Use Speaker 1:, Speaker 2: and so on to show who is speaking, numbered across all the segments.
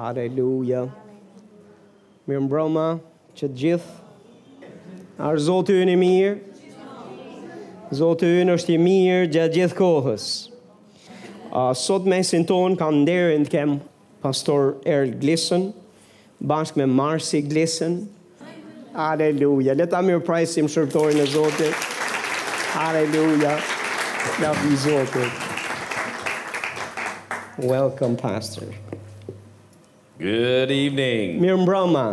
Speaker 1: Aleluja. Mirë mbroma që të gjithë. Ar Zoti ynë i mirë. Zoti ynë është i mirë gjatë gjithë kohës. A, sot mesin ton kam nderin të kem pastor Erl Glisen, bashkë me Marsi Glisen. Aleluja. Le ta mirë prajsim shërptorin e Zotit. Aleluja. Lavdi Zotit. Welcome, Pastor.
Speaker 2: Good evening.
Speaker 1: Mirë mbroma.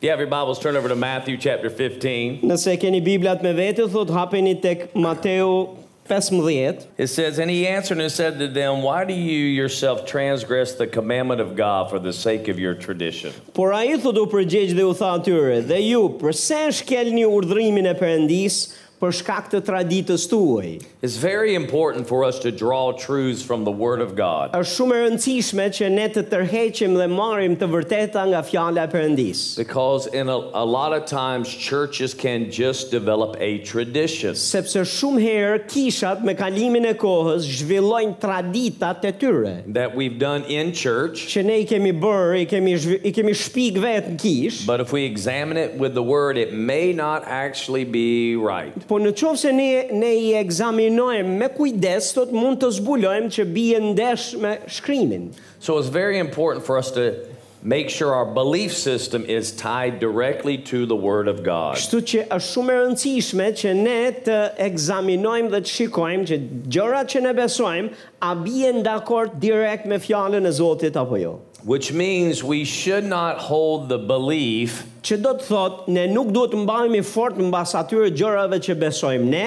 Speaker 2: If you have your Bibles, turn over to Matthew chapter 15.
Speaker 1: Nëse keni Biblat me vete, thot hapeni tek Mateu 15.
Speaker 2: It says, And he answered and said to them, Why do you yourself transgress the commandment of God for the sake of your tradition?
Speaker 1: Por a i thot u përgjegj dhe u tha atyre, dhe ju, përse shkelni urdhrimin e përëndis për shkak të traditës tuaj?
Speaker 2: It's very important for us to draw truths from the Word of God.
Speaker 1: është shumë e rëndësishme që ne të tërheqim dhe marrim të vërteta nga fjala e Perëndis.
Speaker 2: Because in a, a lot of times, churches can just develop a tradition.
Speaker 1: Sepse shumë herë kishat me kalimin e kohës zhvillojnë traditat e tyre
Speaker 2: That we've done in church,
Speaker 1: që ne i kemi bërë, i kemi zhvi- i kemi shpik vetë në kish,
Speaker 2: but if we examine it with the Word, it may not actually be right.
Speaker 1: po në qovë se ne, ne i egzaminojmë me kujdes, tot mund të zbulojmë që bie ndesh me shkrimin.
Speaker 2: So it's very important for us to make sure our belief system is tied directly to the Word of God.
Speaker 1: Kështu që është shumë e rëndësishme që ne të egzaminojmë dhe të shikojmë që gjërat që ne besojmë a bien dakord direkt me fjalën e Zotit apo jo.
Speaker 2: Which means we should not hold the belief
Speaker 1: Që do të thotë ne nuk duhet të mbahemi fort mbas atyre gjërave që besojmë ne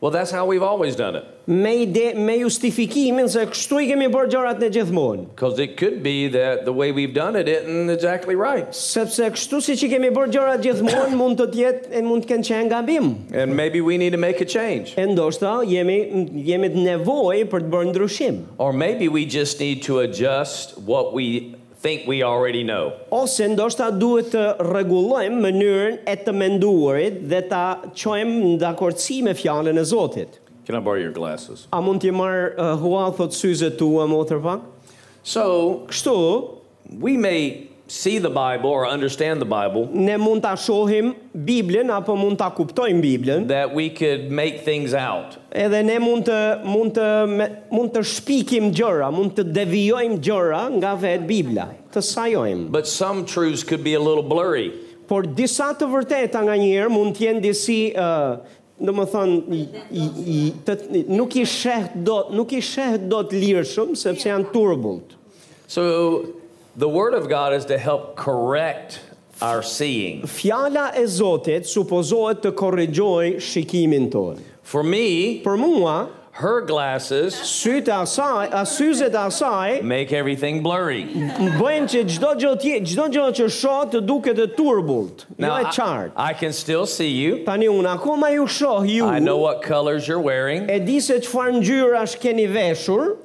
Speaker 2: well, that's how we've always done it.
Speaker 1: me ide me justifikimin se kështu i kemi bërë gjërat ne gjithmonë.
Speaker 2: Because it could be that the way we've done it isn't exactly right.
Speaker 1: Sepse kështu siç i kemi bërë gjërat gjithmonë mund të jetë e mund të kenë qenë gabim.
Speaker 2: And maybe we need to make a change.
Speaker 1: E ndoshta jemi jemi të nevojë për të bërë ndryshim.
Speaker 2: Or maybe we just need to adjust what we think we already know.
Speaker 1: Ose ndoshta duhet të rregullojmë mënyrën e të menduarit dhe ta çojmë në dakordsi me fjalën e Zotit.
Speaker 2: Can I borrow your glasses?
Speaker 1: A mund t'i marr uh, hua thot syzet tua motër pak?
Speaker 2: So
Speaker 1: Kështu
Speaker 2: we may see the Bible or understand the Bible
Speaker 1: ne mund ta shohim Biblën apo mund ta kuptojmë Biblën,
Speaker 2: that we could make things out.
Speaker 1: edhe ne mund të mund të me, mund të shpikim gjëra, mund të devijojmë gjëra nga vetë Bibla, të sajojmë.
Speaker 2: But some truths could be a little blurry.
Speaker 1: Por disa të vërteta nga njerë mund t'jenë disi, uh, në më thonë, i- i- i- të- nuk i sheh dot, nuk i sheh dot lirshëm, sepse janë turbult.
Speaker 2: So the Word of God is to help correct our seeing.
Speaker 1: Fjala e Zotit supozohet të korrigjoj shikimin tonë.
Speaker 2: For me,
Speaker 1: Për mua,
Speaker 2: her glasses
Speaker 1: sytë e asaj, asyzet e asaj,
Speaker 2: make everything blurry.
Speaker 1: më bëjnë që gjdo gjë tje, gjdo gjë që shoh të duket e turbult, jo e
Speaker 2: I,
Speaker 1: qartë.
Speaker 2: I can still see you.
Speaker 1: Tani unë akoma ju shoh ju,
Speaker 2: I know what colors you're wearing.
Speaker 1: e di se çfarë ngjyrash keni veshur,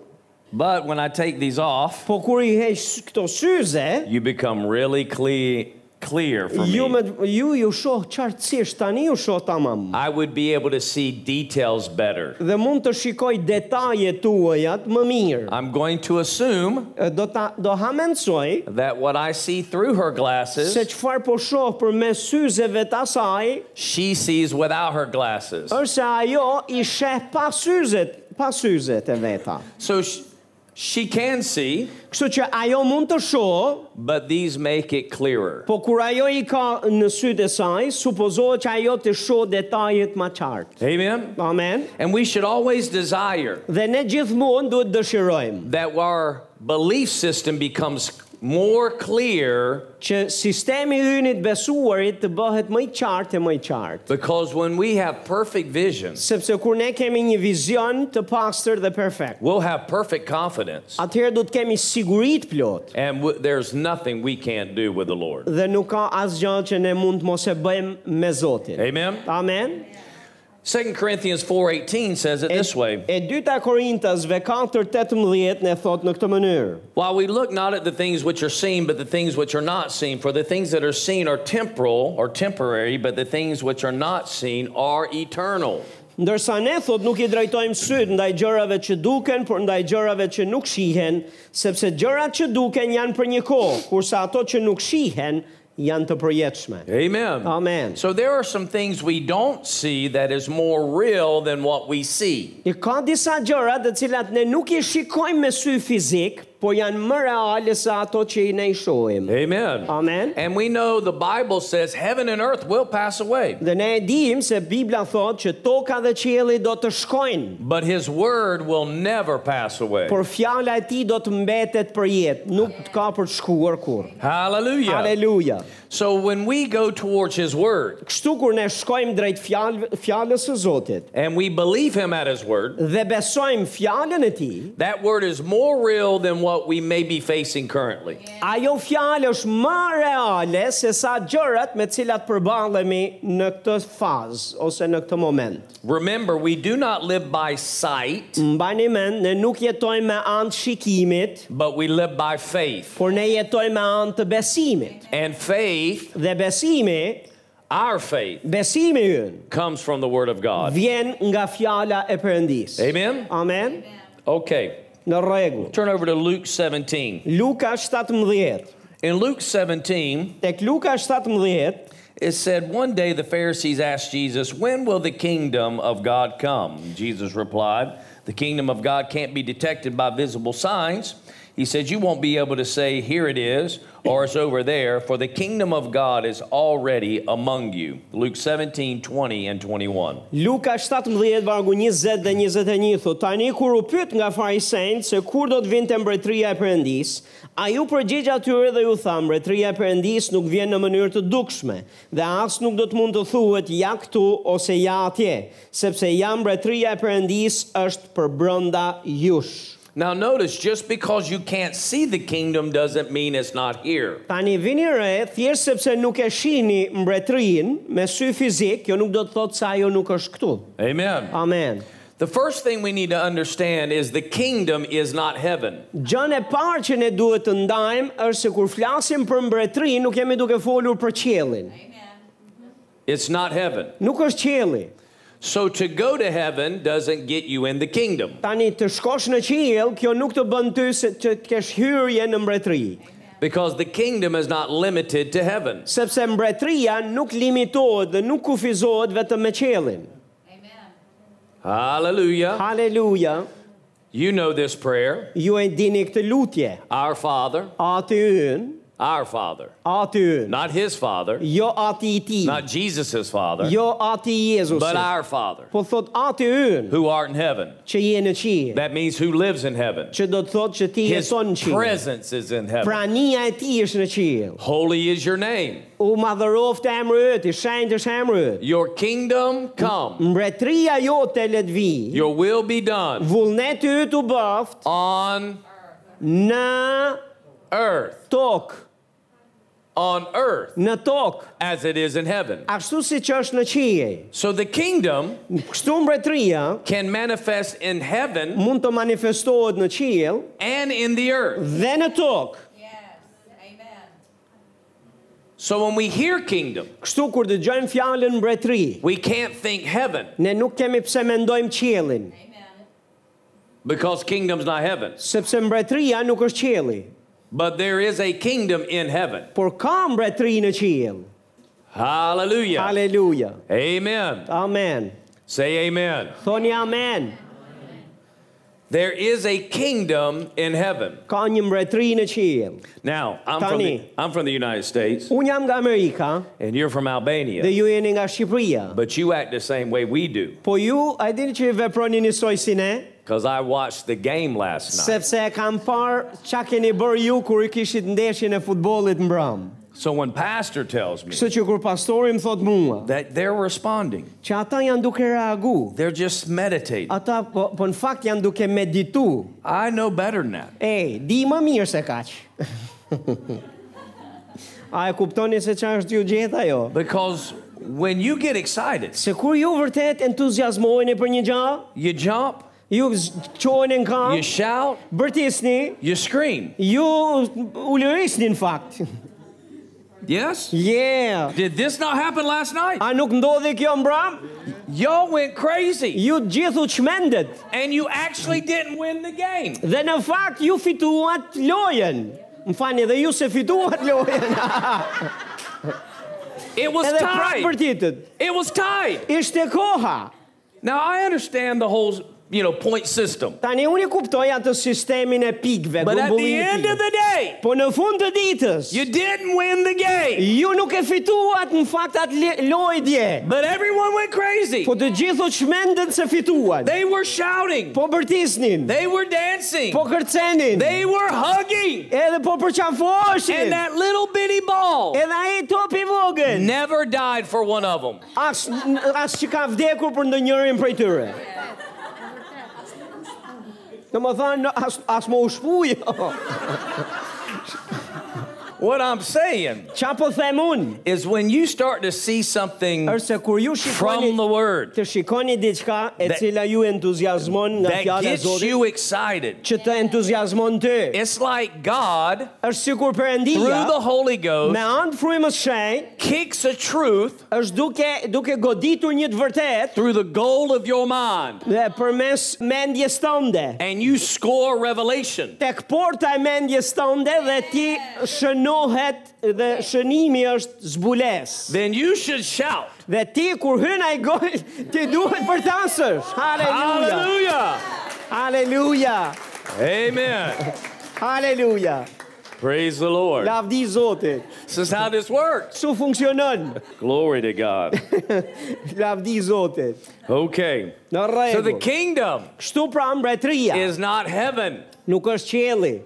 Speaker 2: But when I take these off,
Speaker 1: po kur i heq këto syze,
Speaker 2: you become really clear, clear for
Speaker 1: Ju
Speaker 2: me.
Speaker 1: me ju ju shoh qartësisht tani ju shoh tamam.
Speaker 2: I would be able to see details better.
Speaker 1: Dhe mund të shikoj detajet tuaja më mirë.
Speaker 2: I'm going to assume
Speaker 1: E, Do ta do ha mendoj
Speaker 2: that what I see through her glasses,
Speaker 1: se çfarë po shoh përmes syzeve të asaj,
Speaker 2: she sees without her glasses.
Speaker 1: është se ajo i sheh pa syzet, pa syzet e veta.
Speaker 2: So sh- she can see,
Speaker 1: Kështu që ajo mund të shoh,
Speaker 2: but these make it clearer.
Speaker 1: po kur ajo i ka në sytë e saj, supozohet që ajo të shoh detajet më qartë.
Speaker 2: Amen.
Speaker 1: Amen.
Speaker 2: And we should always desire
Speaker 1: Dhe ne gjithmonë duhet dëshirojmë
Speaker 2: that our belief system becomes more clear
Speaker 1: që sistemi ynë i të besuarit të bëhet më i qartë e më i qartë.
Speaker 2: because when we have perfect vision,
Speaker 1: Sepse kur ne kemi një vizion të pastër dhe perfekt,
Speaker 2: we'll have perfect confidence.
Speaker 1: atëherë do të kemi siguri të plot
Speaker 2: And w- there's nothing we can't do with the Lord.
Speaker 1: dhe nuk ka asgjë që ne mund të mos e bëjmë me Zotin.
Speaker 2: Amen.
Speaker 1: Amen.
Speaker 2: 2 Corinthians 4:18 says it this way.
Speaker 1: E dyta Korintasve 4:18 ne thot në këtë mënyrë.
Speaker 2: While we look not at the things which are seen, but the things which are not seen, for the things that are seen are temporal or temporary, but the things which are not seen are eternal.
Speaker 1: Ndërsa ne thot nuk i drejtojmë syt ndaj gjërave që duken, por ndaj gjërave që nuk shihen, sepse gjërat që duken janë për një kohë, kurse ato që nuk shihen janë të përjetshme.
Speaker 2: Amen.
Speaker 1: Amen.
Speaker 2: So there are some things we don't see that is more real than what we see.
Speaker 1: I ka disa gjëra të cilat ne nuk i shikojmë me sy fizik, por janë më reale se ato që i ne i shohim.
Speaker 2: Amen.
Speaker 1: Amen.
Speaker 2: And we know the Bible says heaven and earth will pass away,
Speaker 1: Dhe ne e dim se Bibla thot që toka dhe qielli do të shkojnë,
Speaker 2: but his word will never pass away.
Speaker 1: por fjala e tij do të mbetet për jetë, nuk të ka për të shkuar kurrë.
Speaker 2: Hallelujah.
Speaker 1: Aleluja.
Speaker 2: So when we go towards his word
Speaker 1: Kështu kur ne shkojmë drejt fjalë fjalës së Zotit
Speaker 2: and we believe him at his word,
Speaker 1: dhe besojmë fjalën e tij,
Speaker 2: that word is more real than what we may be facing currently.
Speaker 1: ajo fjalë është më reale se sa gjërat me cilat përballemi në këtë fazë ose në këtë moment.
Speaker 2: Remember, we do not live by sight,
Speaker 1: Mbani mend, ne nuk jetojmë me anë të shikimit,
Speaker 2: but we live by faith.
Speaker 1: por ne jetojmë me anë të besimit.
Speaker 2: And faith,
Speaker 1: Dhe besimi,
Speaker 2: our faith,
Speaker 1: besimi ynë
Speaker 2: comes from the word of God.
Speaker 1: vjen nga fjala e Perëndis.
Speaker 2: Amen?
Speaker 1: Amen.
Speaker 2: Okay.
Speaker 1: Në rregull.
Speaker 2: Turn over to Luke 17.
Speaker 1: Luka 17.
Speaker 2: In Luke 17,
Speaker 1: Tek Luka 17
Speaker 2: it said, One day the Pharisees asked Jesus, When will the kingdom of God come? Jesus replied, The kingdom of God can't be detected by visible signs. He said, You won't be able to say, Here it is, or it's over there, for the kingdom of God is already among you. Luke 17, 20 and 21.
Speaker 1: Luka 17 vargu 20 dhe 21 thot tani kur u pyet nga farisejt se kur do të vinte mbretëria e Perëndis, ai u përgjigj atyre dhe ju tha mbretëria e Perëndis nuk vjen në mënyrë të dukshme dhe as nuk do të mund të thuhet ja këtu ose ja atje, sepse ja mbretëria e Perëndis është për brenda jush.
Speaker 2: Now, notice just because you can't see the kingdom doesn't mean it's not here.
Speaker 1: Tani vini re, thjesht sepse nuk e shihni mbretërinë me sy fizik, kjo nuk do të thotë se ajo nuk është këtu.
Speaker 2: Amen.
Speaker 1: Amen.
Speaker 2: The first thing we need to understand is the kingdom is not heaven.
Speaker 1: Gjën e parë që ne duhet të ndajmë është se kur flasim për mbretërinë nuk jemi duke folur për qiellin.
Speaker 2: It's not heaven.
Speaker 1: Nuk është qielli.
Speaker 2: So to go to heaven doesn't get you in the kingdom
Speaker 1: Tani të shkosh në qiell, kjo nuk të bën ty se të kesh hyrje në mbretëri,
Speaker 2: because the kingdom is not limited to heaven.
Speaker 1: sepse mbretëria nuk limitohet dhe nuk kufizohet vetëm me qiellin.
Speaker 2: Hallelujah.
Speaker 1: Haleluja,
Speaker 2: You know this prayer.
Speaker 1: ju e dini këtë lutje.
Speaker 2: Our Father,
Speaker 1: Ati ynë,
Speaker 2: our Father,
Speaker 1: ati ynë,
Speaker 2: not his Father,
Speaker 1: jo ati i ti,
Speaker 2: not Jesus' Father,
Speaker 1: jo ati i
Speaker 2: but
Speaker 1: Jezusit,
Speaker 2: our Father
Speaker 1: po thot ati ynë
Speaker 2: who art in heaven.
Speaker 1: që je në qiell,
Speaker 2: That means who lives in heaven.
Speaker 1: që do të thotë që ti
Speaker 2: His
Speaker 1: jeton në qiell.
Speaker 2: presence is in heaven.
Speaker 1: Prania e ti është në qiell.
Speaker 2: Holy is your name.
Speaker 1: U madhëroft emri yt, i shenjtë është emri yt.
Speaker 2: Your kingdom come.
Speaker 1: Mbretëria jote le të vi.
Speaker 2: Your will be done
Speaker 1: Vullneti yt u bëft
Speaker 2: on
Speaker 1: në
Speaker 2: earth,
Speaker 1: tokë,
Speaker 2: on earth
Speaker 1: në tokë,
Speaker 2: as it is in heaven.
Speaker 1: ashtu si që është në qiej.
Speaker 2: So the kingdom
Speaker 1: Kështu mbretëria
Speaker 2: can manifest in heaven
Speaker 1: mund të manifestohet në qiell
Speaker 2: and in the earth.
Speaker 1: dhe në tokë.
Speaker 2: So when we hear kingdom,
Speaker 1: Kështu kur dëgjojmë fjalën mbretëri,
Speaker 2: we can't think heaven
Speaker 1: ne nuk kemi pse mendojmë qiellin,
Speaker 2: because kingdom's not heaven.
Speaker 1: sepse mbretëria nuk është qielli,
Speaker 2: But there is a kingdom in heaven.
Speaker 1: por ka mbretëri në qiell.
Speaker 2: Hallelujah.
Speaker 1: Aleluja.
Speaker 2: Amen.
Speaker 1: Amen.
Speaker 2: Say amen.
Speaker 1: Thoni amen.
Speaker 2: There is a kingdom in heaven.
Speaker 1: Ka një mbretëri në qiell.
Speaker 2: Now, I'm from the,
Speaker 1: Tani.
Speaker 2: I'm from the United States
Speaker 1: Unë jam nga Amerika
Speaker 2: and you're from
Speaker 1: dhe
Speaker 2: Albania,
Speaker 1: ju jeni nga Shqipëria.
Speaker 2: but you act the same way we do
Speaker 1: Po ju, a e dini që i veproni njësoj si ne,
Speaker 2: because I watched the game last night.
Speaker 1: sepse e kam parë çka keni bërë ju kur i kishit ndeshjen e futbollit mbrëm.
Speaker 2: So when pastor tells me
Speaker 1: Kështu që kur pastori më thot mua,
Speaker 2: that they're responding,
Speaker 1: që ata janë duke reagu,
Speaker 2: they're just meditating.
Speaker 1: ata po, po në fakt janë duke meditu.
Speaker 2: I know better than that.
Speaker 1: Ej, di më mirë se kaq. a e kuptoni se çfarë është ju gjeta jo?
Speaker 2: Because when you get excited,
Speaker 1: Se kur ju vërtet entuziazmoheni për një gjë,
Speaker 2: you jump,
Speaker 1: ju z- qoheni në kam,
Speaker 2: you shout,
Speaker 1: Bërtisni,
Speaker 2: you scream.
Speaker 1: ju u lërisni në fakt.
Speaker 2: Yes?
Speaker 1: Yeah.
Speaker 2: Did this not happen last night?
Speaker 1: A nuk ndodhi kjo mbram?
Speaker 2: Y'all went crazy
Speaker 1: Ju gjithu çmendet
Speaker 2: and you actually didn't win the game.
Speaker 1: dhe në fakt ju fituat lojen. Më fani edhe ju se fituat lojen.
Speaker 2: It was
Speaker 1: Edhe prapë
Speaker 2: tied.
Speaker 1: përtitët.
Speaker 2: It was tied.
Speaker 1: Ishte koha.
Speaker 2: Now I understand the whole, you know, point system.
Speaker 1: Tani unë i kuptoj atë sistemin e pikëve,
Speaker 2: But at the
Speaker 1: grumbullin e
Speaker 2: end of
Speaker 1: pikëve.
Speaker 2: the day,
Speaker 1: Po në fund të ditës,
Speaker 2: you didn't win the game.
Speaker 1: ju nuk e fituat në fakt atë le- lojë dje.
Speaker 2: But everyone went crazy.
Speaker 1: Po të gjithu çmendën se fituat.
Speaker 2: They were shouting.
Speaker 1: Po bërtisnin,
Speaker 2: They were dancing.
Speaker 1: po kërcenin,
Speaker 2: They were hugging.
Speaker 1: edhe po
Speaker 2: And
Speaker 1: përqafoshin.
Speaker 2: that little bitty ball
Speaker 1: Edhe ai top i vogël,
Speaker 2: never died for one of them.
Speaker 1: as as që ka vdekur për ndonjërin prej tyre. Në më thanë, as, as më u shpuj.
Speaker 2: What I'm saying
Speaker 1: Qa po them unë?
Speaker 2: is when you start to see something
Speaker 1: Është se kur ju shikoni
Speaker 2: from the word
Speaker 1: të shikoni diçka e
Speaker 2: That-
Speaker 1: cila ju entuziazmon nga
Speaker 2: that
Speaker 1: fjala e
Speaker 2: gets
Speaker 1: Zotit,
Speaker 2: you excited,
Speaker 1: që të entuziazmon ty.
Speaker 2: it's like God,
Speaker 1: Është sikur
Speaker 2: through
Speaker 1: Perëndia
Speaker 2: the Holy
Speaker 1: me
Speaker 2: Ghost,
Speaker 1: anë të frymës së shenjtë
Speaker 2: kicks a truth
Speaker 1: është duke duke goditur një të vërtetë
Speaker 2: through the goal of your mind,
Speaker 1: dhe përmes mendjes tënde.
Speaker 2: and you score revelation.
Speaker 1: Tek porta e mendjes tënde dhe ti shënohet dhe shënimi është zbules.
Speaker 2: Then you should shout,
Speaker 1: Dhe ti kur hyn ai gol, ti duhet për të ansësh. Haleluja.
Speaker 2: Hallelujah!
Speaker 1: Haleluja.
Speaker 2: Amen.
Speaker 1: Haleluja.
Speaker 2: Praise the Lord.
Speaker 1: Lavdi Zotit.
Speaker 2: This is how this works.
Speaker 1: Kështu funksionon.
Speaker 2: Glory to God.
Speaker 1: Lavdi Zotit.
Speaker 2: Okay.
Speaker 1: Në
Speaker 2: So the
Speaker 1: rregull.
Speaker 2: kingdom
Speaker 1: Kështu pra mbretëria
Speaker 2: is not heaven.
Speaker 1: nuk është qielli.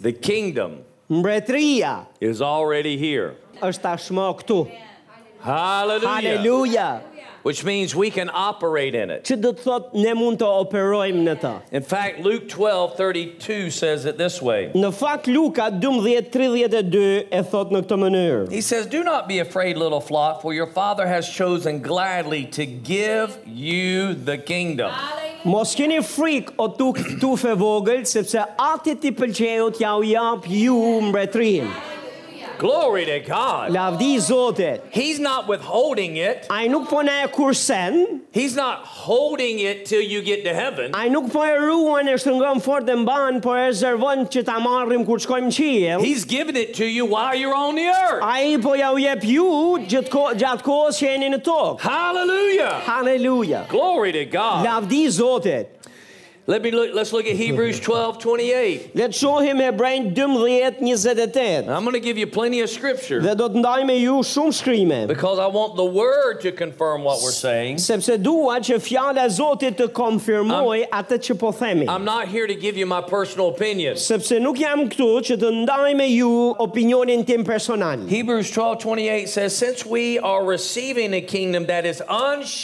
Speaker 2: The kingdom
Speaker 1: Mbretëria
Speaker 2: is already here.
Speaker 1: është tashmë këtu.
Speaker 2: Hallelujah.
Speaker 1: Haleluja.
Speaker 2: Which means we can operate in it.
Speaker 1: Që do të thotë ne mund të operojmë në ta.
Speaker 2: In fact, Luke 12 32 says it this way
Speaker 1: Në fakt Luka 12:32 e thot në këtë mënyrë.
Speaker 2: He says, Do not be afraid, little flock, for your father has chosen gladly to give you the kingdom.
Speaker 1: Mos keni frikë o tuk tufe vogël sepse ati ti pëlqeu t'ja u jap ju mbretërinë.
Speaker 2: Glory to God.
Speaker 1: Lavdi Zotit.
Speaker 2: He's not withholding it,
Speaker 1: Ai nuk po na e kursen,
Speaker 2: He's not holding it till you get to heaven.
Speaker 1: ai nuk po e ruan e shtrëngon fort e mban, po e rezervon që ta marrim kur shkojmë në qiell.
Speaker 2: He's giving it to you while you're on the earth.
Speaker 1: Ai po ja u jep ju gjatë ko- gjatë kohës që jeni në tokë.
Speaker 2: Hallelujah.
Speaker 1: Halleluja.
Speaker 2: Glory to God.
Speaker 1: Lavdi Zotit.
Speaker 2: Let me look, let's look at Hebrews 12, 28.
Speaker 1: Le të shohim Hebrejnë 12:28.
Speaker 2: I'm going to give you plenty of scripture
Speaker 1: Dhe do të ndaj me ju shumë shkrime,
Speaker 2: because I want the word to confirm what we're saying.
Speaker 1: sepse dua që fjala e Zotit të konfirmoj atë që po themi.
Speaker 2: I'm not here to give you my personal opinion.
Speaker 1: Sepse nuk jam këtu që të ndaj me ju opinionin tim personal.
Speaker 2: Hebrews 12, 28 says, Since we are receiving a kingdom that is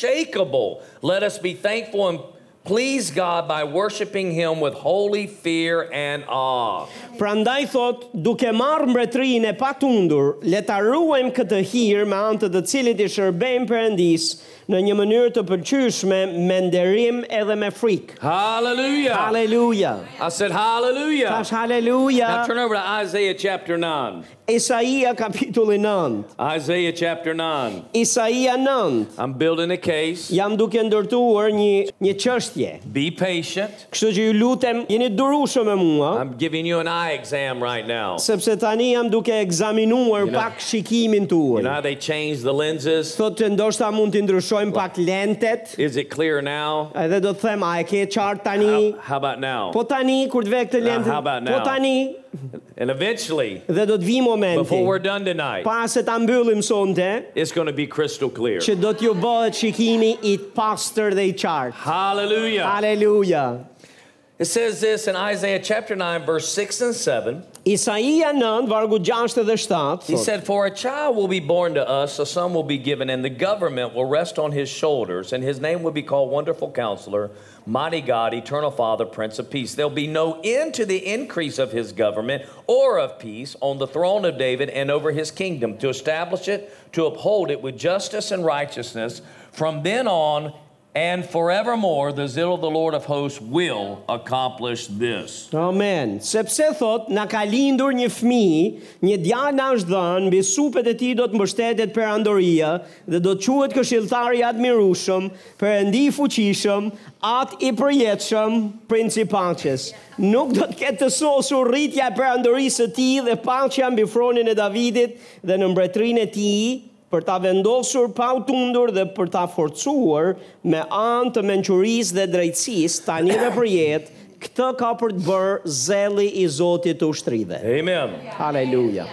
Speaker 2: unshakable, let us be thankful and please God by worshiping Him with holy fear and awe.
Speaker 1: Prandaj thot, duke marrë mbretërinë e patundur, le ta ruajmë këtë hir me anë të të cilit i shërbejmë Perëndis në një mënyrë të pëlqyeshme me nderim edhe me frikë.
Speaker 2: Hallelujah.
Speaker 1: Halleluja.
Speaker 2: I said, Hallelujah.
Speaker 1: Tash halleluja.
Speaker 2: Now turn over to Isaiah chapter 9.
Speaker 1: Isaia kapitulli 9.
Speaker 2: Isaiah chapter 9.
Speaker 1: Isaia 9.
Speaker 2: I'm building a case.
Speaker 1: Jam duke ndërtuar një një çështje.
Speaker 2: Be patient.
Speaker 1: Kështu që ju lutem, jeni durueshëm me mua,
Speaker 2: I'm giving you an eye exam right now.
Speaker 1: sepse tani jam duke ekzaminuar
Speaker 2: know-
Speaker 1: pak shikimin tuaj.
Speaker 2: You know how they changed the lenses?
Speaker 1: Thotë që ndoshta mund t'i ndryshojmë pak lentet.
Speaker 2: Is it clear now?
Speaker 1: Edhe do të them, a e ke qartë tani?
Speaker 2: How, how about now?
Speaker 1: Po tani, kur të vek të lentë,
Speaker 2: how about
Speaker 1: po
Speaker 2: now?
Speaker 1: tani,
Speaker 2: And eventually,
Speaker 1: dhe do të vi momenti,
Speaker 2: before we're done tonight,
Speaker 1: pa se ta mbyllim sonte,
Speaker 2: it's going to be crystal clear.
Speaker 1: që do t'ju bëhet shikimi i pastër dhe i qartë.
Speaker 2: Hallelujah.
Speaker 1: Aleluja.
Speaker 2: It says this in Isaiah chapter 9, verse 6 and 7.
Speaker 1: Isaia 9, vargu 6 dhe 7,
Speaker 2: He
Speaker 1: thotë,
Speaker 2: said, For a child will be born to us, a son will be given, and the government will rest on his shoulders, and his name will be called Wonderful Counselor, Mighty God, Eternal Father, Prince of Peace. There'll be no end to the increase of his government or of peace on the throne of David and over his kingdom, to establish it, to uphold it with justice and righteousness from then on And forevermore, the zeal of the Lord of hosts will accomplish this.
Speaker 1: Amen. Sepse thot, na ka lindur një fëmijë, një djalë na është dhënë, mbi supet e tij do të mbështetet perandoria dhe do të quhet këshilltar i admirueshëm, perëndi i fuqishëm, at i përjetshëm, princ i paqes. Nuk do të ketë të sosur rritja e perandorisë së tij dhe paqja mbi fronin e Davidit dhe në mbretërinë e tij për ta vendosur pa u tundur dhe për ta forcuar me anë të menqurisë dhe drejtësisë tani dhe për jetë këtë ka për të bërë zeli i Zotit të ushtridhe.
Speaker 2: Amen.
Speaker 1: Haleluja.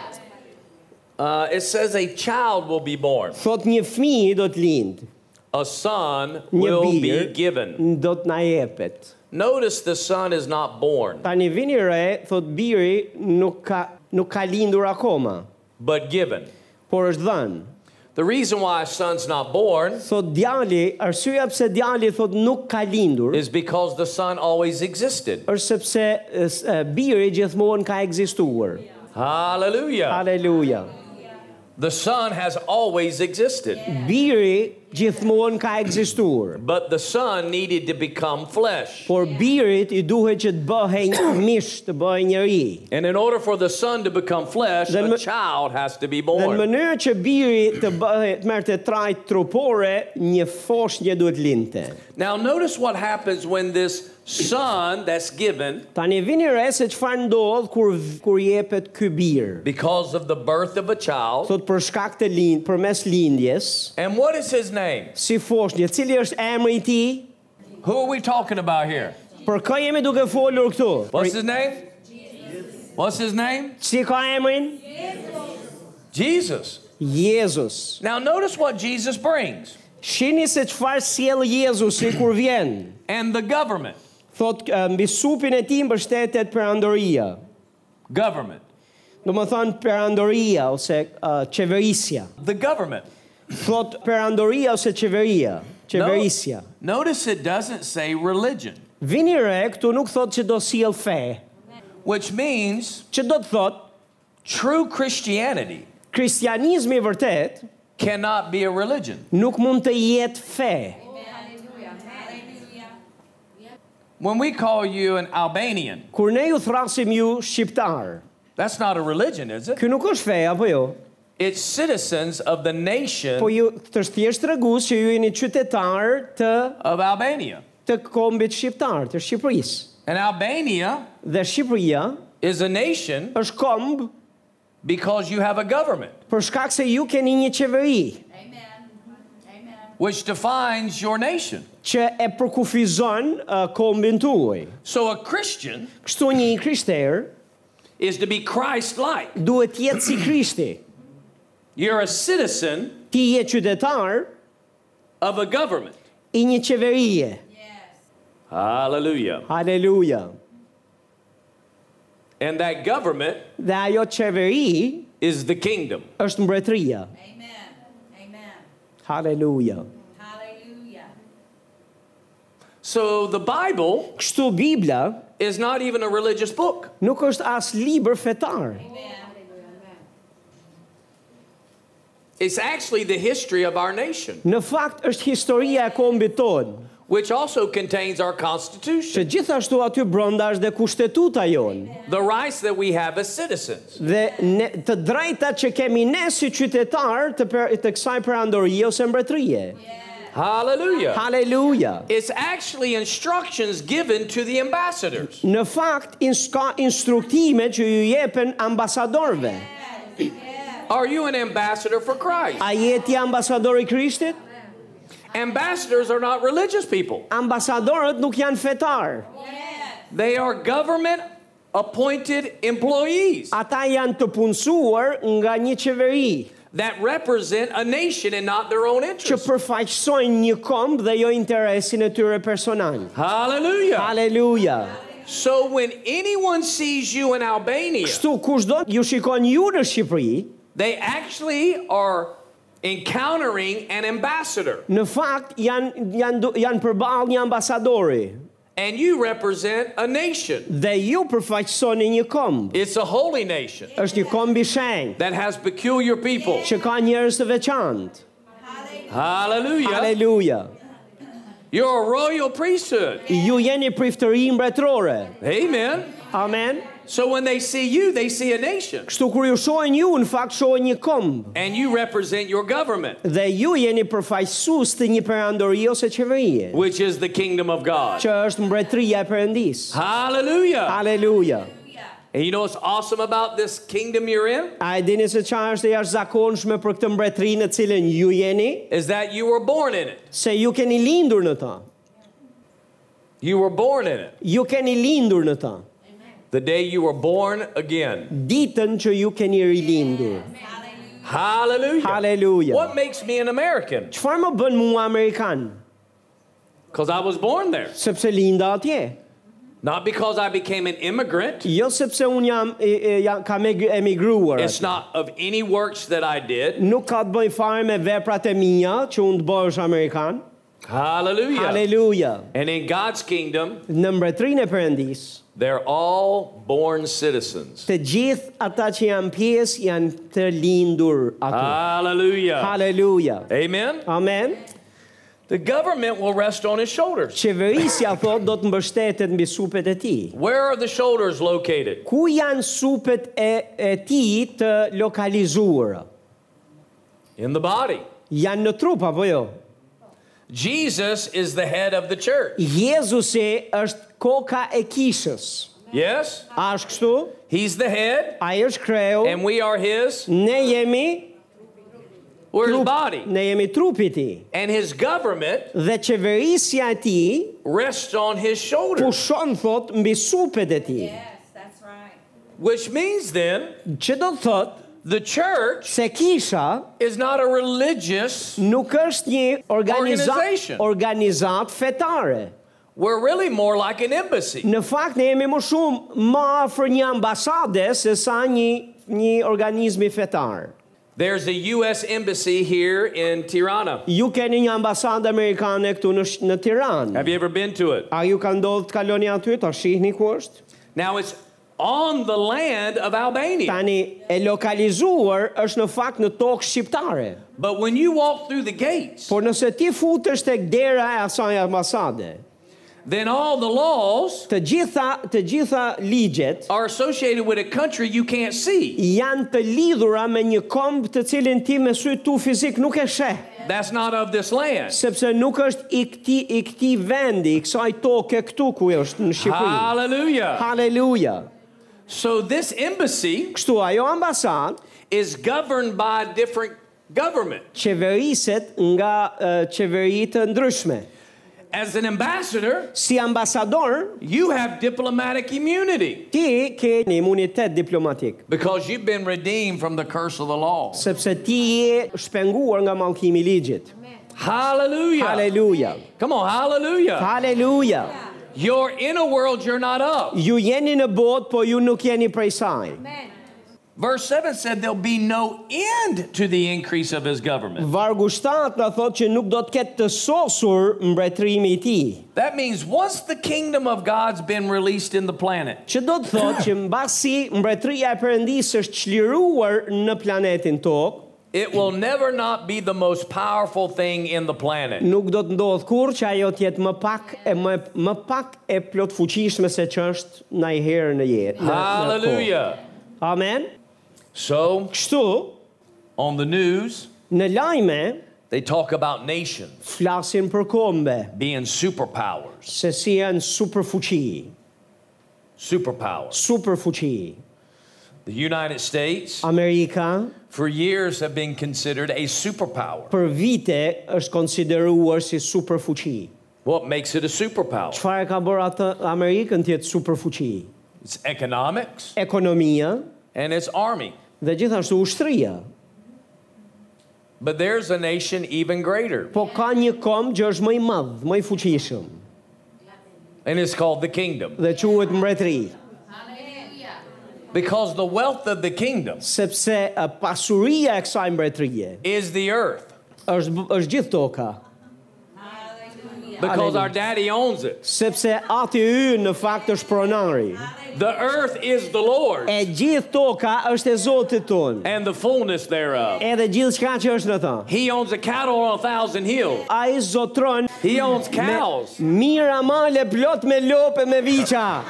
Speaker 2: Uh, it says a child will be born,
Speaker 1: Thot një fëmijë do të lindë,
Speaker 2: a son
Speaker 1: një
Speaker 2: will be
Speaker 1: bir
Speaker 2: given.
Speaker 1: do të na jepet.
Speaker 2: Notice the son is not born,
Speaker 1: Tani vini re, thot biri nuk ka nuk ka lindur akoma,
Speaker 2: but given.
Speaker 1: por është dhënë.
Speaker 2: The reason why a son's not born
Speaker 1: Thot djali, arsyeja pse djali thot nuk ka lindur
Speaker 2: is because the son always existed.
Speaker 1: është sepse e, s- e, biri gjithmonë ka ekzistuar.
Speaker 2: Hallelujah.
Speaker 1: Haleluja.
Speaker 2: The son has always existed,
Speaker 1: Biri gjithmonë ka ekzistuar,
Speaker 2: but the son needed to become flesh.
Speaker 1: por birit i duhet që të bëhej mish, të bëhej njeri.
Speaker 2: And in order for the son to become flesh,
Speaker 1: Then
Speaker 2: a
Speaker 1: ma-
Speaker 2: child has to be
Speaker 1: Dhe në
Speaker 2: born.
Speaker 1: mënyrë që biri të bëhet të merrte trajt trupore, një foshnjë duhet linte.
Speaker 2: Now, notice what happens when this son that's given,
Speaker 1: Tani vini re se çfarë ndodh kur kur jepet ky bir.
Speaker 2: because of the birth of a child,
Speaker 1: Thot për shkak të lind, përmes lindjes,
Speaker 2: and what is his name?
Speaker 1: si foshnjë, cili është emri i tij?
Speaker 2: Who are we talking about here?
Speaker 1: Për kë jemi duke folur këtu?
Speaker 2: What's his name? What's his name?
Speaker 1: Si ka emrin?
Speaker 2: Jesus.
Speaker 1: Jezus.
Speaker 2: Now, notice what Jesus brings
Speaker 1: Shini se çfarë sjell Jezusi kur vjen.
Speaker 2: and the government.
Speaker 1: Thot eh, mbi supin e tij mbështetet perandoria.
Speaker 2: Government.
Speaker 1: Do më thonë perandoria ose eh, qeverisja.
Speaker 2: The government.
Speaker 1: Thot perandoria ose qeveria,
Speaker 2: No-
Speaker 1: qeverisja.
Speaker 2: notice it doesn't say religion,
Speaker 1: Vini re, këtu nuk thot që do sjell fe.
Speaker 2: which means
Speaker 1: Që do të thot
Speaker 2: true Christianity
Speaker 1: kristianizmi i vërtet
Speaker 2: cannot be a religion.
Speaker 1: nuk mund të jetë fe.
Speaker 2: When we call you an Albanian,
Speaker 1: Kur ne ju thrasim ju shqiptar,
Speaker 2: that's not a religion, is it?
Speaker 1: ky nuk është fe apo jo?
Speaker 2: It's citizens of the nation
Speaker 1: Po ju të është thjesht tregues që ju jeni qytetar të
Speaker 2: of Albania.
Speaker 1: të kombit shqiptar, të Shqipërisë.
Speaker 2: And Albania
Speaker 1: Dhe Shqipëria
Speaker 2: is a nation
Speaker 1: është komb
Speaker 2: because you have a government,
Speaker 1: për shkak se ju keni një qeveri
Speaker 2: which defines your nation.
Speaker 1: që e përkufizon uh, kombin tuaj.
Speaker 2: So a Christian
Speaker 1: Kështu një krishterë
Speaker 2: is to be Christ like.
Speaker 1: duhet të jetë si Krishti.
Speaker 2: You're a citizen
Speaker 1: Ti je qytetar
Speaker 2: of a government.
Speaker 1: i një qeverie.
Speaker 2: Hallelujah.
Speaker 1: Haleluja.
Speaker 2: And that government
Speaker 1: Dhe ajo qeveri
Speaker 2: is the kingdom.
Speaker 1: është mbretëria.
Speaker 3: Amen. Amen.
Speaker 1: Haleluja.
Speaker 3: Hallelujah.
Speaker 2: So the Bible
Speaker 1: Kështu Bibla
Speaker 2: is not even a religious book.
Speaker 1: nuk është as libër fetar.
Speaker 2: It's actually the history of our nation,
Speaker 1: Në fakt është historia e kombit tonë,
Speaker 2: which also contains our
Speaker 1: që
Speaker 2: Constitution,
Speaker 1: gjithashtu aty brenda është dhe kushtetuta jonë
Speaker 2: the rights that we have as citizens.
Speaker 1: dhe ne, të drejtat që kemi ne si qytetar të, për, të kësaj perandorie ose mbretërie.
Speaker 2: Hallelujah.
Speaker 1: Haleluja.
Speaker 2: It's actually instructions given to the ambassadors.
Speaker 1: Në fakt ins- ka instruktime që ju jepen ambasadorve.
Speaker 2: Are you an ambassador for Christ?
Speaker 1: A je ti ambasador i Krishtit?
Speaker 2: Ambassadors are not religious people,
Speaker 1: Ambasadorët nuk janë fetar.
Speaker 2: they are government appointed employees
Speaker 1: Ata janë të punësuar nga një qeveri
Speaker 2: that represent a nation and not their own
Speaker 1: që
Speaker 2: interests.
Speaker 1: përfaqësojnë një komb dhe jo interesin e tyre personal.
Speaker 2: Hallelujah.
Speaker 1: Haleluja.
Speaker 2: So when anyone sees you in Albania,
Speaker 1: Kështu kushdo ju shikon ju në Shqipëri,
Speaker 2: They actually are encountering an ambassador,
Speaker 1: në fakt janë janë du- janë përballë një ambasadori
Speaker 2: and you represent a nation.
Speaker 1: dhe ju përfaqësoni një komb.
Speaker 2: It's a holy nation
Speaker 1: Është një komb i shenjtë
Speaker 2: that has peculiar people.
Speaker 1: që ka njerëz të veçantë.
Speaker 2: Hallelujah.
Speaker 1: Haleluja.
Speaker 2: You're a royal priesthood.
Speaker 1: Ju jeni priftëri mbretërore.
Speaker 2: Amen.
Speaker 1: Amen.
Speaker 2: So when they see you, they see a nation.
Speaker 1: Kështu kur ju shohin ju, në fakt shohin një komb.
Speaker 2: And you represent your government,
Speaker 1: Dhe ju jeni përfaqësues të një perandori ose qeverie,
Speaker 2: which is the kingdom of God.
Speaker 1: që është mbretëria e Perëndisë.
Speaker 2: Hallelujah.
Speaker 1: Haleluja.
Speaker 2: And you know what's awesome about this kingdom you're in?
Speaker 1: A e dini se çfarë është e jashtëzakonshme për këtë mbretëri në cilën ju jeni?
Speaker 2: Is that you were born in it.
Speaker 1: Se ju keni lindur në ta.
Speaker 2: You were born in it.
Speaker 1: Ju keni lindur në ta.
Speaker 2: The day you were born again.
Speaker 1: Ditën që ju keni rilindur.
Speaker 3: Hallelujah.
Speaker 2: Hallelujah.
Speaker 1: Haleluja.
Speaker 2: What makes me an American?
Speaker 1: Çfarë më bën mua amerikan?
Speaker 2: Because I was born there.
Speaker 1: Sepse linda atje.
Speaker 2: Not because I became an immigrant.
Speaker 1: Jo sepse un jam, e, e, jam kam eg- emigruar.
Speaker 2: It's not of any works that I did.
Speaker 1: Nuk ka të bëj fare me veprat e mia që unë të bësh amerikan.
Speaker 2: Hallelujah.
Speaker 1: Haleluja.
Speaker 2: And in God's kingdom,
Speaker 1: Në mbretërinë e Perëndisë,
Speaker 2: they're all born citizens.
Speaker 1: të gjithë ata që janë pjesë janë të lindur aty.
Speaker 2: Ah. Hallelujah.
Speaker 1: Haleluja.
Speaker 2: Amen.
Speaker 1: Amen.
Speaker 2: The government will rest on his shoulders.
Speaker 1: Qeverisja thot do të mbështetet mbi supet e tij.
Speaker 2: Where are the shoulders located?
Speaker 1: Ku janë supet e, e tij të lokalizuara?
Speaker 2: In the body.
Speaker 1: Janë në trup apo jo?
Speaker 2: Jesus is the head of the church.
Speaker 1: Jezusi është koka e kishës.
Speaker 2: Yes?
Speaker 1: A është kështu?
Speaker 2: He's the head,
Speaker 1: Ai është kreu.
Speaker 2: and we are his.
Speaker 1: Ne jemi
Speaker 2: We're his
Speaker 1: trup,
Speaker 2: body.
Speaker 1: ne jemi trupi i tij.
Speaker 2: And his government
Speaker 1: Dhe qeverisja e tij
Speaker 2: rests on his shoulders,
Speaker 1: pushon thot mbi supet e tij.
Speaker 3: Yes, that's right.
Speaker 2: which means then
Speaker 1: Që do të thot
Speaker 2: the church
Speaker 1: se kisha
Speaker 2: is not a religious,
Speaker 1: nuk është një organizat
Speaker 2: Organization.
Speaker 1: organizat fetare.
Speaker 2: we're really more like an embassy.
Speaker 1: Në fakt ne jemi më shumë më afër një ambasade se sa një një organizmi fetar.
Speaker 2: There's a U.S. embassy here in Tirana.
Speaker 1: Ju keni një ambasadë amerikane këtu në sh- në Tiranë.
Speaker 2: Have you ever been to it?
Speaker 1: A ju ka ndodhur të kaloni aty, ta shihni ku është?
Speaker 2: Now it's on the land of Albania.
Speaker 1: Tani e lokalizuar është në fakt në tokë shqiptare.
Speaker 2: But when you walk through the gates,
Speaker 1: Por nëse ti futesh tek dera e asaj ambasade,
Speaker 2: then all the laws
Speaker 1: të gjitha të gjitha ligjet
Speaker 2: are associated with a country you can't see.
Speaker 1: janë të lidhura me një komb të cilin ti me sy tu fizik nuk e sheh,
Speaker 2: That's not of this land.
Speaker 1: sepse nuk është i këti, i këti vendi, i kësaj toke këtu ku është në Shqipëri.
Speaker 2: Hallelujah.
Speaker 1: Haleluja.
Speaker 2: So this embassy
Speaker 1: Kështu ajo ambasad
Speaker 2: is governed by a different government.
Speaker 1: qeveriset nga uh, qeveri të ndryshme.
Speaker 2: As an ambassador,
Speaker 1: Si ambasador,
Speaker 2: you have diplomatic immunity
Speaker 1: ti ke një imunitet diplomatik,
Speaker 2: because you've been redeemed from the curse of the law.
Speaker 1: sepse ti je shpenguar nga mallkimi i ligjit.
Speaker 2: Hallelujah.
Speaker 1: Haleluja.
Speaker 2: Come on, hallelujah.
Speaker 1: Haleluja.
Speaker 2: You're in a world you're not of.
Speaker 1: Ju jeni në botë, po ju nuk jeni prej saj.
Speaker 3: Amen.
Speaker 2: Verse 7 said there'll be no end to the increase of his government.
Speaker 1: Vargu 7 na thot që nuk do të ketë të sosur mbretërimi i tij.
Speaker 2: That means once the kingdom of God's been released in the planet,
Speaker 1: Që do të thot që mbasi mbretëria e Perëndisë është çliruar në planetin Tokë,
Speaker 2: it will never not be the most powerful thing in the planet.
Speaker 1: nuk do të ndodh kurrë që ajo të jetë më pak e më më pak e plot fuqishme se që është ndajherë në jetë. në- në kohë.
Speaker 2: Hallelujah.
Speaker 1: Amen.
Speaker 2: So,
Speaker 1: Kështu
Speaker 2: on the news,
Speaker 1: në lajme
Speaker 2: they talk about nations
Speaker 1: flasin për kombe
Speaker 2: being superpowers.
Speaker 1: se si janë superfuqi,
Speaker 2: Superpowers.
Speaker 1: superfuqi.
Speaker 2: The United States,
Speaker 1: Amerika
Speaker 2: for years, have been considered a superpower.
Speaker 1: për vite është konsideruar si superfuqi.
Speaker 2: What makes it a superpower?
Speaker 1: Çfarë ka bërë atë Amerikën të jetë superfuqi?
Speaker 2: It's economics
Speaker 1: Ekonomia
Speaker 2: and it's army.
Speaker 1: dhe gjithashtu ushtria.
Speaker 2: But there's a nation even greater,
Speaker 1: Po ka një kom që është më i madh, më i fuqishëm
Speaker 2: and it's called the kingdom.
Speaker 1: dhe quhet mbretëri,
Speaker 3: Hallelujah.
Speaker 2: Because the wealth of the kingdom
Speaker 1: sepse e, pasuria e kësaj mbretërie
Speaker 2: is the earth.
Speaker 1: është është gjithë toka.
Speaker 3: Hallelujah.
Speaker 2: because
Speaker 1: Hallelujah.
Speaker 2: our daddy owns it.
Speaker 1: sepse ati ynë në fakt është pronari.
Speaker 2: The earth is the Lord's
Speaker 1: E gjithë toka është e Zotit tonë,
Speaker 2: and the fullness thereof.
Speaker 1: edhe gjithë shka që është në ta.
Speaker 2: He owns the cattle on a thousand hills.
Speaker 1: A i zotron
Speaker 2: He owns cows.
Speaker 1: mira male plot me lope me viqa.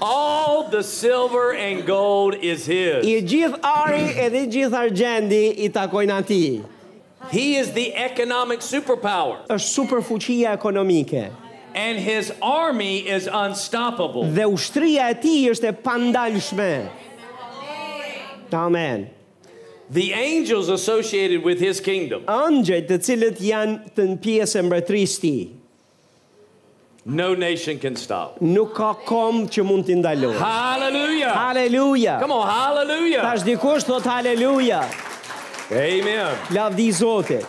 Speaker 2: All the silver and gold is his.
Speaker 1: I gjithë ari edhe i gjithë argjendi i takojnë ati.
Speaker 2: He is the economic superpower,
Speaker 1: është super fuqia ekonomike
Speaker 2: and his army is unstoppable.
Speaker 1: dhe ushtria e tij është e pandalshme. Amen.
Speaker 2: The angels associated with his kingdom
Speaker 1: Angjëjt të cilët janë të në pjesë e mbretërisë të tij,
Speaker 2: no nation can stop.
Speaker 1: nuk ka kom që mund t'i ndalojë.
Speaker 2: Hallelujah.
Speaker 1: Haleluja.
Speaker 2: Come on, hallelujah.
Speaker 1: Tash dikush thot haleluja.
Speaker 2: Amen.
Speaker 1: Lavdi Zotit.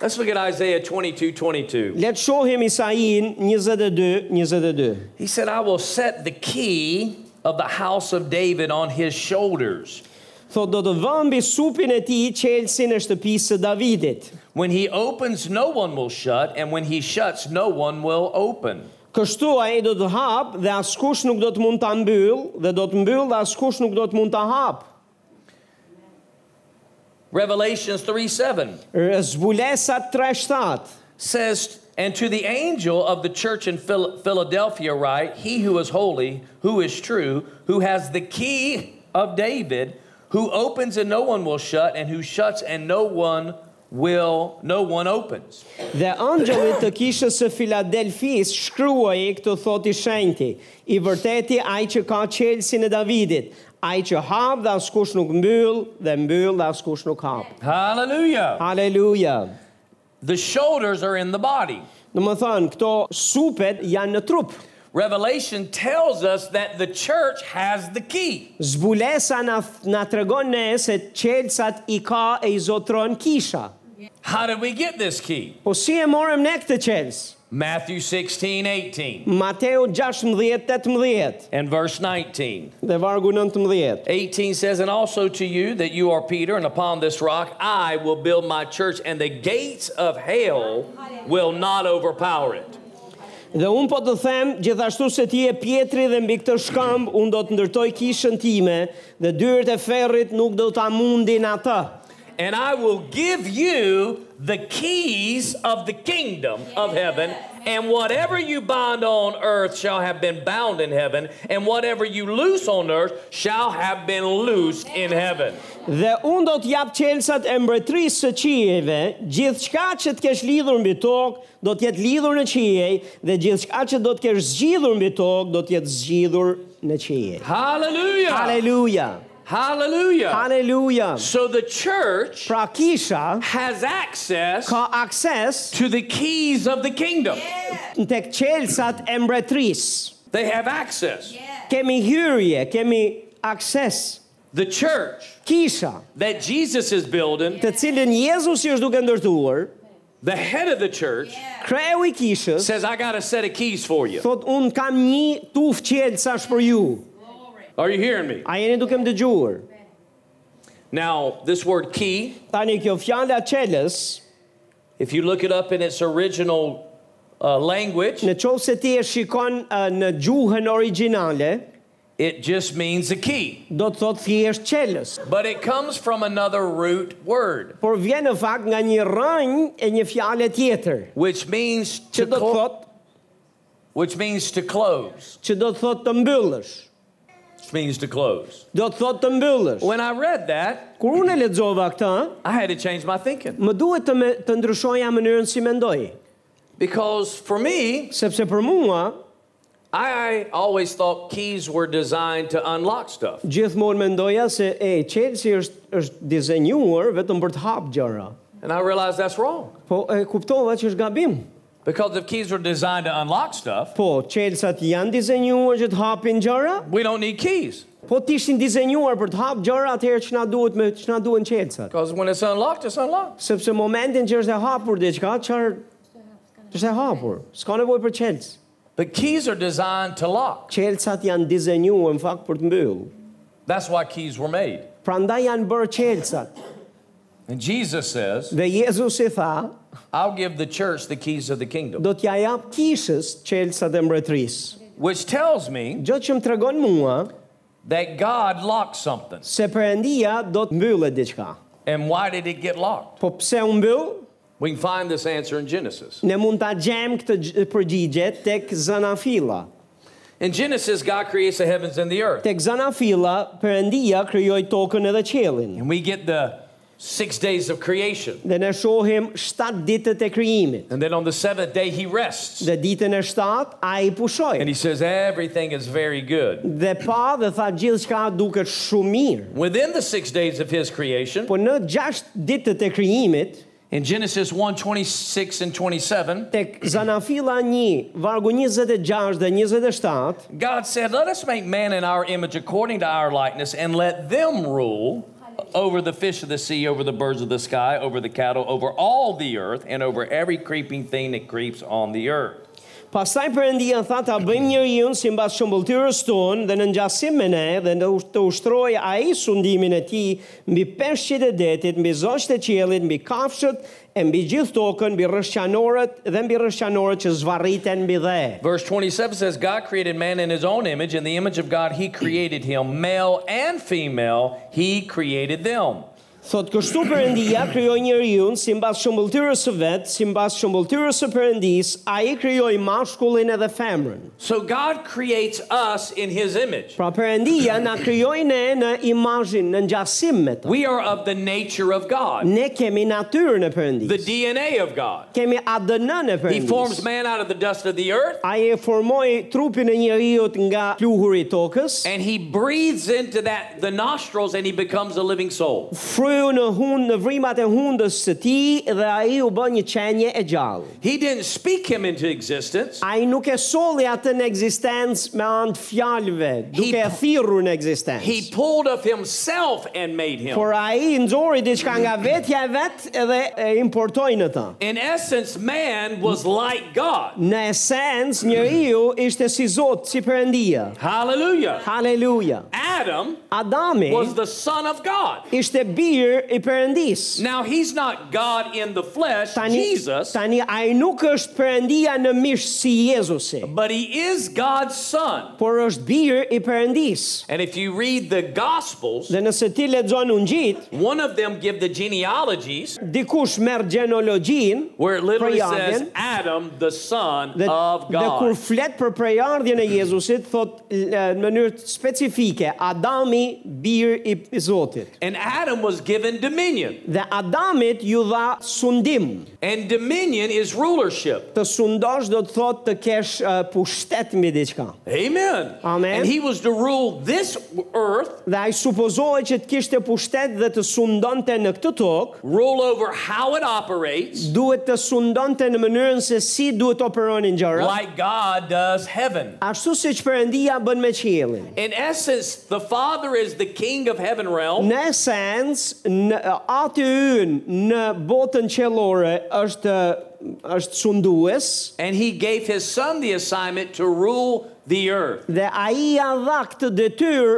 Speaker 2: Let's look at Isaiah 22 22.
Speaker 1: Le të shohim Isain 22 22.
Speaker 4: He said, I will set the key of the house of David on his shoulders.
Speaker 1: Thot do të vë mbi supin e tij çelsin e shtëpisë së Davidit.
Speaker 4: When he opens, no one will shut, and when he shuts, no one will open.
Speaker 1: Kështu ai do të hap dhe askush nuk do të mund ta mbyll dhe do të mbyll dhe askush nuk do të mund ta hap.
Speaker 4: Revelations 3 7
Speaker 1: R- Zbulesa 3:7.
Speaker 4: says, And to the angel of the church in Phil- Philadelphia, write, He who is holy, who is true, who has the key of David, who opens and no one will shut, and who shuts and no one will, no one opens.
Speaker 1: Dhe angjëllit të kishës së Filadelfis shkruaj këtë thot i shenjti. I vërteti ai që ka çelsin e Davidit, ai që hap dhe askush nuk mbyll dhe mbyll dhe askush nuk hap.
Speaker 4: Hallelujah.
Speaker 1: Haleluja.
Speaker 4: The shoulders are in the body.
Speaker 1: Në më thënë, këto supet janë në trup.
Speaker 4: Revelation tells us that the church has the key.
Speaker 1: Zbulesa na, na tregon ne se qelsat i ka e i zotron kisha.
Speaker 4: How did we get this key?
Speaker 1: Po si e morëm ne këtë qels?
Speaker 4: Matthew 16, 18,
Speaker 1: Mateu 16-18
Speaker 4: and verse 19.
Speaker 1: dhe vargu 19.
Speaker 4: 18 says, And also to you that you are Peter, and upon this rock I will build my church, and the gates of hell will not overpower it.
Speaker 1: Dhe unë po të them, gjithashtu se ti je pjetri dhe mbi këtë shkamb, unë do të ndërtoj kishën time dhe dyrët e ferrit nuk do ta mundin atë.
Speaker 4: And I will give you the keys of the kingdom of heaven. And whatever you bind on earth shall have been bound in heaven, and whatever you loose on earth shall have been loosed in heaven.
Speaker 1: Dhe unë do të jap qelsat e mbretërisë së qijeve, gjithçka që të kesh lidhur mbi tokë do të jetë lidhur në qijej dhe gjithçka që do të kesh zgjidhur mbi tokë do të jetë zgjidhur në qijej.
Speaker 2: Hallelujah.
Speaker 1: Haleluja.
Speaker 2: Hallelujah.
Speaker 1: Haleluja.
Speaker 2: So the church
Speaker 1: Pra kisha
Speaker 2: has access
Speaker 1: ka akses
Speaker 2: to the keys of the kingdom.
Speaker 1: tek qelsat e mbretërisë.
Speaker 2: They have access.
Speaker 1: Kemi hyrje, kemi akses.
Speaker 2: The church
Speaker 1: Kisha,
Speaker 2: that Jesus is building,
Speaker 1: të cilin Jezusi është duke ndërtuar,
Speaker 2: the head of the church
Speaker 1: kreu i kishës,
Speaker 2: says, I got a set of keys for you.
Speaker 1: thot unë kam një tuf qelësash për ju.
Speaker 2: Are you hearing me?
Speaker 1: A jeni duke më dëgjuar?
Speaker 2: Now, this word key,
Speaker 1: Tani kjo fjala qelës,
Speaker 4: If you look it up in its original uh, language,
Speaker 1: në qovë se ti e shikon uh, në gjuhën originale,
Speaker 4: it just means a key,
Speaker 1: do të thot thjesht qelës.
Speaker 4: but it comes from another root word,
Speaker 1: Por vjen në fakt nga një rënjë e një fjale tjetër,
Speaker 4: which means to
Speaker 1: që do të
Speaker 4: clo-
Speaker 1: thot,
Speaker 4: which means to close,
Speaker 1: që do të thot të mbyllësh.
Speaker 4: which means to close.
Speaker 1: Do të thot të mbyllësh.
Speaker 4: When I read that,
Speaker 1: Kur unë e lexova këtë,
Speaker 4: I had to change my thinking
Speaker 1: më duhet të, me, të ndryshoja mënyrën si mendoj,
Speaker 4: because for me,
Speaker 1: sepse për mua
Speaker 2: I always thought keys were designed to unlock stuff.
Speaker 1: gjithmonë mendoja se e Chelsea është është dizenjuar vetëm për të hap gjëra.
Speaker 2: And I realized that's wrong
Speaker 1: Po e kuptova që është gabim.
Speaker 2: because if keys were designed to unlock stuff,
Speaker 1: Po, Chelsea-t janë dizenjuar që të hapin gjëra,
Speaker 2: we don't need keys
Speaker 1: po të ishin dizenjuar për të hap gjëra atëherë që na duhet me që na duhen Chelsea-t.
Speaker 2: because when it's unlocked, it's unlocked.
Speaker 1: Sepse momentin që është e hapur diçka, çfarë është e hapur. S'ka nevojë për Chelsea.
Speaker 2: But keys are designed to lock.
Speaker 1: Chelsea-t janë dizenjuar në fakt për të mbyllur.
Speaker 2: That's why keys were made.
Speaker 1: Prandaj janë bërë Chelsea-t.
Speaker 4: And Jesus says,
Speaker 1: Dhe Jezusi tha,
Speaker 4: I'll give the church the keys of the kingdom,
Speaker 1: do t'ja jap kishës qelësat e mbretërisë.
Speaker 4: which tells me
Speaker 1: Gjë që më tregon mua
Speaker 4: that God locked something.
Speaker 1: se Perëndia do të mbyllet diçka.
Speaker 4: And why did it get locked?
Speaker 1: Po pse u mbyll?
Speaker 2: We can find this answer in Genesis.
Speaker 1: Ne mund ta gjejmë këtë gj- përgjigje tek zanafilla.
Speaker 2: In Genesis, God creates the heavens and the earth.
Speaker 1: Tek zanafilla Perëndia krijoi tokën edhe qiellin.
Speaker 4: And we get the
Speaker 2: Six days of creation.
Speaker 1: Dhe ne shohim 7 ditët e krijimit.
Speaker 2: And then on the seventh day, he rests.
Speaker 1: Dhe ditën e 7 ai pushoi.
Speaker 2: And he says, Everything is very good.
Speaker 1: Dhe pa dhe tha gjithçka duket shumë mirë.
Speaker 2: Within the six days of his creation,
Speaker 1: Po në 6 ditët e krijimit,
Speaker 2: in Genesis 1 26 and 27,
Speaker 1: tek zanafilla 1, vargu 26 dhe 27,
Speaker 4: God said, Let us make man in our image according to our likeness, and let them rule over the fish of the sea, over the birds of the sky, over the cattle, over all the earth, and over every creeping thing that creeps on the earth.
Speaker 1: Pastaj Perëndia tha ta bëjmë njeriu simbas shëmbëltyrës tonë dhe në ngjasim me ne dhe në ush- të ushtrojë ai sundimin e tij mbi peshqit e detit, mbi zogjtë e qiellit, mbi kafshët e mbi gjithë tokën, mbi rrëshqanorët dhe mbi rrëshqanorët që zvarriten mbi dhe.
Speaker 2: verse 27 says, God created man in his own image. In the image of God, he created him. Male and female, he created them.
Speaker 1: Thot kështu Perëndia krijoi njeriu simbas shëmbëltyrës së vet, simbas shëmbëltyrës së Perëndis, ai krijoi mashkullin edhe femrën.
Speaker 2: So God creates us in his image.
Speaker 1: Pra Perëndia na krijoi ne në imazhin, në ngjasim me të.
Speaker 2: We are of the nature of God,
Speaker 1: Ne kemi natyrën e Perëndis.
Speaker 2: the DNA of God.
Speaker 1: kemi ADN-n e
Speaker 2: He forms
Speaker 1: Perëndis.
Speaker 2: man out of the dust of the earth
Speaker 1: Ai e formoi trupin e njeriut nga pluhuri i tokës,
Speaker 2: and he breathes into that the nostrils and he becomes a living soul.
Speaker 1: fryu në hund në vrimat e hundës së tij dhe ai u bë një qenie e gjallë.
Speaker 2: He didn't speak him into existence.
Speaker 1: Ai nuk e solli atë në ekzistencë me anë të fjalëve, duke e thirrur në
Speaker 2: He
Speaker 1: ekzistencë.
Speaker 2: pulled of himself and made him.
Speaker 1: Por ai nxori diçka nga vetja e vet edhe e importoi në ta.
Speaker 2: In essence, man was like God.
Speaker 1: Në esencë, njeriu ishte si Zot, si Perëndia.
Speaker 2: Hallelujah.
Speaker 1: Haleluja.
Speaker 2: Adam
Speaker 1: Adami
Speaker 2: was the son of God.
Speaker 1: ishte bir i Perëndisë.
Speaker 2: Now he's not God in the flesh,
Speaker 1: Tani,
Speaker 2: Jesus,
Speaker 1: tani ai nuk është Perëndia në mish si Jezusi,
Speaker 2: but he is God's son.
Speaker 1: por është bir i Perëndis.
Speaker 2: And if you read the gospels,
Speaker 1: Dhe nëse ti lexon Ungjit,
Speaker 2: one of them give the genealogies
Speaker 1: dikush merr gjenologjin
Speaker 2: where it literally
Speaker 1: Prejavjen.
Speaker 2: says Adam the son
Speaker 1: dhe,
Speaker 2: of
Speaker 1: dhe kur
Speaker 2: God.
Speaker 1: flet për prejardhjen e Jezusit, thot e, në mënyrë specifike, Adami bir i, i Zotit.
Speaker 2: And Adam was given dominion.
Speaker 1: Dhe Adamit ju dha sundim.
Speaker 2: And dominion is rulership.
Speaker 1: Të sundosh do të thot të kesh uh, pushtet mbi diçka.
Speaker 2: Amen.
Speaker 1: Amen.
Speaker 2: And he was to rule this earth,
Speaker 1: Dhe ai supozohet që të kishte pushtet dhe të sundonte në këtë tokë,
Speaker 2: rule over how it operates,
Speaker 1: duhet të sundonte në mënyrën se si duhet të operonin gjërat.
Speaker 2: like God does heaven.
Speaker 1: Ashtu si që përëndia bën me qielin.
Speaker 2: In essence, the Father is the king of heaven realm.
Speaker 1: Në esens, në aty ynë në botën qelore është është sundues
Speaker 2: And he gave his son the assignment to rule the earth.
Speaker 1: dhe ai ia dha këtë detyrë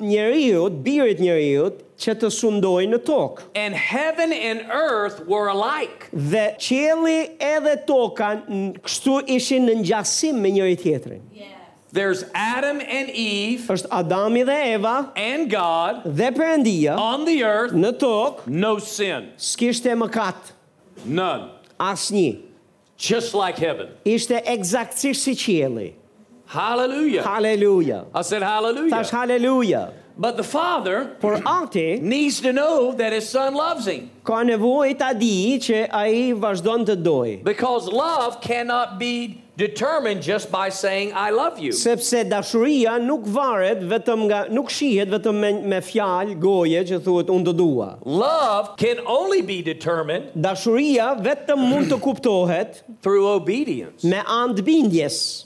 Speaker 1: njeriu, birit njeriu që të sundojë në tokë.
Speaker 2: And heaven and earth were alike.
Speaker 1: Dhe qielli edhe toka n- kështu ishin në ngjasim me njëri tjetrin.
Speaker 3: yes.
Speaker 2: There's Adam and Eve
Speaker 1: Është Adami dhe Eva
Speaker 2: and God
Speaker 1: dhe Perëndia
Speaker 2: on the earth,
Speaker 1: në tokë
Speaker 2: no sin,
Speaker 1: s'kishte mëkat.
Speaker 2: none.
Speaker 1: Asnjë.
Speaker 2: Just like heaven.
Speaker 1: Ishte eksaktësisht si qielli.
Speaker 2: Hallelujah.
Speaker 1: Haleluja.
Speaker 2: I said
Speaker 1: Tash
Speaker 2: hallelujah.
Speaker 1: haleluja.
Speaker 2: But the Father
Speaker 1: Por ati
Speaker 2: needs to know that his son loves him
Speaker 1: ka nevojë ta di që ai vazhdon të dojë.
Speaker 2: because love cannot be determined just by saying, I love you.
Speaker 1: Sepse dashuria nuk varet vetëm nga nuk shihet vetëm me, me fjalë goje që thuhet unë do dua.
Speaker 2: Love can only be determined
Speaker 1: Dashuria vetëm mund të kuptohet
Speaker 2: through obedience.
Speaker 1: me anë të bindjes.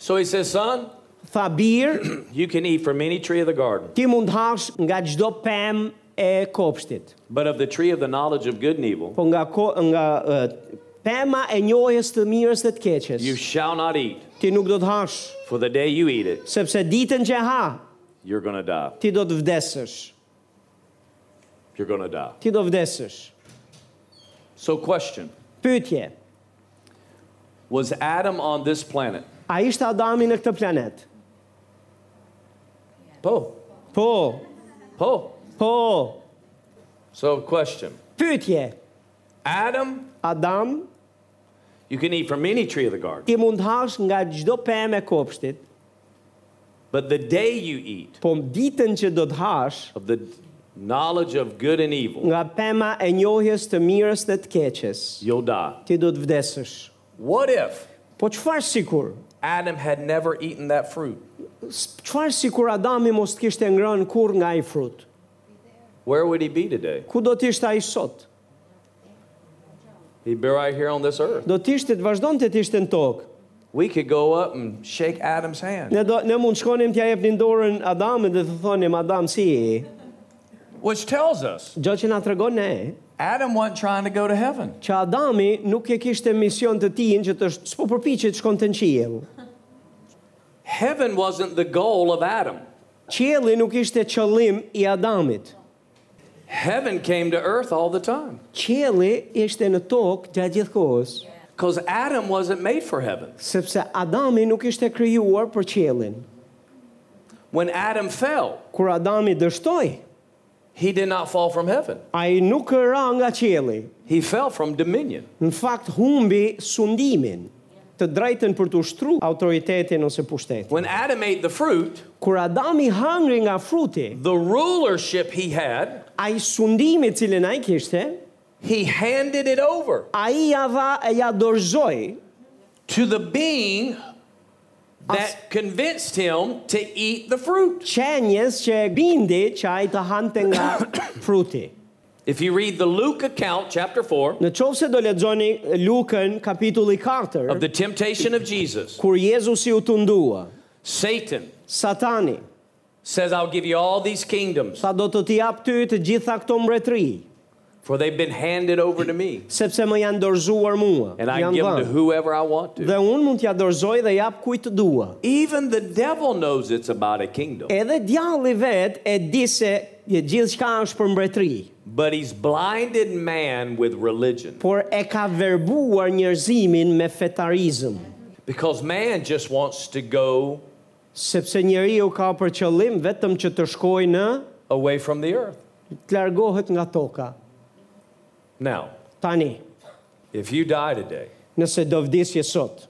Speaker 2: So he says, Son,
Speaker 1: Tha bir,
Speaker 2: you can eat from any tree of the garden,
Speaker 1: ti mund hash nga çdo pemë e kopshtit.
Speaker 2: but of the tree of the knowledge of good and evil
Speaker 1: Po nga ko, nga eh, pema e njohjes të mirës dhe të keqes.
Speaker 2: you shall not eat,
Speaker 1: Ti nuk do të hash,
Speaker 2: for the day you eat it,
Speaker 1: sepse ditën që ha,
Speaker 2: you're going to die.
Speaker 1: ti do të vdesësh.
Speaker 2: you're going to die.
Speaker 1: ti do vdesësh.
Speaker 2: So, question
Speaker 1: Pyetje,
Speaker 2: Was Adam on this planet?
Speaker 1: a ishte Adami në këtë planet?
Speaker 2: Po.
Speaker 1: Po,
Speaker 2: Po.
Speaker 1: po,
Speaker 2: So, question
Speaker 1: pyetje,
Speaker 2: Adam,
Speaker 1: Adam,
Speaker 2: you can eat from any tree of the garden,
Speaker 1: ti mund hash nga gjdo pemë e kopshtit,
Speaker 2: but the day you eat
Speaker 1: po ditën që do të hash,
Speaker 2: of the knowledge of good and evil,
Speaker 1: nga pema e njohjes të mirës dhe të keqes,
Speaker 2: you'll die.
Speaker 1: ti do të vdesësh.
Speaker 2: What if
Speaker 1: Po qëfar sikur?
Speaker 2: Adam had never eaten that fruit?
Speaker 1: S- Qëfar sikur Adami mos të kishte ngrënë kur nga i frut?
Speaker 2: Where would he be today?
Speaker 1: Ku do të ishte ai sot?
Speaker 2: He'd be right here on this earth.
Speaker 1: Do të ishte të vazhdonte të ishte në tokë.
Speaker 2: We could go up and shake Adam's hand,
Speaker 1: Ne do ne mund shkonim t'ja japnim dorën Adamit dhe të thonim Adam si je?
Speaker 2: which tells us
Speaker 1: Gjë që na tregon ne
Speaker 2: Adam wasn't trying to go to heaven.
Speaker 1: që Adami nuk e kishte mision të tij që të sh- s'po përpiqet të shkonte në qiell.
Speaker 2: Heaven wasn't the goal of Adam.
Speaker 1: Qielli nuk ishte qëllim i Adamit.
Speaker 2: Heaven came to earth all the time
Speaker 1: Qielli ishte në tokë gjatë gjithë kohës.
Speaker 2: because Adam wasn't made for heaven.
Speaker 1: sepse Adami nuk ishte krijuar për qiellin.
Speaker 2: When Adam fell,
Speaker 1: Kur Adami dështoi,
Speaker 2: he did not fall from heaven,
Speaker 1: ai nuk ra nga qielli.
Speaker 2: he fell from dominion.
Speaker 1: Në fakt humbi sundimin, të drejtën për të ushtruar autoritetin ose pushtetin.
Speaker 2: When Adam ate the fruit,
Speaker 1: Kur Adami hangri nga fruti,
Speaker 2: the rulership he had,
Speaker 1: ai sundimi i cilin ai kishte,
Speaker 2: he handed it over
Speaker 1: ai ja dha e ja dorëzoi
Speaker 2: to the being that convinced him to eat the fruit.
Speaker 1: qenjes që e bindi që ai të hante nga fruti.
Speaker 2: If you read the Luke account, chapter 4,
Speaker 1: Në qovë se do lexoni Lukën kapitulli 4,
Speaker 2: of the temptation of Jesus,
Speaker 1: kur Jezusi u tundua,
Speaker 2: Satan
Speaker 1: Satani,
Speaker 2: says, I'll give you all these kingdoms,
Speaker 1: Sa do të t'i jap ty të gjitha këto mbretëri,
Speaker 2: for they've been handed over to me,
Speaker 1: sepse më janë dorëzuar mua.
Speaker 2: and I
Speaker 1: janë
Speaker 2: can give them to
Speaker 1: dhënë.
Speaker 2: whoever I want to.
Speaker 1: Dhe unë mund t'ja dorëzoj dhe jap kujt të dua.
Speaker 2: Even the devil knows it's about a kingdom,
Speaker 1: Edhe djalli vet e di se e gjithë shka është për mbretëri,
Speaker 2: but he's blinded man with religion
Speaker 1: por e ka verbuar njerëzimin me fetarizëm,
Speaker 2: because man just wants to go
Speaker 1: sepse njeriu ka për qëllim vetëm që të shkojë në
Speaker 2: away from the earth.
Speaker 1: të largohet nga toka.
Speaker 2: Now,
Speaker 1: Tani,
Speaker 2: if you die today
Speaker 1: nëse do vdesje sot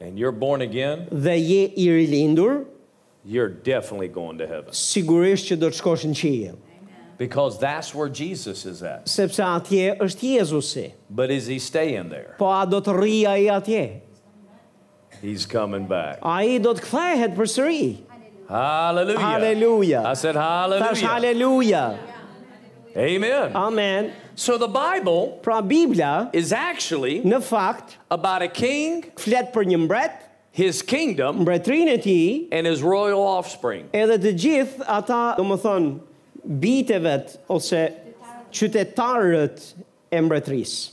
Speaker 2: and you're born again,
Speaker 1: dhe je i rilindur,
Speaker 2: you're definitely going to heaven
Speaker 1: sigurisht që do të shkosh në qiell,
Speaker 2: because that's where Jesus is at.
Speaker 1: sepse atje është Jezusi.
Speaker 2: But is he staying there?
Speaker 1: Po a do të rri ai atje?
Speaker 2: He's coming back.
Speaker 1: Ai do të kthehet përsëri.
Speaker 2: Hallelujah.
Speaker 1: Haleluja.
Speaker 2: I said
Speaker 1: Tash
Speaker 2: hallelujah.
Speaker 1: haleluja.
Speaker 2: Amen.
Speaker 1: Amen.
Speaker 2: So the Bible
Speaker 1: Pra Bibla
Speaker 2: is actually
Speaker 1: në fakt
Speaker 2: about a king,
Speaker 1: flet për një mbret,
Speaker 2: his kingdom,
Speaker 1: mbretërinë e tij,
Speaker 2: and his royal offspring.
Speaker 1: edhe të gjithë ata, domethënë bitë vet ose qytetarët e mbretërisë.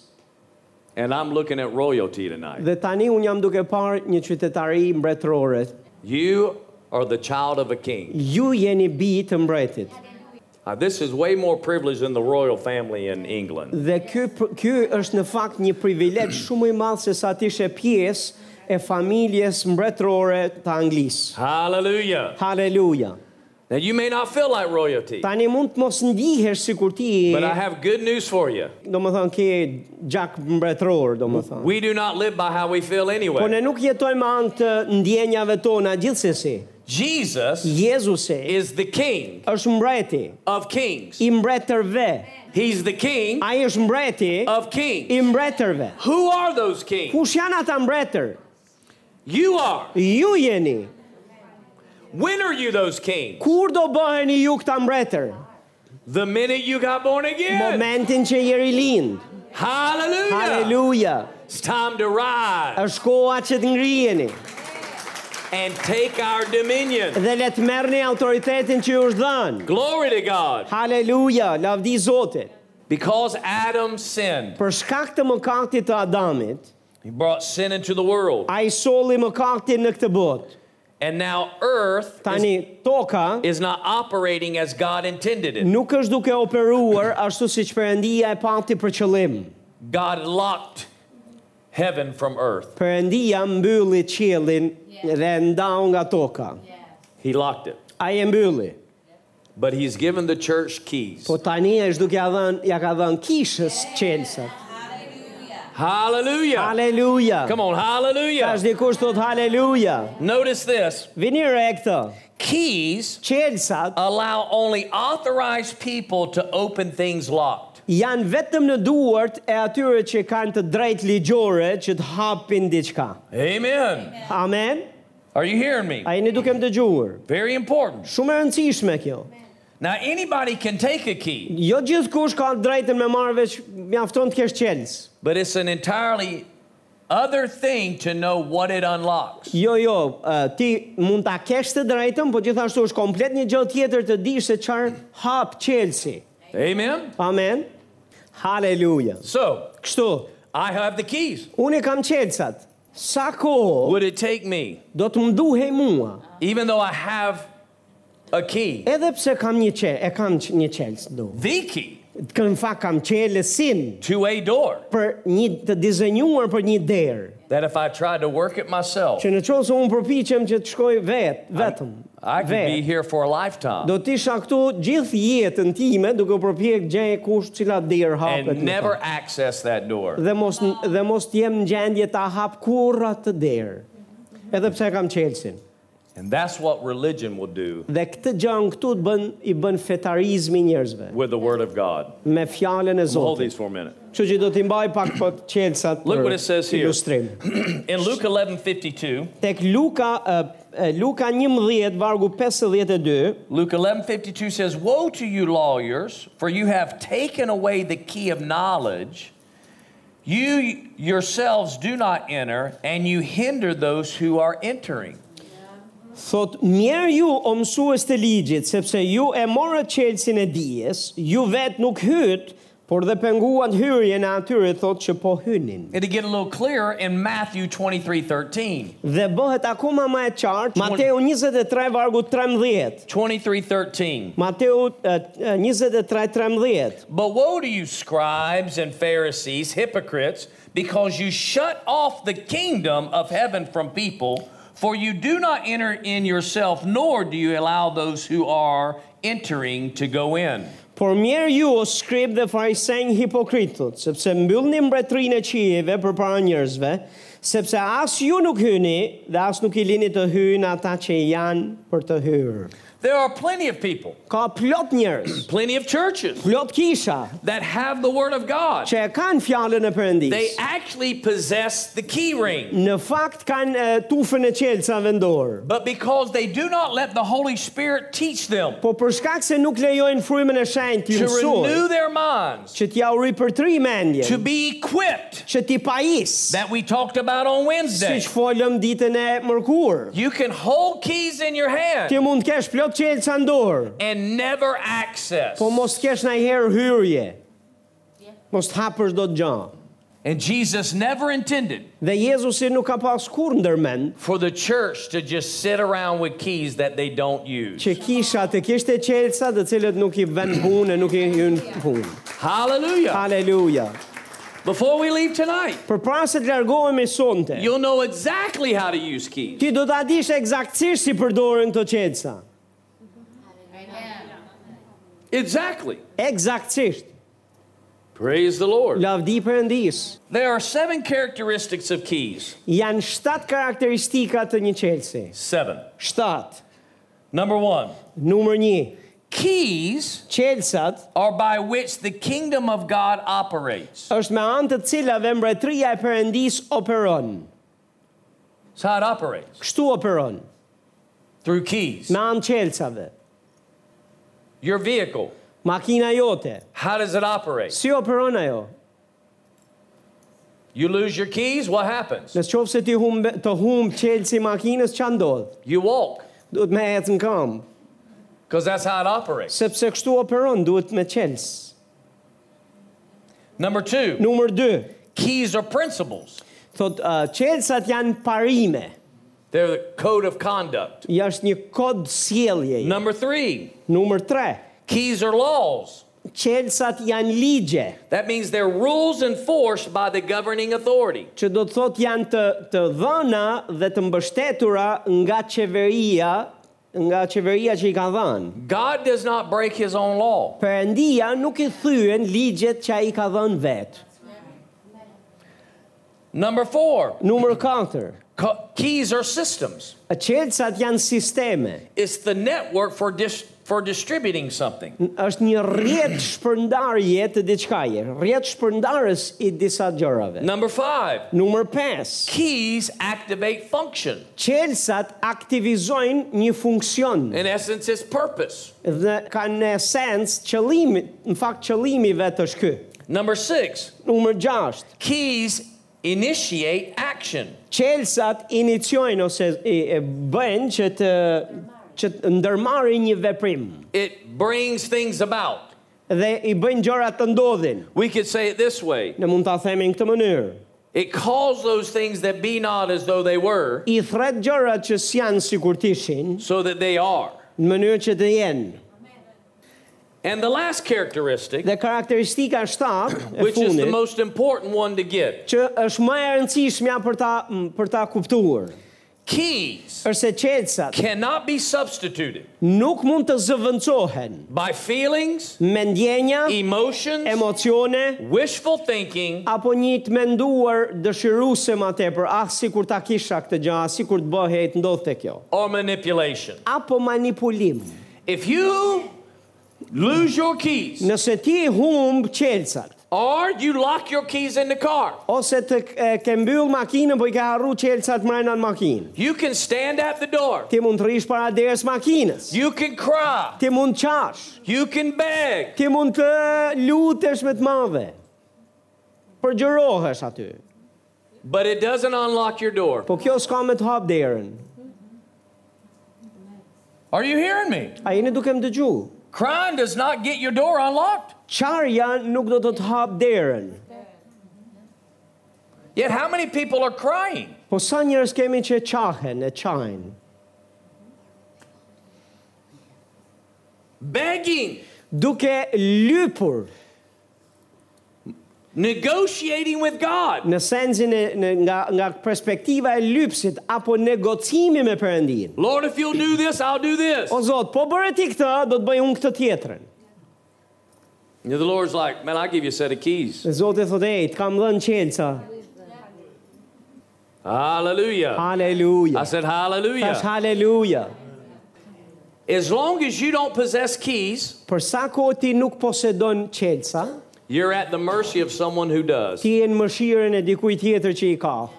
Speaker 2: And I'm looking at royalty tonight.
Speaker 1: Dhe tani un jam duke parë një qytetari mbretërore.
Speaker 2: You are the child of a king.
Speaker 1: Ju jeni bitë të mbretit.
Speaker 2: Now, Uh, this is way more privileged than the royal family in England.
Speaker 1: Dhe ky ky është në fakt një privilegj shumë i madh se sa të ishe pjesë e familjes mbretërore të Anglisë.
Speaker 2: Hallelujah.
Speaker 1: Halleluja.
Speaker 2: Now, you may not feel like royalty,
Speaker 1: Tani mund të mos ndihesh sikur ti
Speaker 2: but I
Speaker 1: je,
Speaker 2: have good news for you.
Speaker 1: domethënë ke gjak mbretëror, domethënë.
Speaker 2: We do not live by how we feel
Speaker 1: Po
Speaker 2: anyway.
Speaker 1: ne nuk jetojmë anë të ndjenjave tona gjithsesi.
Speaker 2: Jesus
Speaker 1: Jezusi
Speaker 2: is the king
Speaker 1: është mbreti
Speaker 2: of kings,
Speaker 1: i mbretërve.
Speaker 2: he's the king
Speaker 1: Ai është mbreti
Speaker 2: of
Speaker 1: i
Speaker 2: kings.
Speaker 1: mbretërve.
Speaker 2: Who are those kings?
Speaker 1: Kush janë ata mbretër?
Speaker 2: You are.
Speaker 1: Ju jeni.
Speaker 2: When are you those kings?
Speaker 1: Kur do bëheni ju këta mbretër?
Speaker 2: The minute you got born again.
Speaker 1: Momentin që jeri lind.
Speaker 2: Hallelujah.
Speaker 1: Haleluja.
Speaker 2: It's time to rise
Speaker 1: Është koha që të ngriheni
Speaker 2: and take our dominion.
Speaker 1: dhe le të merrni autoritetin që ju është dhënë.
Speaker 2: Glory to God.
Speaker 1: Haleluja, lavdi Zotit.
Speaker 2: Because Adam sinned,
Speaker 1: Për shkak të mëkatit të Adamit,
Speaker 2: he brought sin into the world.
Speaker 1: ai solli mëkatin në këtë botë
Speaker 2: And now earth is,
Speaker 1: Tani toka
Speaker 2: is not operating as God intended it.
Speaker 1: nuk është duke operuar ashtu siç Perëndia e pati për qëllim.
Speaker 2: God locked heaven from earth.
Speaker 1: Perëndia mbylli qiellin dhe e ndau nga toka.
Speaker 3: yes,
Speaker 2: He locked it.
Speaker 1: Ai e mbylli.
Speaker 2: But he's given the church keys.
Speaker 1: Po tani është duke ja dhën, ja ka dhënë kishës qelsat.
Speaker 3: hallelujah,
Speaker 2: Hallelujah.
Speaker 1: Haleluja.
Speaker 2: Come on, hallelujah.
Speaker 1: Tash dikush thot haleluja.
Speaker 2: Notice this.
Speaker 1: Vini re këtë.
Speaker 2: Keys
Speaker 1: Qelsat
Speaker 2: allow only authorized people to open things locked.
Speaker 1: janë vetëm në duart e atyre që kanë të drejtë ligjore që të hapin diçka.
Speaker 2: Amen.
Speaker 1: Amen.
Speaker 2: Are you hearing me?
Speaker 1: A jeni duke më dëgjuar?
Speaker 2: Very important.
Speaker 1: Shumë e rëndësishme kjo.
Speaker 2: Now, anybody can take a key,
Speaker 1: Jo gjithkush ka drejtën me marrë veç mjafton të kesh qelës.
Speaker 2: but it's an entirely other thing to know what it unlocks.
Speaker 1: Jo, jo, ë, ti mund ta kesh të drejtën, po gjithashtu është komplet një gjë tjetër të dish se çfarë hap qelësi.
Speaker 2: Amen.
Speaker 1: Amen. Haleluja.
Speaker 2: So,
Speaker 1: Kështu,
Speaker 2: I have the keys.
Speaker 1: unë i kam qelsat. Sa kohë
Speaker 2: Would it take me,
Speaker 1: do të më duhej mua,
Speaker 2: even though I have a key,
Speaker 1: edhe pse kam një qe, e kam q- një qelës do.
Speaker 2: the key
Speaker 1: Kë në fakt kam qelësin
Speaker 2: to a door
Speaker 1: për një të dizenjuar për një derë.
Speaker 2: that if I tried to work it myself,
Speaker 1: Që në qovë se unë përpiqem që të shkoj vetë, vetëm,
Speaker 2: I could be
Speaker 1: vetë.
Speaker 2: here for a lifetime
Speaker 1: Do të isha këtu gjithë jetën time duke u përpjek gjej kush cila derë hapet.
Speaker 2: and
Speaker 1: më
Speaker 2: never
Speaker 1: thon.
Speaker 2: access that door.
Speaker 1: dhe mos dhe mos të jem në gjendje ta hap kurrë atë derë. Edhe pse kam qelsin.
Speaker 2: And that's what religion will do
Speaker 1: Dhe këtë gjën këtu të bën i bën fetarizmi njerëzve
Speaker 2: with the Word of God.
Speaker 1: me fjalën e
Speaker 2: Hold
Speaker 1: Zotit.
Speaker 2: these for a minute.
Speaker 1: Kështu që do t'i mbaj pak po qelsat
Speaker 2: Look
Speaker 1: për
Speaker 2: what it says here.
Speaker 1: ilustrim.
Speaker 2: In Luke 11 52,
Speaker 1: Tek Luka ë, ë, Luka 11 vargu 52
Speaker 2: Luke 11:52 says, "Woe to you lawyers, for you have taken away the key of knowledge. You yourselves do not enter, and you hinder those who are entering."
Speaker 1: Thot, mjerë ju o mësues të ligjit, sepse ju e morë qelsin e dijes, ju vetë nuk hytë, por dhe penguan hyrjen e atyre thot që po hynin.
Speaker 2: And to get a little clearer in Matthew 23:13.
Speaker 1: Dhe bëhet akoma ma e qartë, Mateu 23 vargu 13,
Speaker 2: 23:13.
Speaker 1: Mateu eh, eh, 23 13,
Speaker 2: But woe to you scribes and Pharisees, hypocrites, because you shut off the kingdom of heaven from people, for you do not enter in yourself, nor do you allow those who are entering to go in.
Speaker 1: Por mjerë ju o skrib dhe farisenj hipokritët, sepse mbyllni mbretërinë e qijeve për para njerëzve, sepse as ju nuk hyni dhe as nuk i lini të hynë ata që janë për të hyrë.
Speaker 2: There are plenty of people,
Speaker 1: Ka plot njerëz,
Speaker 2: plenty of churches
Speaker 1: plot kisha
Speaker 2: that have the Word of God.
Speaker 1: që e kanë fjalën e
Speaker 2: They
Speaker 1: Perëndisë.
Speaker 2: actually possess the key ring.
Speaker 1: Në fakt kanë e, tufën e qelcave në dorë.
Speaker 2: But because they do not let the Holy Spirit teach them
Speaker 1: Po për shkak se nuk lejojnë frymën e shenjtë të
Speaker 2: to
Speaker 1: mësoj,
Speaker 2: renew their minds,
Speaker 1: që t'ja u ripërtri
Speaker 2: to
Speaker 1: mendjen,
Speaker 2: be equipped,
Speaker 1: që t'i pajis,
Speaker 2: that we talked about on Wednesday.
Speaker 1: siç folëm ditën e mërkurë.
Speaker 2: You can hold keys in your hand
Speaker 1: Ti mund të kesh plot qelca në dorë,
Speaker 2: and never access.
Speaker 1: po mos kesh në herë hyrje.
Speaker 3: Yeah.
Speaker 1: Mos të hapësh do të gjë.
Speaker 2: And Jesus never intended
Speaker 1: Dhe Jezusi nuk ka pas kur ndërmend
Speaker 2: for the church to just sit around with keys that they don't use.
Speaker 1: që kisha të kishte qelca të cilët nuk i vën punë e nuk i hyn punë.
Speaker 2: Hallelujah.
Speaker 1: Haleluja.
Speaker 2: Before we leave tonight,
Speaker 1: Për para se të largohemi sonte,
Speaker 2: you'll know exactly how to use keys.
Speaker 1: ti do ta dish eksaktësisht si përdoren këto qelca.
Speaker 3: amen,
Speaker 2: Exactly.
Speaker 1: Eksaktësisht.
Speaker 2: Praise the Lord.
Speaker 1: Lavdi Perëndis.
Speaker 2: There are seven characteristics of keys.
Speaker 1: Janë 7 karakteristika të një qelsi.
Speaker 2: Seven.
Speaker 1: 7.
Speaker 2: Number one,
Speaker 1: Numër 1.
Speaker 2: keys
Speaker 1: Qelsat
Speaker 2: are by which the kingdom of God operates.
Speaker 1: është me anë të cilave mbretëria e Perëndis operon.
Speaker 2: That's how it operates
Speaker 1: Kështu operon,
Speaker 2: through keys.
Speaker 1: me anë qelcave.
Speaker 2: Your vehicle,
Speaker 1: Makina jote,
Speaker 2: how does it operate?
Speaker 1: si operon ajo?
Speaker 2: You lose your keys, what happens?
Speaker 1: Në qofë se ti humbe, të humbë qelci makinës, që ndodhë?
Speaker 2: You walk,
Speaker 1: Duhet me ecë në kam,
Speaker 2: because that's how it operates.
Speaker 1: sepse kështu operon, duhet me qelsë.
Speaker 2: Number two,
Speaker 1: Numër 2,
Speaker 2: keys are principles.
Speaker 1: thot, uh, qelsat janë parime.
Speaker 2: They're the code of conduct.
Speaker 1: Jashtë një kod sjelljeje.
Speaker 2: Number three,
Speaker 1: Numër 3.
Speaker 2: keys are laws.
Speaker 1: Qelsat janë ligje,
Speaker 2: That means they're rules enforced by the governing authority.
Speaker 1: që do të thotë janë të të dhëna dhe të mbështetura nga qeveria, nga qeveria që i ka dhënë.
Speaker 2: God does not break his own law.
Speaker 1: Perëndia nuk i thyen ligjet që ai ka dhënë vet.
Speaker 2: Number four,
Speaker 1: Numër 4.
Speaker 2: co- keys are systems.
Speaker 1: Qelsat janë sisteme.
Speaker 2: It's the network for dis- for distributing something.
Speaker 1: Është një rrjet shpërndarje të diçkaje, rrjet shpërndarës i disa gjërave.
Speaker 2: Number five,
Speaker 1: Numër 5.
Speaker 2: keys activate function.
Speaker 1: Qelsat aktivizojnë një funksion
Speaker 2: In essence, it's purpose.
Speaker 1: dhe kanë në esens qëllimi, në fakt qëllimi vetë është ky.
Speaker 2: Number six,
Speaker 1: Numër 6.
Speaker 2: keys initiate action.
Speaker 1: Qelsat iniciojnë ose e, e bëjnë që të që të ndërmarrin një veprim
Speaker 2: It brings things about.
Speaker 1: dhe i bëjnë gjëra të ndodhin.
Speaker 2: We could say it this way
Speaker 1: Ne mund ta themi në këtë mënyrë.
Speaker 2: it calls those things that be not as though they were,
Speaker 1: I thret gjërat që s'janë sikur të ishin,
Speaker 2: so that they are.
Speaker 1: në mënyrë që të jenë.
Speaker 2: And the last characteristic,
Speaker 1: Dhe karakteristika 7 e
Speaker 2: which is the
Speaker 1: fundit
Speaker 2: most important one to get,
Speaker 1: që është më e rëndësishmja për ta m, për ta kuptuar,
Speaker 2: keys
Speaker 1: është se qelsat
Speaker 2: cannot be substituted
Speaker 1: nuk mund të zëvendësohen
Speaker 2: by feelings,
Speaker 1: me ndjenja,
Speaker 2: emotions,
Speaker 1: emocione
Speaker 2: wishful thinking,
Speaker 1: apo një të menduar dëshiruese më tepër, ah sikur ta kisha këtë gjë, ah sikur të bëhej të ndodhte kjo,
Speaker 2: or manipulation.
Speaker 1: apo manipulim.
Speaker 2: If you lose your keys,
Speaker 1: Nëse ti i humb qelsat
Speaker 2: or you lock your keys in the car,
Speaker 1: ose të k- e, ke mbyll makinën po i ke harru qelsat mbrenda në makinë,
Speaker 2: you can stand at the door,
Speaker 1: ti mund të rish para derës makinës.
Speaker 2: you can cry,
Speaker 1: Ti mund qash,
Speaker 2: you can beg,
Speaker 1: ti mund të lutesh me të madhe. Përgjërohesh aty.
Speaker 2: but it doesn't unlock your door.
Speaker 1: Po kjo s'ka me të hap derën.
Speaker 2: Are you hearing me?
Speaker 1: A jeni duke më dëgju?
Speaker 2: Crying does not get your door unlocked.
Speaker 1: Qarja nuk do të të hap derën.
Speaker 2: Yet, how many people are crying?
Speaker 1: Po sa njerëz kemi që qahen, e qajnë,
Speaker 2: Begging,
Speaker 1: duke lypur
Speaker 2: negotiating with God.
Speaker 1: në sensin e në, nga nga perspektiva e lypsit apo negocimi me Perëndin.
Speaker 2: Lord, if you'll do this, I'll do this.
Speaker 1: O Zot, po bëre ti këtë, do të bëj unë këtë tjetrën.
Speaker 2: And the Lord's like, man, I'll give you a set of keys.
Speaker 1: Dhe Zoti thotë, "Ej, të kam dhënë qelca."
Speaker 2: Hallelujah. I
Speaker 1: Haleluja.
Speaker 2: said,
Speaker 1: Tash
Speaker 2: Hallelujah.
Speaker 1: haleluja.
Speaker 2: As long as you don't possess keys,
Speaker 1: Për sa kohë ti nuk posedon qelca,
Speaker 2: you're at the mercy of someone who does.
Speaker 1: ti je në mëshirën e dikujt tjetër që i ka.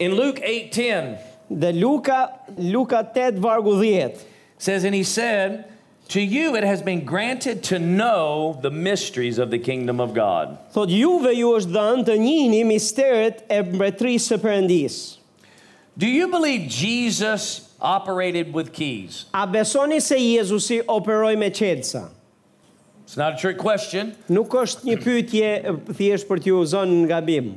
Speaker 2: In Luke 8:10
Speaker 1: Dhe Luka, Luka 8 vargu 10,
Speaker 2: says, And he said, To you it has been granted to know the mysteries of the kingdom of God.
Speaker 1: thot juve ju është dhënë të njihni misteret e mbretërisë së Perëndis.
Speaker 2: Do you believe Jesus operated with keys?
Speaker 1: A besoni se Jezusi operoi me qelca?
Speaker 2: It's not a trick question.
Speaker 1: Nuk është një pyetje e, thjesht për t'ju zonë nga bim.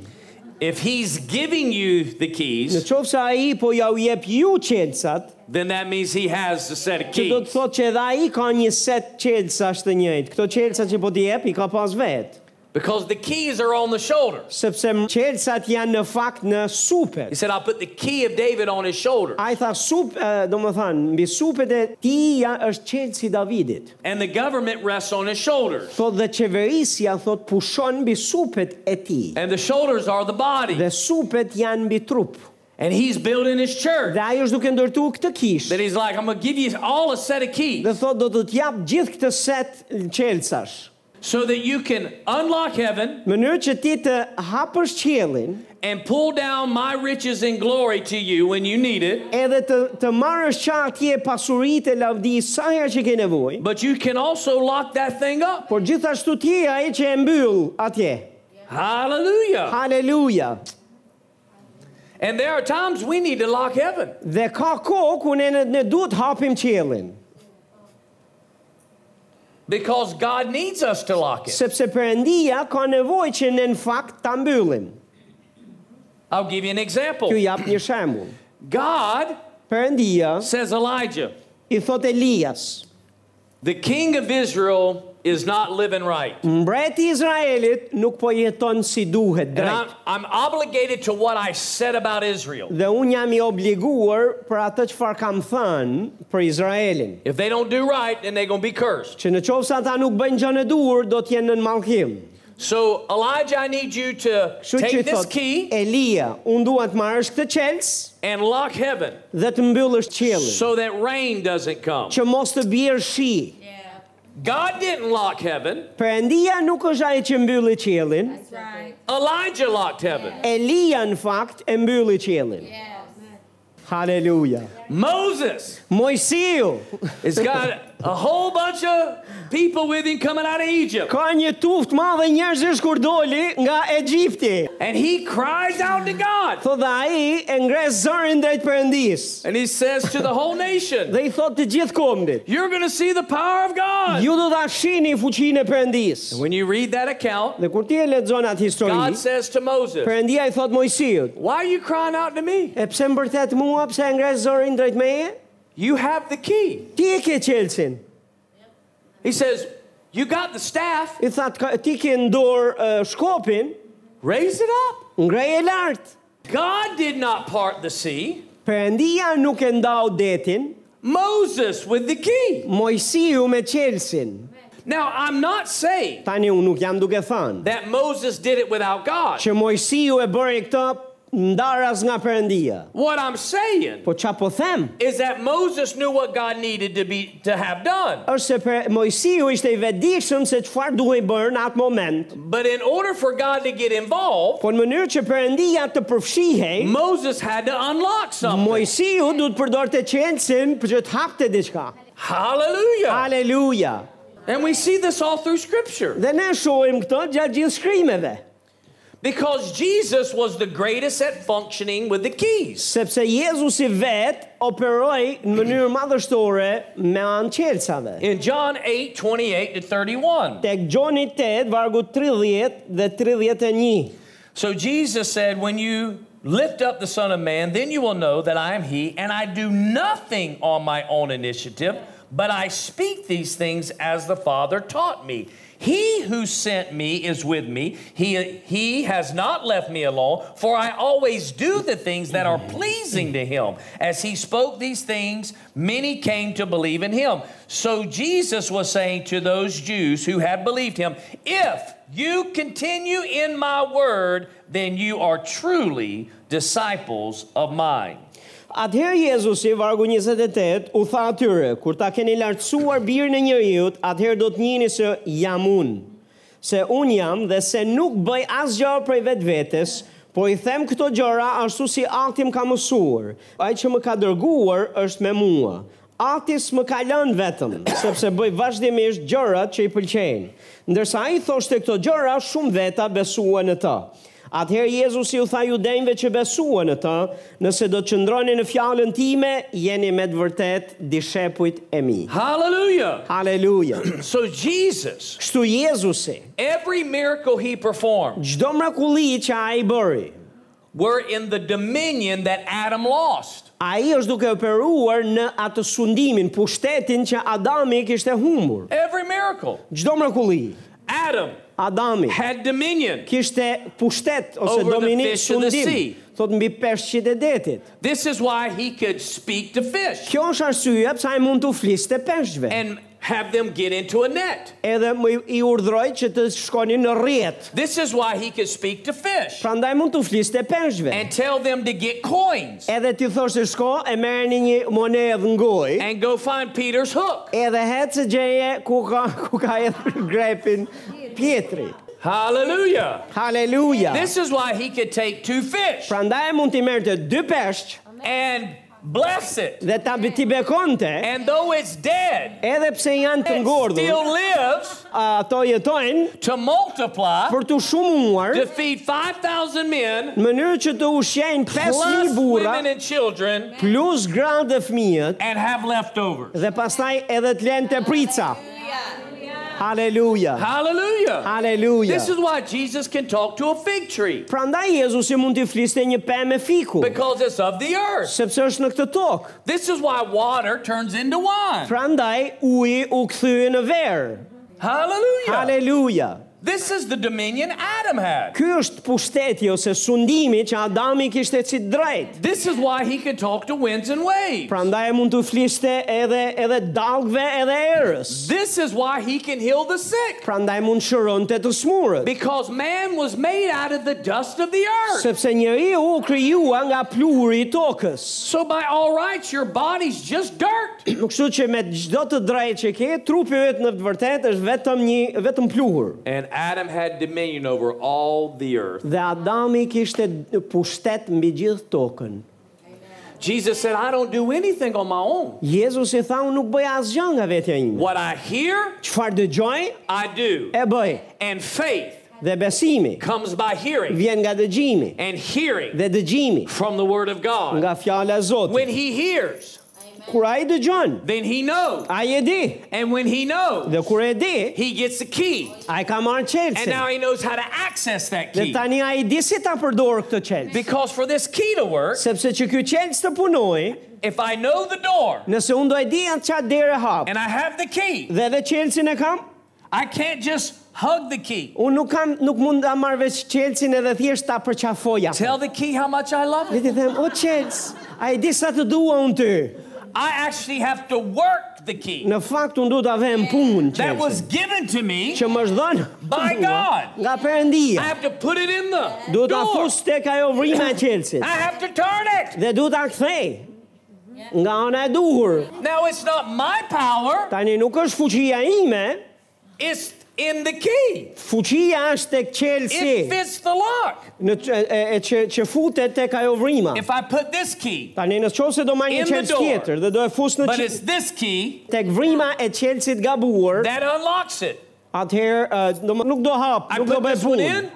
Speaker 2: If he's giving you the
Speaker 1: Në
Speaker 2: keys,
Speaker 1: qovë se a i po ja u jep ju qelësat,
Speaker 2: then that means he has a set of
Speaker 1: që do të
Speaker 2: keys.
Speaker 1: thotë që edhe a i ka një set qelësash të njëjtë. Këto qelësat që po t'i jep i ka pas vetë,
Speaker 2: Because the keys are on the shoulders.
Speaker 1: sepse qelësat janë në fakt në
Speaker 2: He
Speaker 1: supet.
Speaker 2: said, I put the key of David on his shoulder.
Speaker 1: A i tha sup, e, do më thanë, mbi supet e ti ja është qelësi Davidit.
Speaker 2: And the government rests on his shoulders.
Speaker 1: Thot dhe qeverisja, thot pushon mbi supet e ti.
Speaker 2: And the shoulders are the body.
Speaker 1: Dhe supet janë mbi trup.
Speaker 2: And he's building his church.
Speaker 1: Dhe ajo është duke ndërtu këtë kishë.
Speaker 2: That he's like, I'm going to give you all a set of keys
Speaker 1: Dhe thot do të t'jap gjithë këtë set qelësash.
Speaker 2: so that you can unlock heaven
Speaker 1: Mënyrë që ti të hapësh qiellin,
Speaker 2: and pull down my riches and glory to you when you need it.
Speaker 1: edhe të të marrësh çartje pasuritë e lavdisë sa herë që ke nevojë,
Speaker 2: But you can also lock that thing up.
Speaker 1: por gjithashtu ti je ai që e mbyll atje.
Speaker 2: Hallelujah.
Speaker 1: Haleluja.
Speaker 2: And there are times we need to lock heaven.
Speaker 1: Dhe ka kohë ku ne ne, ne duhet hapim qiellin,
Speaker 2: Because God needs us to lock it.
Speaker 1: sepse Perëndia ka nevojë që ne në fakt ta mbyllim.
Speaker 2: I'll give you an
Speaker 1: Ju
Speaker 2: example.
Speaker 1: jap një shembull.
Speaker 2: God
Speaker 1: Perëndia
Speaker 2: says, Elijah,
Speaker 1: i thot Elias,
Speaker 2: the king of Israel is not living right.
Speaker 1: mbreti i Izraelit nuk po jeton si duhet
Speaker 2: And
Speaker 1: drejt.
Speaker 2: I'm, I'm obligated to what I said about Israel.
Speaker 1: Dhe unë jam i obliguar për atë çfarë kam thënë për Izraelin.
Speaker 2: If they don't do right, then they're going to be cursed.
Speaker 1: Që në qovë sa ta nuk bëjnë gjën e duhur, do t'jenë në malkim.
Speaker 2: So, Elijah, I need you to
Speaker 1: Kështu që i
Speaker 2: take this
Speaker 1: thot,
Speaker 2: key
Speaker 1: Elia, unë dua të marrësh këtë qelës
Speaker 2: and lock heaven
Speaker 1: dhe të mbyllësh qelën.
Speaker 2: so that rain doesn't come.
Speaker 1: që mos të bjerë shi.
Speaker 3: Yeah.
Speaker 2: God didn't lock heaven,
Speaker 1: Perëndia nuk është ai që mbylli qelin.
Speaker 3: That's right.
Speaker 2: Elijah locked heaven.
Speaker 1: Elia në fakt e mbylli qelin.
Speaker 3: Yes.
Speaker 1: Haleluja.
Speaker 2: Moses
Speaker 1: Mojsiu
Speaker 2: has got a whole bunch of people with him coming out of Egypt.
Speaker 1: ka një tuft madhe njerëzish kur doli nga Egjipti.
Speaker 2: And he cries out to God.
Speaker 1: Thot dhe ai e ngres zërin drejt Perëndis.
Speaker 2: And he says to the whole nation,
Speaker 1: Dhe i thot të gjithë kombit.
Speaker 2: You're going to see the power of God.
Speaker 1: Ju do ta shihni fuqinë e Perëndis.
Speaker 2: When you read that account,
Speaker 1: Dhe kur ti e lexon atë
Speaker 2: God
Speaker 1: histori,
Speaker 2: says to Moses,
Speaker 1: Perëndia i thot Mojsiut,
Speaker 2: Why are you crying out to me?
Speaker 1: e pse mbërthet mua, pse e ngres zërin drejt meje?
Speaker 2: You have the key.
Speaker 1: Ti e ke qelsin.
Speaker 2: He says, You got the staff,
Speaker 1: I that ti ke në dorë uh, shkopin,
Speaker 2: raise it up.
Speaker 1: ngrej e lartë.
Speaker 2: God did not part the sea.
Speaker 1: Perëndia nuk e ndau detin,
Speaker 2: Moses with the key.
Speaker 1: Mojsiu me Çelsin.
Speaker 2: Now, I'm not saying
Speaker 1: Tani unë nuk jam duke thënë
Speaker 2: that Moses did it without God.
Speaker 1: që Mojsiu e bëri këtë ndaras nga Perëndia.
Speaker 2: What I'm saying
Speaker 1: Po çfarë po them?
Speaker 2: is that Moses knew what God needed to be to have done.
Speaker 1: Është se për, Mojsiu ishte i vetëdijshëm se çfarë duhej bërë në atë moment.
Speaker 2: But in order for God to get involved,
Speaker 1: Po në mënyrë që Perëndia të përfshihej,
Speaker 2: Moses had to unlock something.
Speaker 1: Mojsiu duhet përdorte Çelsin për që të hapte diçka.
Speaker 2: Hallelujah.
Speaker 1: Aleluja.
Speaker 2: And we see this all through scripture.
Speaker 1: Dhe ne shohim këtë gjatë gjithë shkrimeve.
Speaker 2: Because Jesus was the greatest at functioning with the keys.
Speaker 1: sepse Jezusi vet operoi në mënyrë madhështore me anë qelçave.
Speaker 2: In John 8, 28 to 31.
Speaker 1: Tek Gjoni 8, vargu 30 dhe 31.
Speaker 2: So Jesus said, When you lift up the Son of Man, then you will know that I am He, and I do nothing on my own initiative, but I speak these things as the Father taught me. He who sent me is with me. He, he has not left me alone, for I always do the things that are pleasing to him. As he spoke these things, many came to believe in him. So Jesus was saying to those Jews who had believed him, If you continue in my word, then you are truly disciples of mine.
Speaker 1: Atëherë Jezusi, vargu 28, u tha atyre, kur ta keni lartësuar birën e njeriut, atëherë do të njini se jam unë. Se unë jam dhe se nuk bëj asgjë prej vetë vetës, po i them këto gjëra ashtu si akti më ka mësuar. Ai që më ka dërguar është me mua. Akti s'më ka lënë vetëm, sepse bëj vazhdimisht gjërat që i pëlqejnë. Ndërsa ai thoshte këto gjëra, shumë veta besuan në ta. Atëherë Jezusi u tha judenjve që besuan në të, nëse do të qëndroni në fjalën time, jeni me të vërtet dishepujt e mi.
Speaker 2: Hallelujah.
Speaker 1: Haleluja.
Speaker 2: So Jesus,
Speaker 1: Kështu Jezusi,
Speaker 2: every miracle he performed
Speaker 1: çdo mrekulli që ai bëri,
Speaker 2: were in the dominion that Adam lost.
Speaker 1: ai është duke operuar në atë sundimin, pushtetin që Adami kishte humbur.
Speaker 2: Every miracle.
Speaker 1: Çdo mrekulli,
Speaker 2: Adam
Speaker 1: Adami
Speaker 2: had dominion.
Speaker 1: kishte pushtet ose
Speaker 2: Over the
Speaker 1: dominim
Speaker 2: fish of the
Speaker 1: sundim,
Speaker 2: sea.
Speaker 1: thot mbi peshqit e detit.
Speaker 2: This is why he could speak to fish
Speaker 1: Kjo është arsyeja pse ai mund të fliste peshqve.
Speaker 2: and have them get into a net.
Speaker 1: edhe më i- i urdhroj që të shkonin në rrjet.
Speaker 2: This is why he could speak to fish
Speaker 1: Prandaj mund të fliste peshqve.
Speaker 2: and tell them to get coins
Speaker 1: Edhe ti thoshte shko e merrni një monedh në gojë.
Speaker 2: and go find Peter's hook.
Speaker 1: Edhe hecë se gjeje ku ka ku ka edhe grepin Pietri.
Speaker 2: Hallelujah.
Speaker 1: Haleluja.
Speaker 2: This is why he could take two fish
Speaker 1: Prandaj mund t'i merrte dy peshq
Speaker 2: and bless it.
Speaker 1: dhe ta ti bekonte,
Speaker 2: And though it's dead,
Speaker 1: edhe pse janë të
Speaker 2: it
Speaker 1: ngordhur,
Speaker 2: still lives
Speaker 1: ato jetojnë
Speaker 2: to multiply,
Speaker 1: për të shumuar
Speaker 2: to feed 5,000 men,
Speaker 1: në mënyrë që të ushqejnë 5000
Speaker 2: plus
Speaker 1: burra
Speaker 2: women and children,
Speaker 1: plus gratë dhe fëmijët
Speaker 2: and have leftovers.
Speaker 1: dhe pastaj edhe të lënë te prica.
Speaker 3: Yeah.
Speaker 1: Haleluja.
Speaker 2: Hallelujah. This is
Speaker 1: Haleluja.
Speaker 2: why Jesus can talk to a fig tree
Speaker 1: Prandaj Jezusi mund t'i fliste një pemë me fiku,
Speaker 2: because it's of the earth.
Speaker 1: sepse është në këtë tokë.
Speaker 2: This is why water turns into wine.
Speaker 1: Prandaj uji u kthye në verë.
Speaker 2: Hallelujah.
Speaker 1: Haleluja.
Speaker 2: This is the dominion Adam had.
Speaker 1: Ky është pushteti ose sundimi që Adami kishte si drejt.
Speaker 2: This is why he could talk to winds and waves.
Speaker 1: Prandaj mund të fliste edhe edhe dallgëve edhe erës.
Speaker 2: This is why he can heal the sick.
Speaker 1: Prandaj mund shëronte të smurët.
Speaker 2: Because man was made out of the dust of the earth.
Speaker 1: Sepse njeriu u krijua nga pluri i tokës.
Speaker 2: So by all rights, your body's just dirt.
Speaker 1: Nuk kështu që me çdo të drejtë që ke, trupi yt në të vërtetë është vetëm një vetëm pluhur.
Speaker 2: And Adam had dominion over all the earth.
Speaker 1: Dhe Adami kishte pushtet mbi gjithë tokën.
Speaker 2: Jesus said, I don't do anything on my own.
Speaker 1: Jezusi tha unë nuk bëj asgjë nga vetja ime.
Speaker 2: What I hear,
Speaker 1: Çfarë dëgjoj,
Speaker 2: I do.
Speaker 1: e bëj.
Speaker 2: And faith
Speaker 1: Dhe besimi
Speaker 2: comes by hearing,
Speaker 1: vjen nga dëgjimi
Speaker 2: and hearing
Speaker 1: dhe dëgjimi
Speaker 2: from the word of God.
Speaker 1: nga fjala e Zotit.
Speaker 2: When he hears,
Speaker 1: Kur ai dëgjon,
Speaker 2: then he knows.
Speaker 1: ai e di.
Speaker 2: And when he knows,
Speaker 1: Dhe kur e di,
Speaker 2: he gets the key.
Speaker 1: ai ka marrë
Speaker 2: And
Speaker 1: çelsin.
Speaker 2: now he knows how to access that
Speaker 1: Dhe
Speaker 2: key.
Speaker 1: tani ai di si ta përdor këtë çelës.
Speaker 2: Because for this key to work,
Speaker 1: Sepse që ky çelës të punoj,
Speaker 2: if I know the door
Speaker 1: nëse unë do e di atë çfarë dere hap,
Speaker 2: and I have the key,
Speaker 1: dhe edhe çelsin e kam,
Speaker 2: I can't just hug the key.
Speaker 1: unë nuk kam nuk mund ta marr veç çelsin edhe thjesht ta përqafoja.
Speaker 2: Tell the key how much I love
Speaker 1: Le
Speaker 2: it.
Speaker 1: të them, o çelës, ai di sa të dua unë ty.
Speaker 2: I actually have to work the key
Speaker 1: Në fakt unë do ta vëm punë
Speaker 2: that was
Speaker 1: çelsin.
Speaker 2: given to me.
Speaker 1: Që më është dhënë
Speaker 2: By God.
Speaker 1: nga Perëndia.
Speaker 2: I have to put it in the
Speaker 1: Do ta
Speaker 2: door.
Speaker 1: fus tek ajo vrimë e çelësit.
Speaker 2: I have to turn it.
Speaker 1: Dhe du ta kthej Nga ana e duhur
Speaker 2: Now it's not my power,
Speaker 1: Tani nuk është fuqia ime
Speaker 2: it's in the key.
Speaker 1: Fuqia është tek
Speaker 2: It
Speaker 1: qelsi
Speaker 2: fits the lock.
Speaker 1: Në ç- e, e, që, që futet tek ajo vrima
Speaker 2: If I put this key,
Speaker 1: Tani në qovë se do marrë një
Speaker 2: In the
Speaker 1: qelës
Speaker 2: door.
Speaker 1: tjetër Dhe do e fus në
Speaker 2: but
Speaker 1: qe-
Speaker 2: it's this key
Speaker 1: tek vrima e qelsit gabuar
Speaker 2: that unlocks it.
Speaker 1: Atëherë e, do më- nuk do hap
Speaker 2: I
Speaker 1: Nuk do
Speaker 2: put
Speaker 1: bëj
Speaker 2: this one
Speaker 1: punë
Speaker 2: in.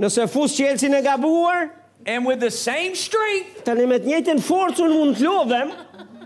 Speaker 1: Nëse fus qelsin e gabuar
Speaker 2: And with the same strength,
Speaker 1: Tani me të njëjtën forcën mund të lodhem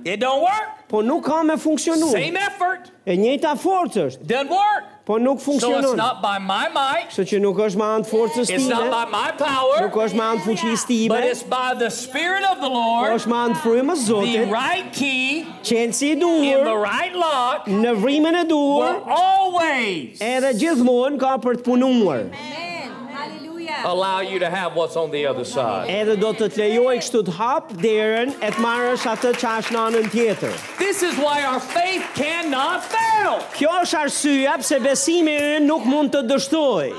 Speaker 2: it don't work.
Speaker 1: Po nuk ka me funksionu
Speaker 2: Same effort,
Speaker 1: E njëjta forcë është
Speaker 2: doesn't work.
Speaker 1: Po nuk
Speaker 2: So it's
Speaker 1: funksionon
Speaker 2: not by my might,
Speaker 1: Kështu që nuk është me anë të forcës
Speaker 2: it's not
Speaker 1: time
Speaker 2: by my power,
Speaker 1: Nuk është me anë të fuqisë time,
Speaker 2: but it's by the Spirit of the Lord,
Speaker 1: është me anë të frymës së
Speaker 2: the
Speaker 1: Zotit,
Speaker 2: right key
Speaker 1: qenësi i
Speaker 2: in the
Speaker 1: duhur,
Speaker 2: right lock
Speaker 1: në vrimën e duhur,
Speaker 2: will always
Speaker 1: edhe gjithmonë ka për të punuar.
Speaker 3: Amen. Hallelujah.
Speaker 2: allow you to have what's on the other side.
Speaker 1: Edhe do të të lejoj kështu të hap derën e të marrësh atë që është në anën tjetër.
Speaker 2: This is why our faith cannot fail.
Speaker 1: Kjo është arsyeja pse besimi ynë nuk mund të dështoj.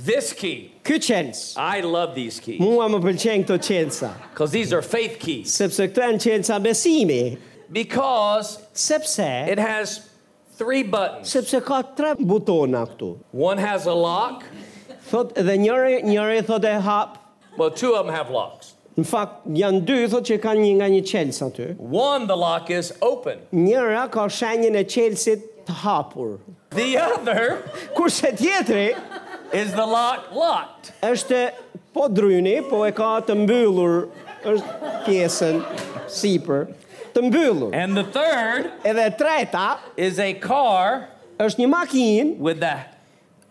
Speaker 2: This key,
Speaker 1: Ky qenës,
Speaker 2: I love these keys
Speaker 1: mua më pëlqen këto qenësa,
Speaker 2: because these are faith keys.
Speaker 1: sepse këto janë qenësa besimi,
Speaker 2: Because
Speaker 1: sepse
Speaker 2: it has three buttons.
Speaker 1: sepse ka tre butona këtu.
Speaker 2: One has a lock.
Speaker 1: Thot edhe njëri njëri thot e hap,
Speaker 2: Well, two of them have locks.
Speaker 1: Në fakt, janë dy, thot që kanë një nga një qelës aty.
Speaker 2: One, the lock is open.
Speaker 1: Njëra ka shenjën e qelësit të hapur.
Speaker 2: The other
Speaker 1: Kurse tjetri
Speaker 2: is the lock locked.
Speaker 1: është po dryni, po e ka të mbyllur, është pjesën sipër, të mbyllur.
Speaker 2: And the third
Speaker 1: Edhe e treta
Speaker 2: is a car
Speaker 1: është një makinë,
Speaker 2: with the,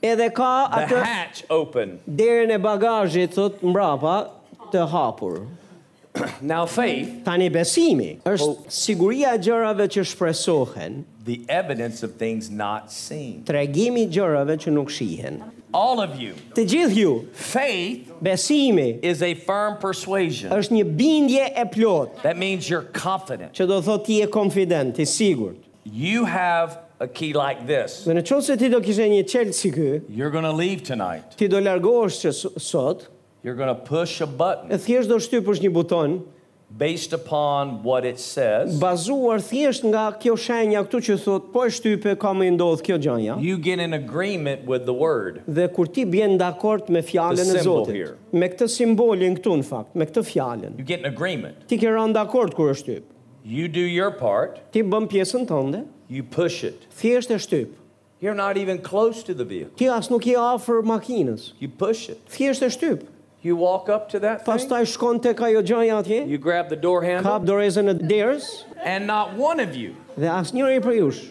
Speaker 1: edhe ka
Speaker 2: the
Speaker 1: atë
Speaker 2: hatch open.
Speaker 1: derën e bagazhit thot mbrapa të hapur.
Speaker 2: Now, faith,
Speaker 1: Tani besimi është siguria e gjërave që shpresohen,
Speaker 2: the evidence of things not seen.
Speaker 1: tregimi i gjërave që nuk shihen.
Speaker 2: All of you,
Speaker 1: Të gjithë ju,
Speaker 2: faith
Speaker 1: besimi
Speaker 2: is a firm persuasion.
Speaker 1: është një bindje e plot,
Speaker 2: That means you're confident.
Speaker 1: që do thotë ti je konfident, i sigurt.
Speaker 2: You have a key like this.
Speaker 1: Dhe në qovë se ti do kishe një qelë si ky,
Speaker 2: You're going to leave tonight.
Speaker 1: ti do largohesh që s- sot,
Speaker 2: You're going to push a
Speaker 1: e
Speaker 2: button
Speaker 1: thjesht do shtypësh një buton,
Speaker 2: based upon what it says.
Speaker 1: bazuar thjesht nga kjo shenja këtu që thot, po e shtype ka më i ndodh kjo gjanja.
Speaker 2: You get in agreement with the word.
Speaker 1: Dhe kur ti bjen dakord me fjalën
Speaker 2: The
Speaker 1: e
Speaker 2: symbol
Speaker 1: Zotit,
Speaker 2: here.
Speaker 1: me këtë simbolin këtu në fakt, me këtë fjalën,
Speaker 2: You get in agreement.
Speaker 1: ti ke rënë dakord kur e shtyp.
Speaker 2: You do your part,
Speaker 1: Ti bën pjesën tënde,
Speaker 2: you push it.
Speaker 1: thjesht e shtyp.
Speaker 2: You're not even close to the vehicle.
Speaker 1: Ti as nuk je afër makinës,
Speaker 2: You push it.
Speaker 1: thjesht e shtyp.
Speaker 2: You walk up to that thing,
Speaker 1: Pastaj shkon tek ajo gjanja atje,
Speaker 2: you grab the door handle,
Speaker 1: kap dorezën e derës
Speaker 2: and not one of you
Speaker 1: dhe asnjëri prej jush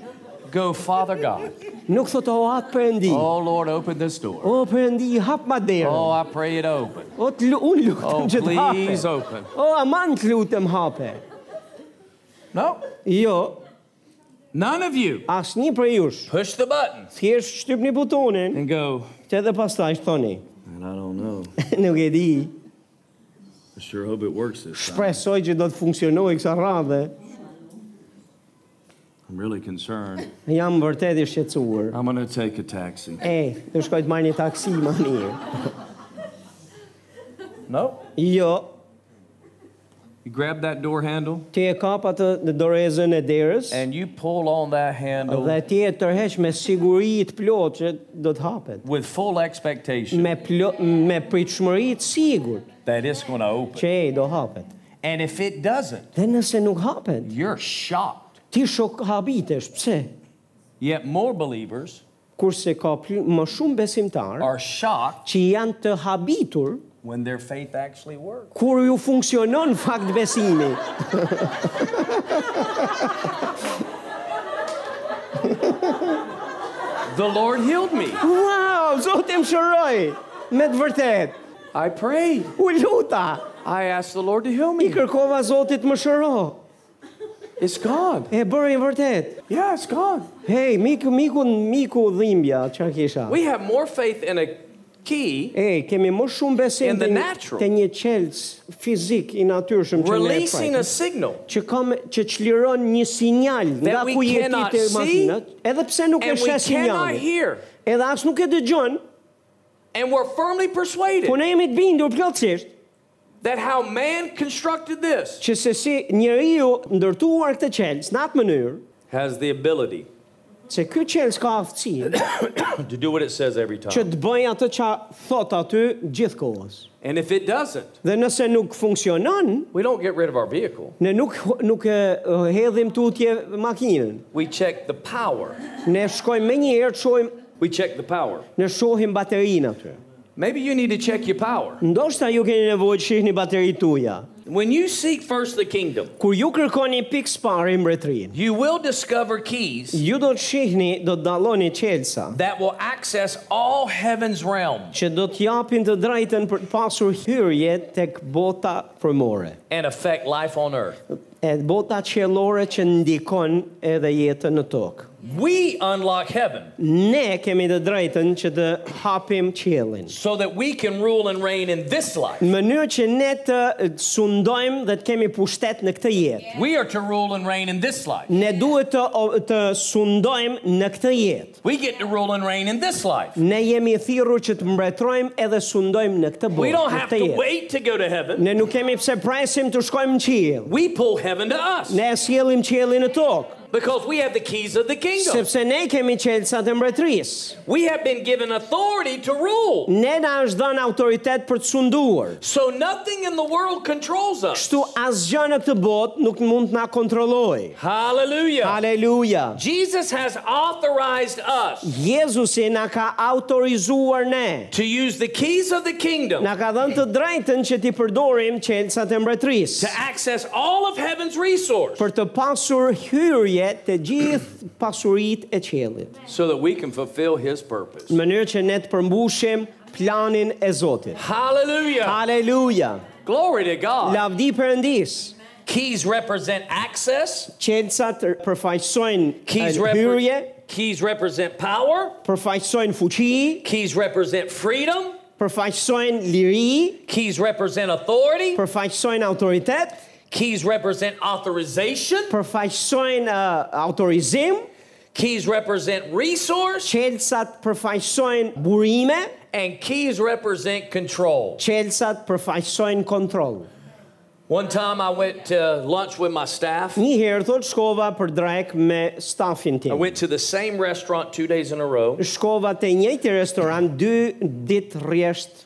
Speaker 2: Go, Father God.
Speaker 1: Nuk thotë o atë përëndi.
Speaker 2: Oh, Lord, open this door.
Speaker 1: O përëndi, hap ma
Speaker 2: Oh,
Speaker 1: derën.
Speaker 2: I pray it open.
Speaker 1: O të lu, unë lutëm
Speaker 2: Oh,
Speaker 1: që të hape.
Speaker 2: please open.
Speaker 1: O aman të lutëm hape.
Speaker 2: No,
Speaker 1: Jo,
Speaker 2: none of you.
Speaker 1: asë një për jush.
Speaker 2: Push the button
Speaker 1: Thjesht shtyp një butonin,
Speaker 2: and go.
Speaker 1: që edhe pastaj shtoni.
Speaker 5: And I don't know.
Speaker 1: Nuk e di,
Speaker 5: I sure hope it works this time.
Speaker 1: shpresoj që do të funksionoj kësa radhe.
Speaker 5: I'm really concerned.
Speaker 1: Jam vërtet i shqetësuar.
Speaker 5: I'm going to take a taxi.
Speaker 1: E, do shkoj të marr një taksi më mirë.
Speaker 2: No.
Speaker 1: Jo,
Speaker 2: You grab that door handle
Speaker 1: ti e kap atë në dorezën e derës
Speaker 2: and you pull on that handle
Speaker 1: dhe ti e tërheq me siguri të plot që do të hapet.
Speaker 2: with full expectation
Speaker 1: Me plo, me pritshmëri të sigurt
Speaker 2: that it's going to open.
Speaker 1: që e do hapet.
Speaker 2: And if it doesn't,
Speaker 1: Dhe nëse nuk hapet,
Speaker 2: you're shocked.
Speaker 1: ti shok habitesh, pse?
Speaker 2: Yet more believers
Speaker 1: Kurse ka pl- më shumë besimtar
Speaker 2: are shocked
Speaker 1: që janë të habitur
Speaker 2: when their faith actually works.
Speaker 1: kur ju funksionon fakt besimi.
Speaker 2: The Lord healed me.
Speaker 1: Wow, Zoti më shëroi. Me të vërtet.
Speaker 2: I prayed.
Speaker 1: U luta.
Speaker 2: I asked the Lord to heal
Speaker 1: I kërkova Zotit më shëro.
Speaker 2: It's gone.
Speaker 1: E bëri vërtet.
Speaker 2: Yeah, it's gone.
Speaker 1: Hej, miku, miku, miku dhimbja, çfarë kisha?
Speaker 2: We have more faith in a key
Speaker 1: Ej, kemi më shumë besim
Speaker 2: In the
Speaker 1: të, një-
Speaker 2: natural.
Speaker 1: të një qelc fizik i natyrshëm që ne e
Speaker 2: releasing a
Speaker 1: trajtojmë,
Speaker 2: signal
Speaker 1: që kam që çliron një sinjal nga
Speaker 2: we
Speaker 1: ku je ti
Speaker 2: cannot
Speaker 1: te
Speaker 2: see,
Speaker 1: makinat, edhe pse nuk e
Speaker 2: and we
Speaker 1: sheh
Speaker 2: cannot
Speaker 1: sinjalin.
Speaker 2: hear.
Speaker 1: Edhe as nuk e dëgjon,
Speaker 2: And we're firmly
Speaker 1: po
Speaker 2: persuaded
Speaker 1: ne jemi të bindur plotësisht
Speaker 2: that how man constructed this
Speaker 1: që se si njeriu ndërtuar këtë qelc në atë mënyrë,
Speaker 2: has the ability
Speaker 1: se ky qelc ka aftësinë
Speaker 2: to do what it says every
Speaker 1: që
Speaker 2: time.
Speaker 1: të bëj atë çka thot aty gjithkohës.
Speaker 2: And if it doesn't,
Speaker 1: Dhe nëse nuk funksionon,
Speaker 2: we don't get rid of our vehicle.
Speaker 1: Ne nuk nuk e e hedhim tutje makinën.
Speaker 2: We check the power.
Speaker 1: Ne shkojmë më një herë, shohim,
Speaker 2: We check the power.
Speaker 1: ne shohim baterinë aty.
Speaker 2: Maybe you need to check your power.
Speaker 1: Ndoshta ju keni nevojë të shihni bateritë tuaja.
Speaker 2: When you seek first the kingdom,
Speaker 1: Kur ju kërkoni pikë sparë mbretërinë,
Speaker 2: you will discover keys
Speaker 1: ju do të shihni, do të dalloni çelsa
Speaker 2: that will access all heaven's realms
Speaker 1: që do të japin të drejtën për të pasur hyrje tek bota përmore.
Speaker 2: and affect life on earth.
Speaker 1: E bota qellore që ndikon edhe jetën në tokë.
Speaker 2: We unlock heaven
Speaker 1: Ne kemi të drejtën që të hapim qiellin.
Speaker 2: so that we can rule and reign in this life.
Speaker 1: në mënyrë që ne të sundojmë dhe të kemi pushtet në këtë jetë.
Speaker 2: We are to rule and reign in this life.
Speaker 1: Ne duhet të, o- të sundojmë në këtë jetë.
Speaker 2: We get to rule and reign in this life.
Speaker 1: Ne jemi i thirrur që të mbretrojmë edhe sundojmë në këtë
Speaker 2: We
Speaker 1: botë,
Speaker 2: don't
Speaker 1: në
Speaker 2: have
Speaker 1: këtë
Speaker 2: to
Speaker 1: jetë.
Speaker 2: wait to go to heaven.
Speaker 1: Ne nuk kemi pse presim të shkojmë në qiell.
Speaker 2: We pull heaven to us
Speaker 1: Ne e sjellim qiellin në tokë,
Speaker 2: because we have the keys of the kingdom.
Speaker 1: sepse ne kemi qelësat e mbretërisë.
Speaker 2: We have been given authority to rule.
Speaker 1: Ne na është dhënë autoritet për të sunduar.
Speaker 2: So nothing in the world controls us.
Speaker 1: Kështu asgjë në këtë botë nuk mund të na kontrollojë.
Speaker 2: Hallelujah.
Speaker 1: Aleluja.
Speaker 2: Jesus has authorized us
Speaker 1: Jezusi na ka autorizuar ne.
Speaker 2: to use the keys of the kingdom
Speaker 1: Na ka dhënë të drejtën që ti përdorim qelësat e mbretërisë
Speaker 2: to access all of heaven's resource
Speaker 1: për të pasur hyrje të gjithë pasuritë e qiellit,
Speaker 2: so that we can fulfill his purpose.
Speaker 1: në mënyrë që ne të përmbushim planin e Zotit.
Speaker 2: Hallelujah.
Speaker 1: Aleluja.
Speaker 2: Glory to God.
Speaker 1: Lavdi Perëndis.
Speaker 2: Keys represent access.
Speaker 1: Qelësat përfaqësojnë
Speaker 2: Keys, repre-
Speaker 1: hyrje,
Speaker 2: keys represent power.
Speaker 1: përfaqësojnë fuqi,
Speaker 2: Keys represent freedom.
Speaker 1: përfaqësojnë liri,
Speaker 2: Keys represent authority.
Speaker 1: përfaqësojnë autoritet,
Speaker 2: Keys represent authorization.
Speaker 1: përfaqësojnë uh, autorizim,
Speaker 2: Keys represent resource.
Speaker 1: qelësat përfaqësojnë burime,
Speaker 2: And keys represent control.
Speaker 1: qelësat përfaqësojnë kontroll.
Speaker 2: One time I went to lunch with my staff.
Speaker 1: Një herë thot shkova për drek me stafin
Speaker 2: I
Speaker 1: tim.
Speaker 2: went to the same restaurant two days in a row.
Speaker 1: Shkova te njëjti restorant dy ditë rresht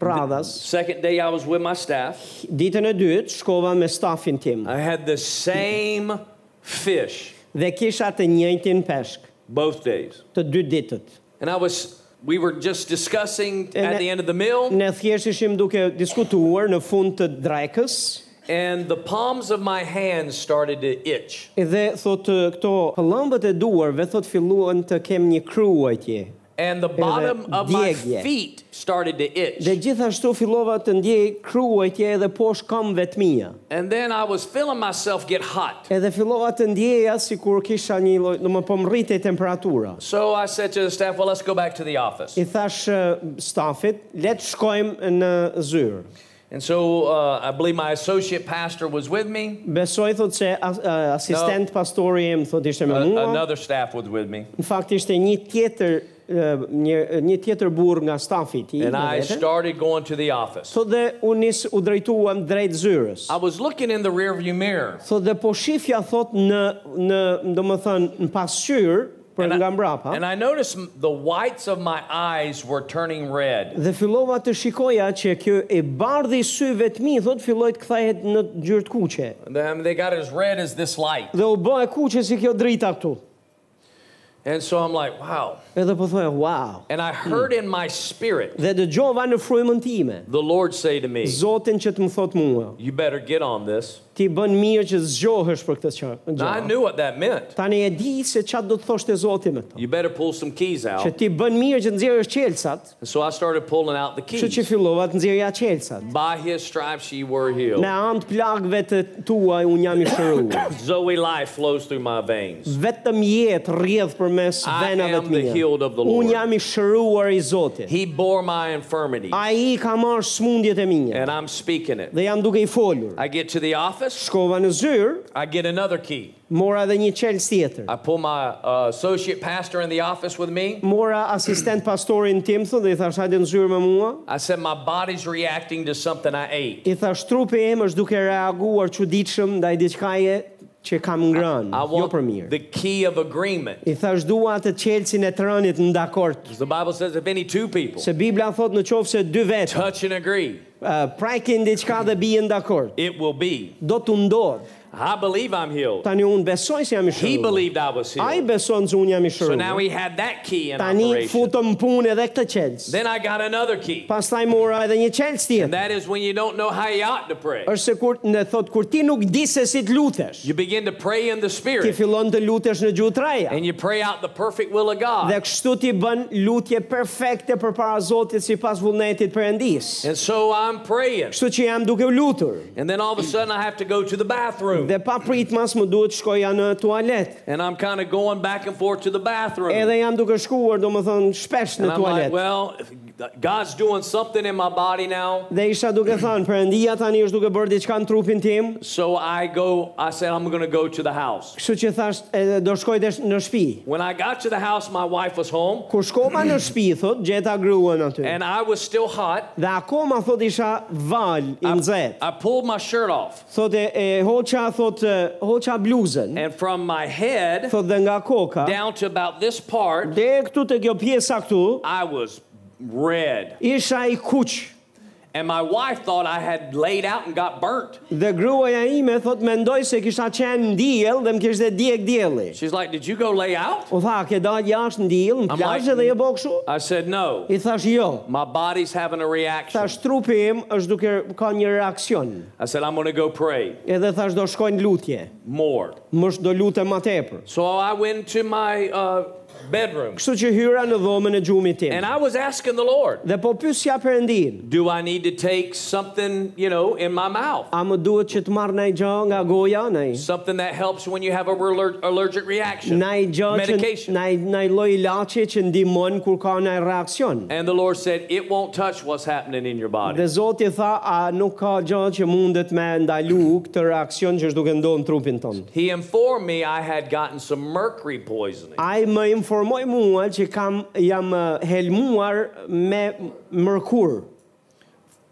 Speaker 1: radhas.
Speaker 2: Second day I was with my staff.
Speaker 1: Ditën e dytë shkova me stafin tim
Speaker 2: I had the same fish
Speaker 1: dhe kisha të njëjtin peshk
Speaker 2: both days.
Speaker 1: të dy ditët.
Speaker 2: And I was we were just discussing
Speaker 1: And
Speaker 2: at
Speaker 1: I-
Speaker 2: the end of the meal
Speaker 1: Ne thjesht ishim duke diskutuar në fund të drekës
Speaker 2: and the palms of my hands started to itch.
Speaker 1: Dhe thot këto këllëmbët e duarve thot filluan të kem një kruaj atje.
Speaker 2: And the bottom of my feet started to
Speaker 1: Dhe
Speaker 2: itch.
Speaker 1: gjithashtu fillova të ndjej kruajtje edhe poshtë këmbëve të mia.
Speaker 2: And then I was feeling myself get hot.
Speaker 1: Edhe fillova të ndjeja sikur kisha një lloj, do më po më rritej temperatura.
Speaker 2: So I said to the staff, Well, let's go back to the office.
Speaker 1: I thash eh, stafit, le të shkojmë në zyrë.
Speaker 2: And so uh, I believe my associate pastor was with me,
Speaker 1: Besoj thot se as, eh, asistent pastori im thot ishte me
Speaker 2: A-
Speaker 1: mua.
Speaker 2: another staff was with me.
Speaker 1: Në fakt ishte një tjetër eh, një një tjetër burr nga stafi i tij.
Speaker 2: And
Speaker 1: me
Speaker 2: I
Speaker 1: vete.
Speaker 2: started going to the office.
Speaker 1: Thot dhe u nis u drejtuam drejt zyrës.
Speaker 2: I was looking in the rearview mirror.
Speaker 1: Thot dhe po shifja thot në në domethënë në pasqyrë për
Speaker 2: And I,
Speaker 1: nga mbrapa.
Speaker 2: and I noticed m- the whites of my eyes were turning red.
Speaker 1: Dhe fillova të shikoja që kjo e bardhi i syve të mi, thot filloi të kthehet në gjyrë të kuqe.
Speaker 2: And They, I mean, they got as red as this light.
Speaker 1: Dhe u bë e kuqe si kjo drita këtu.
Speaker 2: And so I'm like, wow.
Speaker 1: Edhe po thoja, wow.
Speaker 2: And I heard in my spirit
Speaker 1: Dhe dëgjova në frymën time.
Speaker 2: the Lord say to me,
Speaker 1: Zotin që të më thot mua,
Speaker 2: You better get on this.
Speaker 1: ti bën mirë që zgjohesh për këtë çfarë.
Speaker 2: Now, I knew what that meant.
Speaker 1: Tani e di se çfarë do të thoshte Zoti me to.
Speaker 2: You better pull some keys
Speaker 1: Që
Speaker 2: out.
Speaker 1: ti bën mirë që nxjerrësh qelçat,
Speaker 2: And so I started pulling out the
Speaker 1: kështu që
Speaker 2: keys.
Speaker 1: fillova të nxjerrja qelçat.
Speaker 2: By his stripes ye were healed.
Speaker 1: Në anë të plagëve të tua unë jam i shëruar.
Speaker 2: Zoe life flows through my veins.
Speaker 1: Vetëm jetë rrjedh përmes
Speaker 2: I
Speaker 1: venave
Speaker 2: am
Speaker 1: të
Speaker 2: the
Speaker 1: mia.
Speaker 2: healed of the Lord.
Speaker 1: Unë jam i shëruar i Zotit.
Speaker 2: He bore my infirmity,
Speaker 1: Ai ka marrë smundjet e mia
Speaker 2: and I'm speaking it.
Speaker 1: dhe jam duke i folur.
Speaker 2: I get to the office,
Speaker 1: Shkova në zyrë,
Speaker 2: I get another key.
Speaker 1: mora edhe një çelës tjetër.
Speaker 2: I pull my uh, associate pastor in the office with me.
Speaker 1: Mora asistent pastorin tim thonë dhe i thash hajde në zyrë me mua.
Speaker 2: I said, My body's reacting to something I ate.
Speaker 1: I thash trupi im është duke reaguar çuditshëm ndaj diçkaje që kam ngrënë,
Speaker 2: I
Speaker 1: jo
Speaker 2: want
Speaker 1: për mirë.
Speaker 2: the key of agreement.
Speaker 1: I thash dua të çelësin e të rënit në dakord.
Speaker 2: The Bible says, If any two people
Speaker 1: Se Bibla thot në qofë se dy vetë
Speaker 2: touch and agree,
Speaker 1: uh, prajkin diçka dhe bijen dakord.
Speaker 2: it will be.
Speaker 1: Do të ndodhë.
Speaker 2: I believe I'm healed.
Speaker 1: Tani unë besoj se jam i
Speaker 2: He
Speaker 1: shëruar.
Speaker 2: believed I was
Speaker 1: Ai
Speaker 2: healed.
Speaker 1: beson se unë jam i
Speaker 2: So now
Speaker 1: shëruar.
Speaker 2: he had that key in
Speaker 1: Tani
Speaker 2: operation.
Speaker 1: futëm në punë edhe këtë çelës.
Speaker 2: Then I got another key.
Speaker 1: Pastaj mora edhe një çelës tjetër.
Speaker 2: That is when you don't know how you ought to pray.
Speaker 1: Është se kur në thot kur ti nuk di se si të lutesh,
Speaker 2: You begin to pray in the
Speaker 1: ti
Speaker 2: Spirit
Speaker 1: fillon të lutesh në gjuhë të reja.
Speaker 2: and you pray out the perfect will of
Speaker 1: Dhe
Speaker 2: God.
Speaker 1: kështu ti bën lutje perfekte përpara Zotit sipas vullnetit perëndis.
Speaker 2: And so I'm praying.
Speaker 1: Kështu që jam duke u lutur.
Speaker 2: And then all of a sudden I have to go to the bathroom.
Speaker 1: Dhe pa pritmas më duhet shkoja në tualet.
Speaker 2: And I'm kind of going back and forth to the bathroom.
Speaker 1: Edhe jam duke shkuar, domethënë shpesh
Speaker 2: And
Speaker 1: në
Speaker 2: I'm like,
Speaker 1: tualet.
Speaker 2: well, if God's doing something in my body now.
Speaker 1: Dhe isha duke thënë, Perëndia tani është duke bërë diçka në trupin tim.
Speaker 2: So I go, I said, I'm going to go to the house.
Speaker 1: Kështu që thash, edhe do shkoj desh- në shtëpi.
Speaker 2: When I got to the house, my wife was home
Speaker 1: Kur shkova në shtëpi, thot, gjeta gruan aty.
Speaker 2: and I was still hot.
Speaker 1: Dhe akoma thot isha val i
Speaker 2: I,
Speaker 1: nxehtë.
Speaker 2: I pulled my shirt off.
Speaker 1: Thot e, e hoqa thot e, hoqa bluzën.
Speaker 2: And from my head
Speaker 1: Thot dhe nga koka
Speaker 2: down to about this part,
Speaker 1: deri këtu te kjo pjesa këtu
Speaker 2: I was red.
Speaker 1: isha i kuq.
Speaker 2: And my wife thought I had laid out and got burnt.
Speaker 1: Dhe gruaja ime thot mendoj se kisha qenë në diell dhe më kishte djeg dielli.
Speaker 2: She's like, Did you go lay out?
Speaker 1: U tha, ke dalë jashtë në diell, në
Speaker 2: I'm
Speaker 1: plazh
Speaker 2: like-
Speaker 1: dhe je bë kështu?
Speaker 2: I said, No.
Speaker 1: I thash jo.
Speaker 2: My body's having a reaction.
Speaker 1: Thash trupi im është duke ka një reaksion.
Speaker 2: I said, I'm going to go pray
Speaker 1: Edhe thash do shkojnë lutje.
Speaker 2: more.
Speaker 1: Më sh- do lutem më tepër.
Speaker 2: So I went to my uh, bedroom
Speaker 1: Kështu që hyra në dhomën e gjumit tim.
Speaker 2: and I was asking the Lord,
Speaker 1: Dhe po pyesja Perëndin,
Speaker 2: Do I need to take something, you know, in my mouth?
Speaker 1: A më duhet që të marrë në i gjë nga goja, në i?
Speaker 2: Something that helps when you have a aller- allergic reaction.
Speaker 1: Në i gjë që
Speaker 2: Medication.
Speaker 1: në i- në i loj ilaçi që ndihmon kur ka në i reaksion.
Speaker 2: And the Lord said, It won't touch what's happening in your
Speaker 1: Dhe
Speaker 2: body.
Speaker 1: Zoti tha, a nuk ka gjë që mundet me ndalu këtë reaksion që është duke ndonë në trupin tonë.
Speaker 2: He informed me I had gotten some mercury poisoning.
Speaker 1: Ai më informoi mua që kam jam eh, helmuar me mërkur,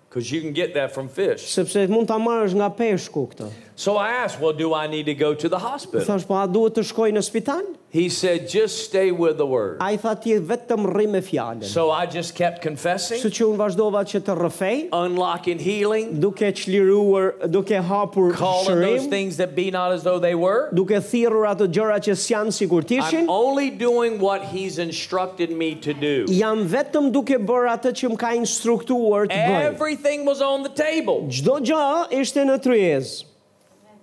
Speaker 2: Because you can get that from fish.
Speaker 1: sepse mund ta marrësh nga peshku këtë.
Speaker 2: So I asked, Well, do I need to go to the hospital?
Speaker 1: Thash, po a duhet të shkoj në spital?
Speaker 2: He said, Just stay with the word.
Speaker 1: Ai tha ti vetëm rri me fjalën.
Speaker 2: So I just kept confessing,
Speaker 1: Kështu që unë vazhdova që të rrëfej,
Speaker 2: unlocking healing,
Speaker 1: duke çliruar, duke hapur
Speaker 2: calling those
Speaker 1: shërim,
Speaker 2: things that be not as though they were.
Speaker 1: duke thirrur ato gjëra që s'janë sikur t'ishin.
Speaker 2: I'm only doing what he's instructed me to do.
Speaker 1: Jam vetëm duke bërë atë që më ka instruktuar të bëj.
Speaker 2: Everything was on the table.
Speaker 1: Çdo gjë ishte në tryezë.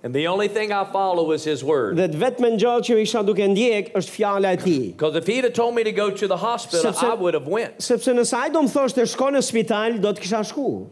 Speaker 2: And the only thing I follow is his word.
Speaker 1: Dhe të vetme gjë që isha duke ndjek është fjala e tij.
Speaker 2: Because if he'd have told me to go to the hospital,
Speaker 1: Sepse-
Speaker 2: I would have went.
Speaker 1: Sepse nëse ai do më thoshte shko në spital, do të kisha shku.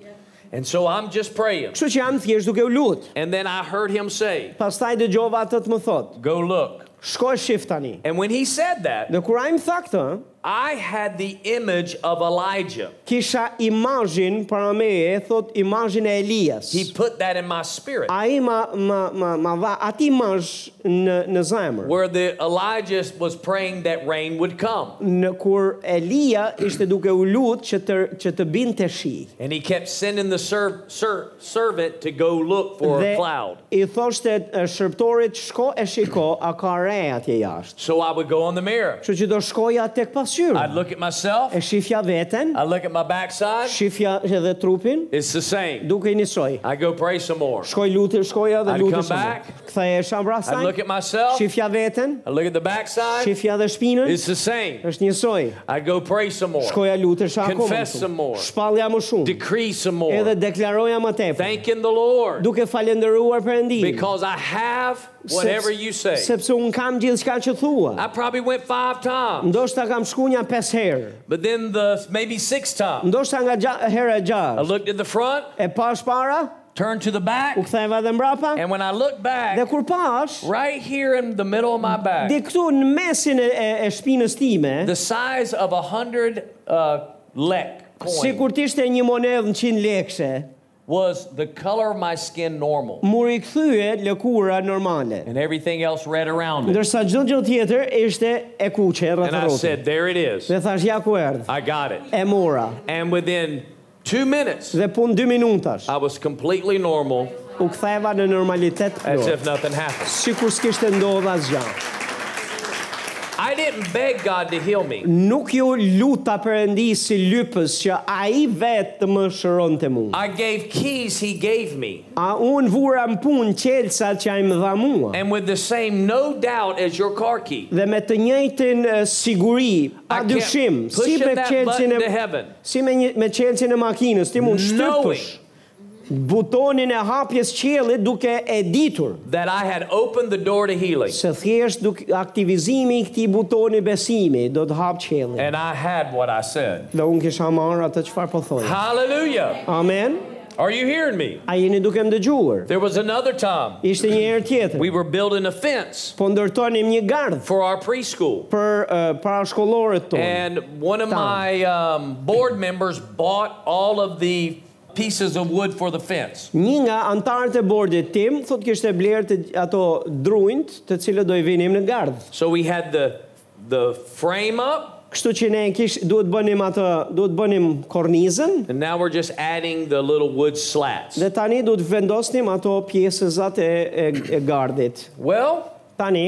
Speaker 2: And so I'm just praying.
Speaker 1: Kështu që jam thjesht duke u lut.
Speaker 2: And then I heard him say,
Speaker 1: Pastaj dëgjova atë të më thotë,
Speaker 2: Go look.
Speaker 1: shko e shift tani.
Speaker 2: And when he said that,
Speaker 1: Dhe kur ai më tha këtë,
Speaker 2: I had the image of Elijah.
Speaker 1: kisha imazhin para meje, thot imazhin e Elias.
Speaker 2: He put that in my spirit.
Speaker 1: Ai ma ma ma, ma dha atë imazh në në zemër.
Speaker 2: Where the Elijah was praying that rain would come.
Speaker 1: Në kur Elia ishte duke u lut që të që të binte shi.
Speaker 2: And he kept sending the serv- ser- servant to go look for
Speaker 1: Dhe
Speaker 2: a cloud.
Speaker 1: i thoshte e, shërptorit shko e shiko a ka re atje jashtë.
Speaker 2: So I would go in the mirror.
Speaker 1: Kështu që do shkoja tek
Speaker 2: I'd
Speaker 1: pasqyrë.
Speaker 2: look at myself.
Speaker 1: E shifja veten,
Speaker 2: I look at my backside.
Speaker 1: shifja edhe trupin,
Speaker 2: It's the same.
Speaker 1: duke i nisoj.
Speaker 2: I go pray some more.
Speaker 1: Shkoj lutë, shkoja dhe
Speaker 2: I'd
Speaker 1: lutë
Speaker 2: come back.
Speaker 1: Kthehesha
Speaker 2: I look
Speaker 1: mbrastaj.
Speaker 2: at myself.
Speaker 1: Shifja veten,
Speaker 2: I look at the backside.
Speaker 1: shifja dhe shpinën,
Speaker 2: It's the same.
Speaker 1: është njësoj.
Speaker 2: I go pray some more.
Speaker 1: Shkoja lutesha akoma.
Speaker 2: Confess some more.
Speaker 1: Shpallja më shumë.
Speaker 2: Decree some
Speaker 1: Edhe
Speaker 2: more.
Speaker 1: deklaroja më tepër.
Speaker 2: Thanking the Lord
Speaker 1: Duke falenderuar Perëndin.
Speaker 2: because I have whatever you say.
Speaker 1: Sepse un kam gjithçka që thua.
Speaker 2: I probably went five times,
Speaker 1: Ndoshta kam shku një 5 herë.
Speaker 2: but then the maybe six times.
Speaker 1: Ndoshta nga gja, hera e
Speaker 2: I
Speaker 1: gjashtë.
Speaker 2: looked at the front,
Speaker 1: E pash para,
Speaker 2: turned to the back,
Speaker 1: u ktheva dhe mbrapa.
Speaker 2: and when I looked
Speaker 1: Dhe
Speaker 2: back,
Speaker 1: kur pash,
Speaker 2: right here in the middle of my
Speaker 1: di
Speaker 2: back,
Speaker 1: këtu në mesin e, e, e shpinës time,
Speaker 2: the size of a hundred uh, lek
Speaker 1: si
Speaker 2: coin
Speaker 1: kur t'ishte një monedh në 100 lekshe,
Speaker 2: was the color of my skin normal,
Speaker 1: muri këthyje lëkura normale.
Speaker 2: and everything else red around it.
Speaker 1: Ndërsa gjdo gjdo tjetër ishte e kuqe,
Speaker 2: And I
Speaker 1: rrëtërotën.
Speaker 2: said, "There it is.
Speaker 1: Dhe thash, ja ku erdh,
Speaker 2: I got it."
Speaker 1: e mora.
Speaker 2: And within two minutes,
Speaker 1: Dhe pun 2 minutash,
Speaker 2: I was completely normal,
Speaker 1: u ktheva në normalitet
Speaker 2: as
Speaker 1: plot.
Speaker 2: if nothing happened.
Speaker 1: Si kur s'kishte ndodhë asgja.
Speaker 2: I didn't beg God to heal me.
Speaker 1: Nuk ju luta përëndi si lypës që a i vetë të më shëron të mu.
Speaker 2: I gave keys He gave me.
Speaker 1: A unë vura në punë qelsa që a i më dha mua.
Speaker 2: And with the same no doubt as your car key,
Speaker 1: dhe me të njëjtin e, siguri, pa
Speaker 2: I kept
Speaker 1: dyshim, si
Speaker 2: pushing
Speaker 1: me
Speaker 2: that
Speaker 1: qelçin
Speaker 2: button to
Speaker 1: e
Speaker 2: heaven.
Speaker 1: si me një, me qelçin e makinës, ti mund
Speaker 2: knowing
Speaker 1: shtypësh butonin e hapjes qiellit duke e ditur
Speaker 2: that I had opened the door to healing.
Speaker 1: se thjesht duke aktivizimi i këtij butoni besimi do të hap qiellin.
Speaker 2: And I had what I said.
Speaker 1: Dhe unë kisha marrë atë çfarë po thoi.
Speaker 2: Hallelujah.
Speaker 1: Amen.
Speaker 2: Are you hearing me?
Speaker 1: A jeni duke më dëgjuar?
Speaker 2: There was another time
Speaker 1: Ishte një herë tjetër.
Speaker 2: we were building a fence
Speaker 1: Po ndërtonim një gardh
Speaker 2: for our preschool.
Speaker 1: për uh, parashkollorët tonë.
Speaker 2: And one of
Speaker 1: Tom.
Speaker 2: my um, board members bought all of the pieces of wood for the fence.
Speaker 1: Një nga antarët e bordit tim thot kishte blerë të, ato drunjt të cilët do i vinim në gardh.
Speaker 2: So we had the, the frame up,
Speaker 1: Kështu që ne kish duhet bënim atë, duhet bënim kornizën
Speaker 2: and now we're just adding the little wood slats.
Speaker 1: dhe tani duhet vendosnim ato pjesëzat e, e, e gardit.
Speaker 2: Well,
Speaker 1: Tani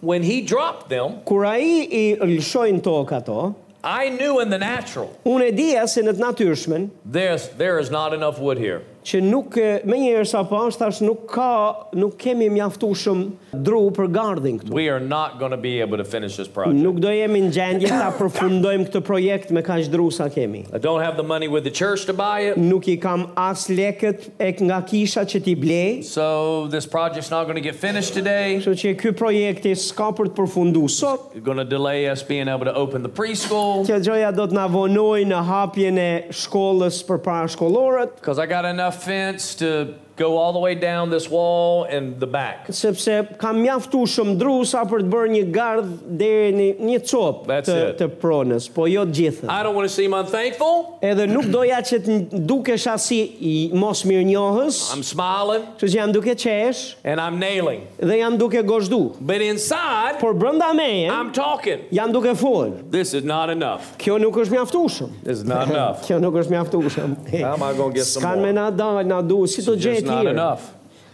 Speaker 2: when he dropped them,
Speaker 1: kur ai i lëshojnë tokë ato,
Speaker 2: I knew in the natural
Speaker 1: unë e dija se në të natyrshmen
Speaker 2: there's, there is not enough wood here.
Speaker 1: që nuk e, me njëherë sa pa thash nuk ka nuk kemi mjaftueshëm dru për gardhin këtu.
Speaker 2: We are not going to be able to finish this project.
Speaker 1: Nuk do jemi në gjendje ta përfundojmë këtë projekt me kaq dru sa kemi.
Speaker 2: I don't have the money with the church to buy it,
Speaker 1: Nuk i kam as lekët e nga kisha që ti blej.
Speaker 2: so this project's not going to get finished today.
Speaker 1: Kështu që ky projekti s'ka për të përfunduar sot.
Speaker 2: It's going to delay us being able to open the preschool
Speaker 1: Kjo gjoja do të na vonoj në hapjen e shkollës për parashkollorët,
Speaker 2: because I got enough fence to go all the way down this wall and the back.
Speaker 1: sepse kam mjaftu shumë dru sa për të bërë një gardh deri në një copë
Speaker 2: That's
Speaker 1: të,
Speaker 2: it.
Speaker 1: të pronës, po jo të gjithën.
Speaker 2: I don't want to seem unthankful.
Speaker 1: Edhe nuk doja që të n- dukesha si i mos mirë njohës,
Speaker 2: I'm smiling
Speaker 1: që jam duke qesh
Speaker 2: and I'm nailing.
Speaker 1: dhe jam duke gozhdu.
Speaker 2: But inside,
Speaker 1: Por brënda meje,
Speaker 2: I'm talking.
Speaker 1: jam duke folë.
Speaker 2: This is not enough.
Speaker 1: Kjo nuk është mjaftueshëm.
Speaker 2: This is not enough.
Speaker 1: Kjo nuk është mjaftueshëm.
Speaker 2: How am I gonna get some
Speaker 1: S'kan
Speaker 2: more?
Speaker 1: me na dal, na du, si të
Speaker 2: It's
Speaker 1: gjej
Speaker 2: just not
Speaker 1: tjerë.
Speaker 2: enough.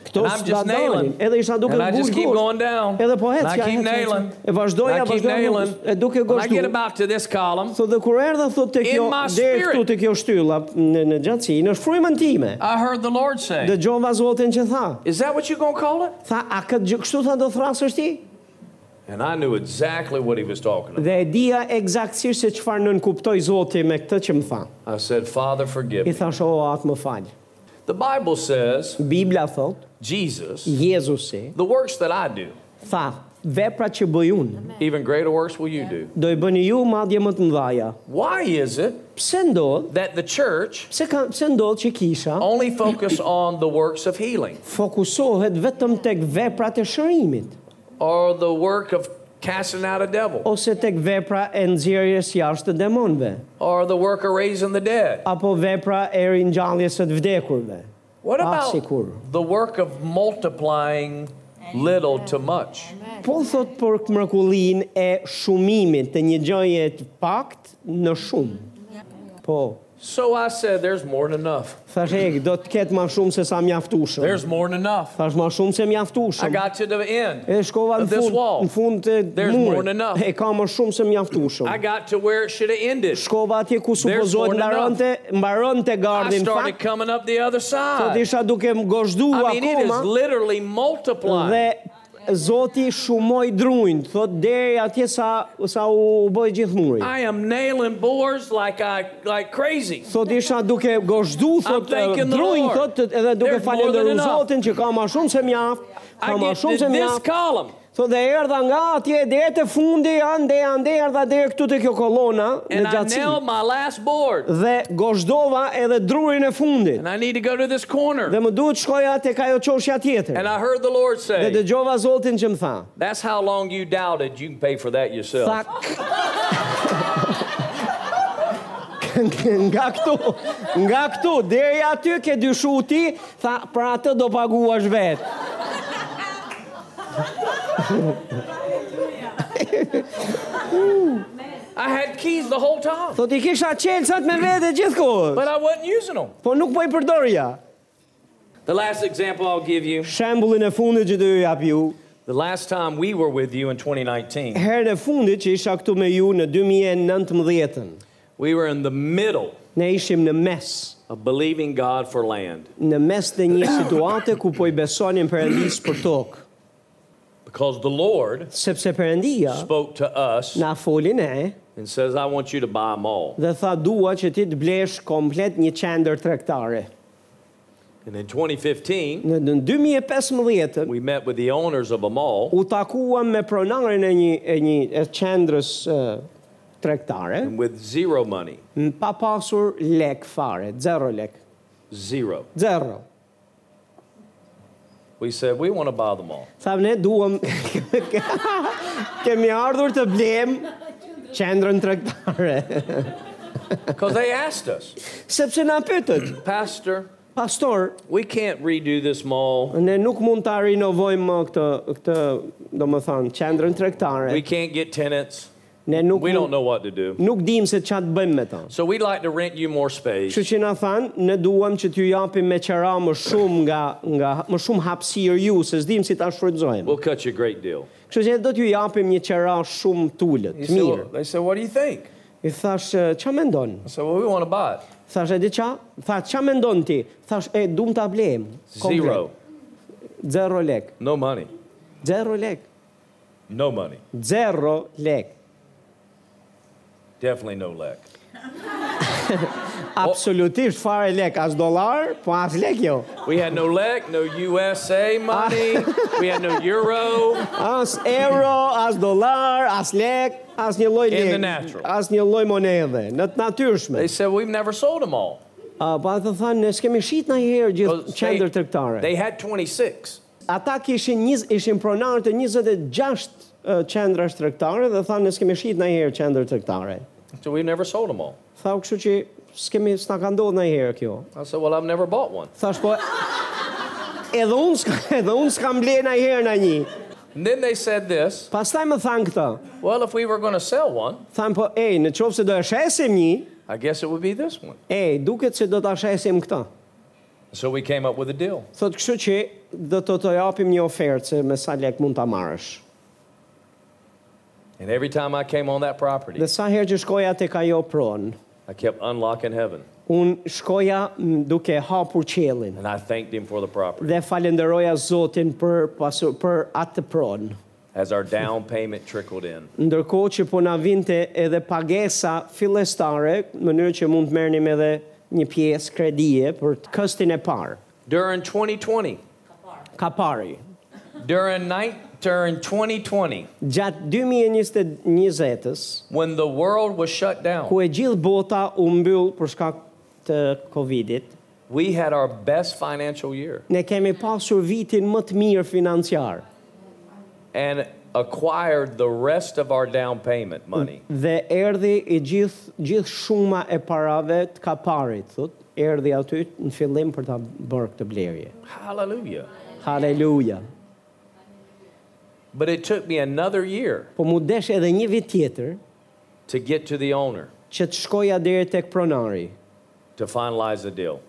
Speaker 1: Këto
Speaker 2: And I'm
Speaker 1: dalin,
Speaker 2: just nailing.
Speaker 1: edhe isha duke
Speaker 2: And I just
Speaker 1: gush,
Speaker 2: keep
Speaker 1: gush.
Speaker 2: going down.
Speaker 1: Edhe po
Speaker 2: And
Speaker 1: hec,
Speaker 2: I
Speaker 1: ja,
Speaker 2: keep
Speaker 1: hec, hec, hec.
Speaker 2: nailing.
Speaker 1: E vazhdoja,
Speaker 2: And I keep
Speaker 1: vazhdoja,
Speaker 2: nailing.
Speaker 1: hec, e duke
Speaker 2: When I get
Speaker 1: goshtu.
Speaker 2: about to this column,
Speaker 1: Thotë dhe kur erdha thotë te
Speaker 2: In
Speaker 1: kjo
Speaker 2: my
Speaker 1: deri
Speaker 2: spirit.
Speaker 1: këtu te kjo shtylla në në gjatësi, në frymën time.
Speaker 2: I heard the Lord say,
Speaker 1: Dëgjova Zotin që tha.
Speaker 2: Is that what you're going to call it?
Speaker 1: Tha, a këtë gjë kështu tha do thrasësh ti?
Speaker 2: And I knew exactly what he was talking about.
Speaker 1: Dhe e dija eksaktësisht se çfarë nën kuptoi Zoti me këtë që më tha.
Speaker 2: I said, Father, forgive
Speaker 1: I
Speaker 2: me.
Speaker 1: thash, o atë më fal.
Speaker 2: The Bible says,
Speaker 1: Bibla thot,
Speaker 2: Jesus,
Speaker 1: Jezusi
Speaker 2: the works that I do,
Speaker 1: tha, veprat që bëj unë,
Speaker 2: even greater works will you do.
Speaker 1: do i bëni ju madje më të mëdha.
Speaker 2: Why is it
Speaker 1: Pse ndodh?
Speaker 2: that the church
Speaker 1: Pse ka pse ndodh që kisha
Speaker 2: only focus on the works of healing
Speaker 1: fokusohet vetëm tek veprat e shërimit
Speaker 2: or the work of casting out a devil
Speaker 1: ose tek vepra e nxjerrjes jashtë të demonëve?
Speaker 2: or the work of raising the dead?
Speaker 1: apo vepra e ringjalljes së të vdekurve.
Speaker 2: What
Speaker 1: Ah,
Speaker 2: about
Speaker 1: sigur.
Speaker 2: the work of multiplying little to much?
Speaker 1: Po thot për mrekullinë e shumimit të një gjëje të pakt në shumë. Po,
Speaker 2: So I said, There's more than enough.
Speaker 1: thash e do të ketë ma shumë se sa mjaftushëm.
Speaker 2: There's more than enough.
Speaker 1: Thash ma shumë se
Speaker 2: I
Speaker 1: mjaftushëm.
Speaker 2: got to the end.
Speaker 1: E shkova në
Speaker 2: Of this
Speaker 1: fund,
Speaker 2: wall.
Speaker 1: në fund të
Speaker 2: There's more than
Speaker 1: murit.
Speaker 2: enough.
Speaker 1: E ka më shumë se
Speaker 2: I
Speaker 1: mjaftushëm.
Speaker 2: got to where it should have ended.
Speaker 1: Shkova atje ku
Speaker 2: more
Speaker 1: supozohet
Speaker 2: than enough.
Speaker 1: mbaronte, mbaronte
Speaker 2: I
Speaker 1: gardi në
Speaker 2: started
Speaker 1: fakt.
Speaker 2: coming up the other
Speaker 1: Sot
Speaker 2: side.
Speaker 1: isha duke më gozhdu
Speaker 2: I mean, it is
Speaker 1: akoma
Speaker 2: literally multiplying.
Speaker 1: dhe Zoti shumoi drujnë, thot deri atje sa sa u bëi gjithë muri.
Speaker 2: I am nailing boards like I like crazy.
Speaker 1: Thot isha duke gozhdu, thot
Speaker 2: thanking the
Speaker 1: drujnë,
Speaker 2: Lord.
Speaker 1: thot edhe duke
Speaker 2: There's more than
Speaker 1: falenderu
Speaker 2: enough.
Speaker 1: Zotin që ka ma shumë se mjaft, ka
Speaker 2: I
Speaker 1: ma
Speaker 2: get to
Speaker 1: shumë se
Speaker 2: this
Speaker 1: mjaft.
Speaker 2: column
Speaker 1: Thot dhe erdha nga atje deri te fundi, ande ande erdha deri këtu te kjo kolona në
Speaker 2: and I
Speaker 1: gjatësi.
Speaker 2: nailed my last board.
Speaker 1: Dhe gozhdova edhe drurin e fundit.
Speaker 2: And I need to go to this corner.
Speaker 1: Dhe më duhet shkoja tek ajo çoshja jo tjetër.
Speaker 2: And I heard the Lord
Speaker 1: Dhe
Speaker 2: say,
Speaker 1: dëgjova Zotin që më tha.
Speaker 2: That's how long you doubted. You can pay for that
Speaker 1: Tha
Speaker 2: yourself.
Speaker 1: nga këtu, nga këtu deri aty ke dyshu ti, tha për atë do paguash vetë.
Speaker 2: I had keys the whole time,
Speaker 1: Thot i kisha çelësat me vete gjithkohë.
Speaker 2: but I wasn't using them.
Speaker 1: Po nuk po i përdorja.
Speaker 2: The last example I'll give you
Speaker 1: Shembullin e fundit që do ju jap ju,
Speaker 2: the last time we were with you in 2019,
Speaker 1: herën e fundit që isha këtu me ju në 2019-ën,
Speaker 2: we were in the middle
Speaker 1: ne ishim në mes,
Speaker 2: of believing God for land
Speaker 1: në mes të një situate ku po i besonim Perëndis për tokë,
Speaker 2: because the Lord
Speaker 1: sepse Perëndia
Speaker 2: spoke to us
Speaker 1: na foli ne
Speaker 2: and says, I want you to buy them all.
Speaker 1: dhe tha dua që ti të blesh komplet një qendër tregtare.
Speaker 2: And in 2015,
Speaker 1: Në në 2015-ën
Speaker 2: we met with the owners of them all
Speaker 1: u takuam me pronarin e një e një e qendrës eh, tregtare,
Speaker 2: and with zero money.
Speaker 1: m- pa pasur lek fare, zero lek,
Speaker 2: Zero.
Speaker 1: zero.
Speaker 2: We said, we want to buy them all.
Speaker 1: Thamë ne duam kemi ardhur të blem qendrën tregtare.
Speaker 2: Because they asked us,
Speaker 1: Sepse na pyetët,
Speaker 2: Pastor,
Speaker 1: pastor,
Speaker 2: we can't redo this mall.
Speaker 1: ne nuk mund ta rinovojmë më këtë këtë, domethënë, qendrën tregtare.
Speaker 2: We can't get tenants.
Speaker 1: Ne nuk
Speaker 2: We don't
Speaker 1: mund-
Speaker 2: know what to do.
Speaker 1: nuk dim se ç'a të bëjmë me ta.
Speaker 2: So we'd like to rent you more space.
Speaker 1: Kështu që na than, ne duam që t'ju japim me qera më shumë nga nga më shumë hapësirë ju, se s'dim si ta shfrytëzojmë.
Speaker 2: We'll cut you a great deal.
Speaker 1: Kështu që do t'ju japim një qera shumë tulët,
Speaker 2: He
Speaker 1: të
Speaker 2: said,
Speaker 1: mirë.
Speaker 2: well- they said, what do you think?
Speaker 1: I thash, "E, ç'a mendon?
Speaker 2: I said, well, we want to buy it.
Speaker 1: Thash e di qa? Tha qa mendon ti? Thash e dum ta blem. komplet.
Speaker 2: Zero.
Speaker 1: Zero lek.
Speaker 2: No money.
Speaker 1: Zero lek.
Speaker 2: No money.
Speaker 1: Zero lek.
Speaker 2: Definitely no lack.
Speaker 1: Absolutisht fare lek, as dollar, po as lek jo.
Speaker 2: We had no lack, no USA money. we had no euro.
Speaker 1: As euro, as dollar, as lek, as një lloj
Speaker 2: In
Speaker 1: lek.
Speaker 2: the natural.
Speaker 1: As një lloj monedhe, në të natyrshme.
Speaker 2: They said, we've never sold them all.
Speaker 1: A, pa të thanë, ne s'kemi shit në herë gjithë
Speaker 2: 'Cause
Speaker 1: qendër tregtare.
Speaker 2: They had 26.
Speaker 1: Ata kishin njës, ishin pronarë të 26 uh, qendrash tregtare dhe thanë ne s'kemi shit në herë qendër tregtare.
Speaker 2: So we've never sold them all.
Speaker 1: Tha kështu që s'kemi s'na ka ndodhur ndonjëherë kjo.
Speaker 2: I said, well, I've never bought one.
Speaker 1: Thash po edhe unë s'ka, edhe unë s'kam bler ndonjëherë në një.
Speaker 2: And then they said this,
Speaker 1: Pastaj më than këtë.
Speaker 2: well, if we were going to sell one,
Speaker 1: Than po, ej, në qoftë se do e shesim një,
Speaker 2: I guess it would be this one.
Speaker 1: ej, duket se do ta shesim këtë.
Speaker 2: So we came up with a deal.
Speaker 1: Thot kështu që do të të japim një ofertë se me sa lek mund ta marrësh.
Speaker 2: And every time I came on that property,
Speaker 1: Dhe sa herë që shkoja tek ajo pronë,
Speaker 2: I kept unlocking heaven.
Speaker 1: un shkoja m, duke hapur qiellin
Speaker 2: And I thanked him for the property
Speaker 1: dhe falenderoja Zotin për pasu, për atë pronë.
Speaker 2: as our down payment trickled in.
Speaker 1: Ndërkohë që po na vinte edhe pagesa fillestare, në mënyrë që mund të merrnim edhe një pjesë kredie për të këstin e parë,
Speaker 2: During 2020,
Speaker 1: kapari.
Speaker 2: during night, during 2020,
Speaker 1: Gjatë 2020-s,
Speaker 2: when the world was shut down,
Speaker 1: ku e gjithë bota u mbyll për shkak të Covidit,
Speaker 2: we had our best financial year
Speaker 1: ne kemi pasur vitin më të mirë financiar
Speaker 2: and acquired the rest of our down payment money.
Speaker 1: dhe erdhi i gjithë gjithë shuma e parave të kaparit, thot, erdhi aty në fillim për ta bërë këtë blerje.
Speaker 2: Hallelujah.
Speaker 1: Haleluja.
Speaker 2: But it took me another year
Speaker 1: Po mu desh edhe një vit tjetër
Speaker 2: to get to the owner
Speaker 1: që të shkoja deri tek pronari,
Speaker 2: to finalize the deal.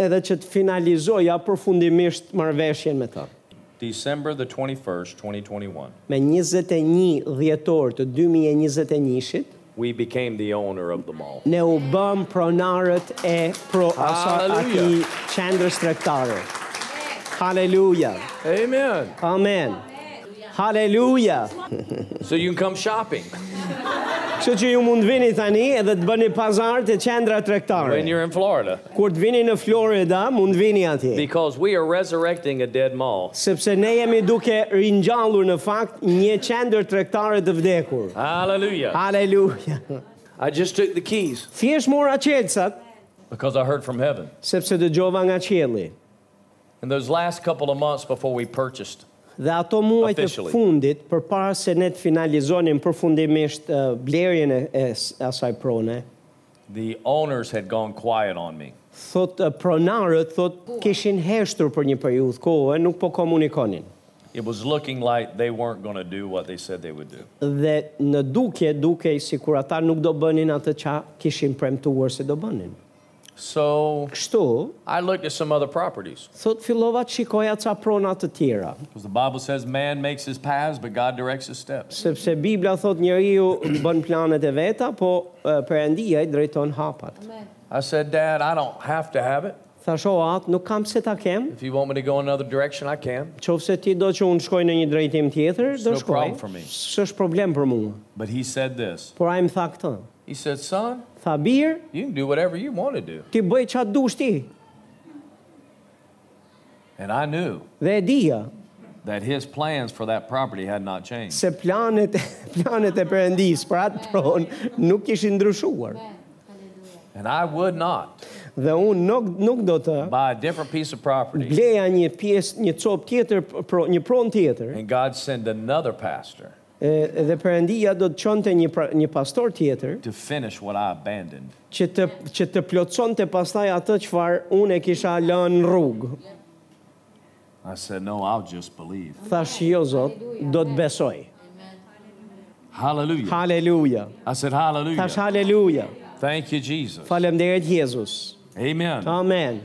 Speaker 1: edhe që të finalizoja përfundimisht marrëveshjen me ta.
Speaker 2: December the 21st, 2021,
Speaker 1: Me 21 dhjetor të 2021-shit,
Speaker 2: we became the owner of the mall.
Speaker 1: ne u bëm pronarët e pro asa
Speaker 2: Haleluja.
Speaker 1: ati qendrës tregtare. Haleluja.
Speaker 2: Amen.
Speaker 1: Amen. Haleluja.
Speaker 2: So you can come shopping
Speaker 1: Kështu që ju mund vini tani edhe të bëni pazar të qendra tregtare.
Speaker 2: when you're in Florida
Speaker 1: Kur të vini në Florida, mund vini atje.
Speaker 2: because we are resurrecting a dead mall.
Speaker 1: Sepse ne jemi duke ringjallur në fakt një qendër tregtare të vdekur.
Speaker 2: Hallelujah.
Speaker 1: Haleluja.
Speaker 2: I just took the keys
Speaker 1: Thjesht mora qelçat
Speaker 2: because I heard from heaven.
Speaker 1: sepse dëgjova nga qielli.
Speaker 2: In those last couple of months before we purchased,
Speaker 1: Dhe ato muaj të
Speaker 2: Officially.
Speaker 1: fundit, për para se ne të finalizonim përfundimisht uh, blerjen e, e s- asaj prone,
Speaker 2: the owners had gone quiet on me.
Speaker 1: thot uh, pronarët, thot kishin heshtur për një periudhë kohë, nuk po komunikonin.
Speaker 2: It was looking like they weren't going to do what they said they would do.
Speaker 1: Dhe në duke, duke si kur ata nuk do bënin atë qa kishin premtuar se do bënin.
Speaker 2: So
Speaker 1: Kështu,
Speaker 2: I looked at some other properties
Speaker 1: thot fillova të shikoja ca pronat të tjera,
Speaker 2: because the Bible says man makes his paths, but God directs his steps.
Speaker 1: sepse Biblia thot njeriu bën planet e veta, po uh, Perëndia i drejton hapat.
Speaker 2: I said, Dad, I don't have to have it.
Speaker 1: Thasho atë, nuk kam se ta kem,
Speaker 2: If you want me to go another direction, I can.
Speaker 1: Qofse ti do që unë shkoj në një drejtim tjetër, do
Speaker 2: no
Speaker 1: shkoj.
Speaker 2: problem for me.
Speaker 1: S'është problem për mua.
Speaker 2: But he said this.
Speaker 1: Por ai më tha këtë.
Speaker 2: He said, Son,
Speaker 1: Tha bir,
Speaker 2: you can do whatever you want to do.
Speaker 1: ti bëj çfarë dush ti.
Speaker 2: And I knew
Speaker 1: Dhe e dija
Speaker 2: that his plans for that property had not changed.
Speaker 1: se planet planet e Perëndis për atë pronë nuk kishin ndryshuar.
Speaker 2: And I would not
Speaker 1: Dhe unë nuk nuk do të
Speaker 2: buy a different piece of property
Speaker 1: bleja një pjesë, një copë tjetër, pro, një pronë tjetër,
Speaker 2: and God send another pastor
Speaker 1: e, dhe Perëndia do të çonte një pra, një pastor tjetër
Speaker 2: to finish what I abandoned.
Speaker 1: që të që të plotësonte pastaj atë çfarë unë e kisha lënë në rrugë.
Speaker 2: I said, No, I'll just believe.
Speaker 1: Thash jo Zot, do të besoj.
Speaker 2: Hallelujah.
Speaker 1: Haleluja.
Speaker 2: I said,
Speaker 1: Thash
Speaker 2: Hallelujah.
Speaker 1: haleluja.
Speaker 2: Thank you, Jesus.
Speaker 1: Faleminderit Jezus.
Speaker 2: Amen.
Speaker 1: Amen.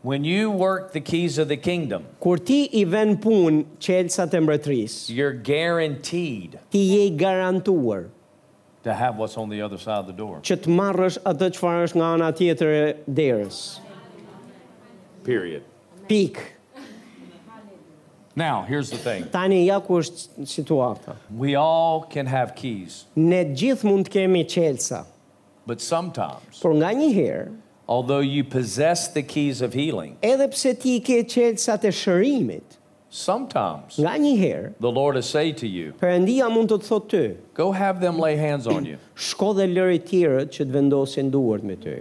Speaker 2: When you work the keys of the kingdom,
Speaker 1: Kur ti i ven punë qelësat e mbretërisë,
Speaker 2: you're guaranteed
Speaker 1: ti je i garantuar
Speaker 2: to have what's on the other side of the door.
Speaker 1: që të marrësh atë çfarë është nga ana tjetër e derës.
Speaker 2: Period.
Speaker 1: Pik.
Speaker 2: Now, here's the thing
Speaker 1: Tani ja ku është situata.
Speaker 2: we all can have keys,
Speaker 1: Ne gjithë mund të kemi qelësa,
Speaker 2: but sometimes,
Speaker 1: por nga një herë,
Speaker 2: although you possess the keys of healing,
Speaker 1: edhe pse ti i ke qelësat e shërimit,
Speaker 2: sometimes
Speaker 1: nga një herë,
Speaker 2: the Lord will say to you,
Speaker 1: Perëndia mund të të thotë ty,
Speaker 2: Go have them lay hands on you.
Speaker 1: shko dhe lëri tjerët që të vendosin duart me ty.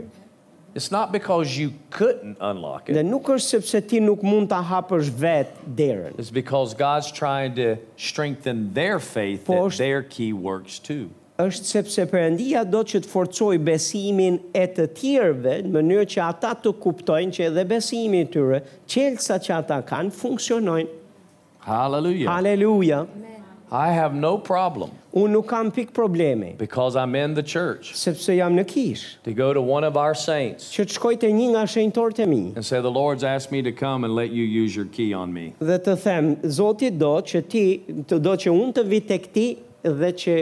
Speaker 2: It's not because you couldn't unlock
Speaker 1: Dhe
Speaker 2: it,
Speaker 1: nuk është sepse ti nuk mund ta hapësh vetë derën,
Speaker 2: it's because God's trying to strengthen their faith that
Speaker 1: Post-
Speaker 2: their key works too.
Speaker 1: është sepse Perëndia do që të forcoj besimin e të tjerëve në mënyrë që ata të kuptojnë që edhe besimi i tyre, qelsa që ata kanë funksionojnë.
Speaker 2: Hallelujah.
Speaker 1: Haleluja.
Speaker 2: I have no problem
Speaker 1: Unë nuk kam pik problemi,
Speaker 2: because I'm in the church
Speaker 1: sepse jam në kish,
Speaker 2: to go to one of our saints
Speaker 1: që të shkoj të një nga shenjtorët e mi
Speaker 2: and say, The Lord's asked me to come and let you use your key on me.
Speaker 1: dhe të them, Zoti do që ti, të do që unë të vi tek ti dhe që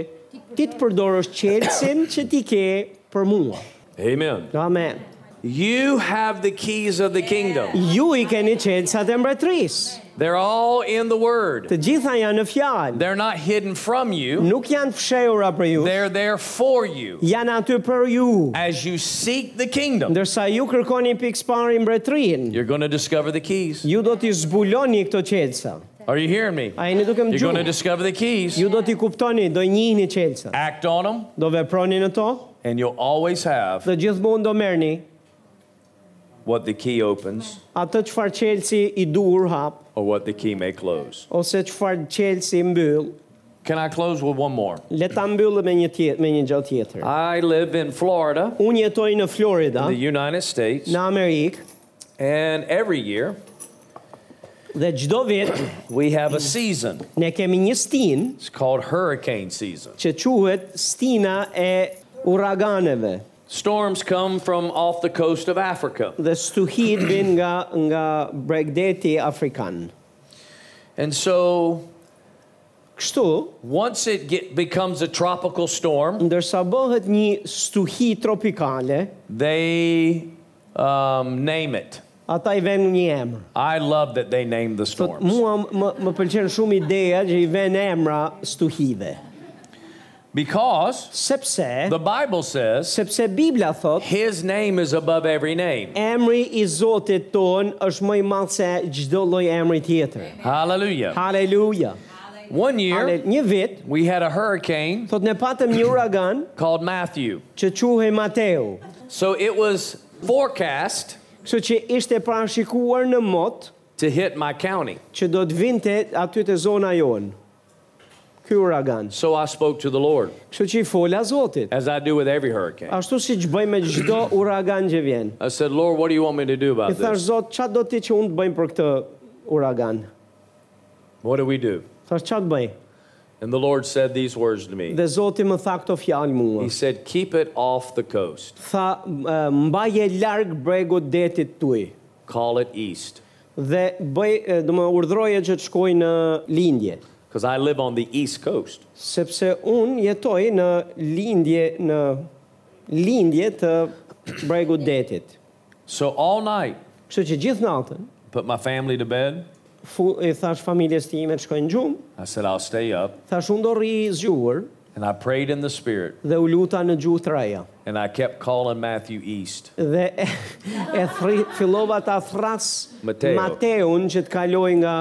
Speaker 1: ti të përdorësh qelsin që ti ke për mua.
Speaker 2: Amen.
Speaker 1: Amen.
Speaker 2: You have the keys of the kingdom,
Speaker 1: Ju i keni qelsat e mbretërisë.
Speaker 2: they're all in the word.
Speaker 1: Të gjitha janë në fjalë.
Speaker 2: They're not hidden from you,
Speaker 1: Nuk janë fshehura për ju.
Speaker 2: they're there for you
Speaker 1: Janë aty për ju.
Speaker 2: as you seek the kingdom.
Speaker 1: Ndërsa ju kërkoni pikspari mbretërinë,
Speaker 2: You're going to discover the keys.
Speaker 1: ju do t'i zbuloni këto qelsa.
Speaker 2: Are you hearing me?
Speaker 1: A jeni duke më
Speaker 2: You're going to
Speaker 1: gjumë?
Speaker 2: discover the keys.
Speaker 1: Ju do t'i kuptoni, do njihni qelsa.
Speaker 2: Act on them,
Speaker 1: Do veproni në to
Speaker 2: and you'll always have
Speaker 1: dhe gjithmonë do merrni
Speaker 2: what the key opens
Speaker 1: atë çfarë qelsi i dur hap
Speaker 2: or what the key may close.
Speaker 1: ose çfarë qelsi mbyll.
Speaker 2: Can I close with one more?
Speaker 1: Le ta mbyllë me një tjetër, me një gjë tjetër.
Speaker 2: I live in Florida,
Speaker 1: Unë jetoj në Florida,
Speaker 2: the United States,
Speaker 1: në Amerikë
Speaker 2: and every year
Speaker 1: dhe çdo vit
Speaker 2: we have a season.
Speaker 1: ne kemi një stin
Speaker 2: It's called hurricane season.
Speaker 1: që quhet stina e uraganeve
Speaker 2: Storms come from off the coast of Africa.
Speaker 1: dhe stuhit vin nga nga bregdeti afrikan.
Speaker 2: And so
Speaker 1: Kështu,
Speaker 2: once it get, becomes a tropical storm,
Speaker 1: ndërsa bëhet një stuhi tropikale,
Speaker 2: they um, name it.
Speaker 1: ata i vënë një emër.
Speaker 2: I love that they named the
Speaker 1: Thot,
Speaker 2: storms
Speaker 1: mua më, më pëlqen shumë ideja që i vënë emra stuhive,
Speaker 2: because
Speaker 1: sepse
Speaker 2: the Bible says
Speaker 1: sepse Bibla thot
Speaker 2: his name is above every name.
Speaker 1: emri i Zotit ton është më i madh se çdo lloj emri tjetër.
Speaker 2: Hallelujah.
Speaker 1: Haleluja.
Speaker 2: One
Speaker 1: Ale,
Speaker 2: year
Speaker 1: një vit
Speaker 2: we had a hurricane
Speaker 1: thot ne patëm një uragan
Speaker 2: called Matthew.
Speaker 1: që quhej Mateu.
Speaker 2: So it was forecast
Speaker 1: Kështu që ishte parashikuar në mot
Speaker 2: to hit my county.
Speaker 1: që do të vinte aty te zona jon. Ky uragan.
Speaker 2: So I spoke to the Lord,
Speaker 1: Kështu që i fola Zotit.
Speaker 2: as I do with every hurricane.
Speaker 1: Ashtu si që bëj me çdo uragan që vjen.
Speaker 2: I said, Lord, what do you want me to
Speaker 1: I
Speaker 2: do about
Speaker 1: thash
Speaker 2: this?
Speaker 1: Zot, çfarë do ti që unë të bëjmë për këtë uragan?
Speaker 2: What do we do?
Speaker 1: Thash çfarë të bëj?
Speaker 2: And the Lord said these words to me.
Speaker 1: Dhe Zoti më tha këto fjalë mua.
Speaker 2: He said, Keep it off the coast,
Speaker 1: Tha "Eh, mbaje larg bregut detit tuaj
Speaker 2: call it east,
Speaker 1: dhe bëj, eh, do më urdhroje që të shkoj në lindje,
Speaker 2: because I live on the east coast.
Speaker 1: sepse unë jetoj në lindje në lindje të bregut detit.
Speaker 2: So all night,
Speaker 1: Kështu që gjithë natën,
Speaker 2: put my family to bed.
Speaker 1: fu, i thash familjes time të shkojnë gjumë,
Speaker 2: I said, I'll stay up.
Speaker 1: thash unë do rri zgjuar
Speaker 2: And I prayed in the spirit,
Speaker 1: dhe u luta në gjuhë të reja.
Speaker 2: and I kept calling Matthew east.
Speaker 1: Dhe e, e thri, fillova ta thras
Speaker 2: Mateo.
Speaker 1: Mateun që të kaloj nga,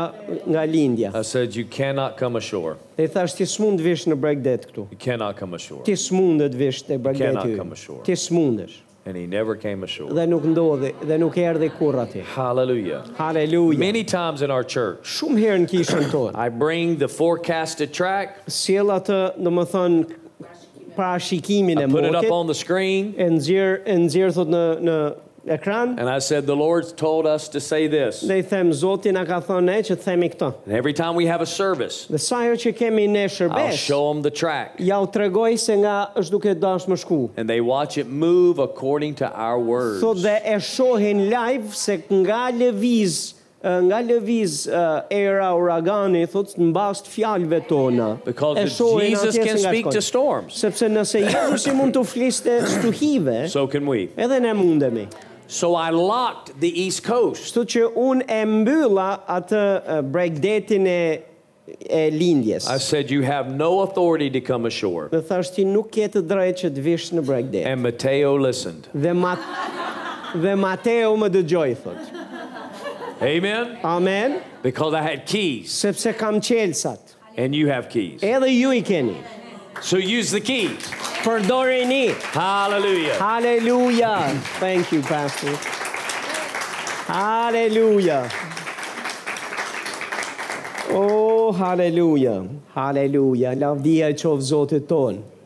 Speaker 1: nga lindja.
Speaker 2: I said, You cannot come ashore.
Speaker 1: Dhe i thash ti s'mund të vish në bregdet këtu.
Speaker 2: You cannot come ashore.
Speaker 1: Ti s'mund të vish te
Speaker 2: Cannot
Speaker 1: bregdeti.
Speaker 2: come ashore.
Speaker 1: Ti s'mundesh.
Speaker 2: And he never came ashore.
Speaker 1: Dhe nuk ndodhi dhe nuk erdhi kurrë aty.
Speaker 2: Hallelujah.
Speaker 1: Haleluja.
Speaker 2: Many times in our church,
Speaker 1: Shumë herë në kishën tonë.
Speaker 2: I bring the forecasted track,
Speaker 1: Sjell atë, domethënë, parashikimin e
Speaker 2: I put it up
Speaker 1: motit.
Speaker 2: on the screen,
Speaker 1: e nxjerr e nxjerr thot në në ekran
Speaker 2: and I said, The Lord's told us to say this.
Speaker 1: dhe i them Zoti na ka thënë ne që të themi këtë.
Speaker 2: And every time we have a service,
Speaker 1: Dhe sa herë që kemi ne
Speaker 2: I'll
Speaker 1: shërbes,
Speaker 2: show them the track.
Speaker 1: ja u tregoj se nga është duke dashur më shku.
Speaker 2: And they watch it move according to our words.
Speaker 1: Thot dhe e shohin live se nga lëviz ë, nga lëviz ë, era uragani thot mbas të fjalëve tona.
Speaker 2: Because
Speaker 1: e
Speaker 2: if
Speaker 1: shohin atje
Speaker 2: Jesus
Speaker 1: se
Speaker 2: can
Speaker 1: nga
Speaker 2: speak to
Speaker 1: shkojnë.
Speaker 2: storms,
Speaker 1: Sepse nëse Jezusi mund të fliste stuhive,
Speaker 2: so can we.
Speaker 1: edhe ne mundemi.
Speaker 2: So I locked the East Coast.
Speaker 1: Kështu që unë e mbylla atë e, bregdetin e, e lindjes.
Speaker 2: I said, You have no authority to come ashore.
Speaker 1: Dhe thash ti nuk ke të drejtë që të vish në bregdet.
Speaker 2: And Mateo listened.
Speaker 1: Dhe ma dhe Mateu më dëgjoi thot.
Speaker 2: Amen.
Speaker 1: Amen,
Speaker 2: Because I had keys,
Speaker 1: sepse kam qelsat.
Speaker 2: and you have keys.
Speaker 1: Edhe ju i keni.
Speaker 2: So use the keys.
Speaker 1: Përdoreni.
Speaker 2: Hallelujah.
Speaker 1: Haleluja. Thank you pastor. Haleluja. Oh, haleluja. Haleluja. Lavdia e qoftë Zotit tonë.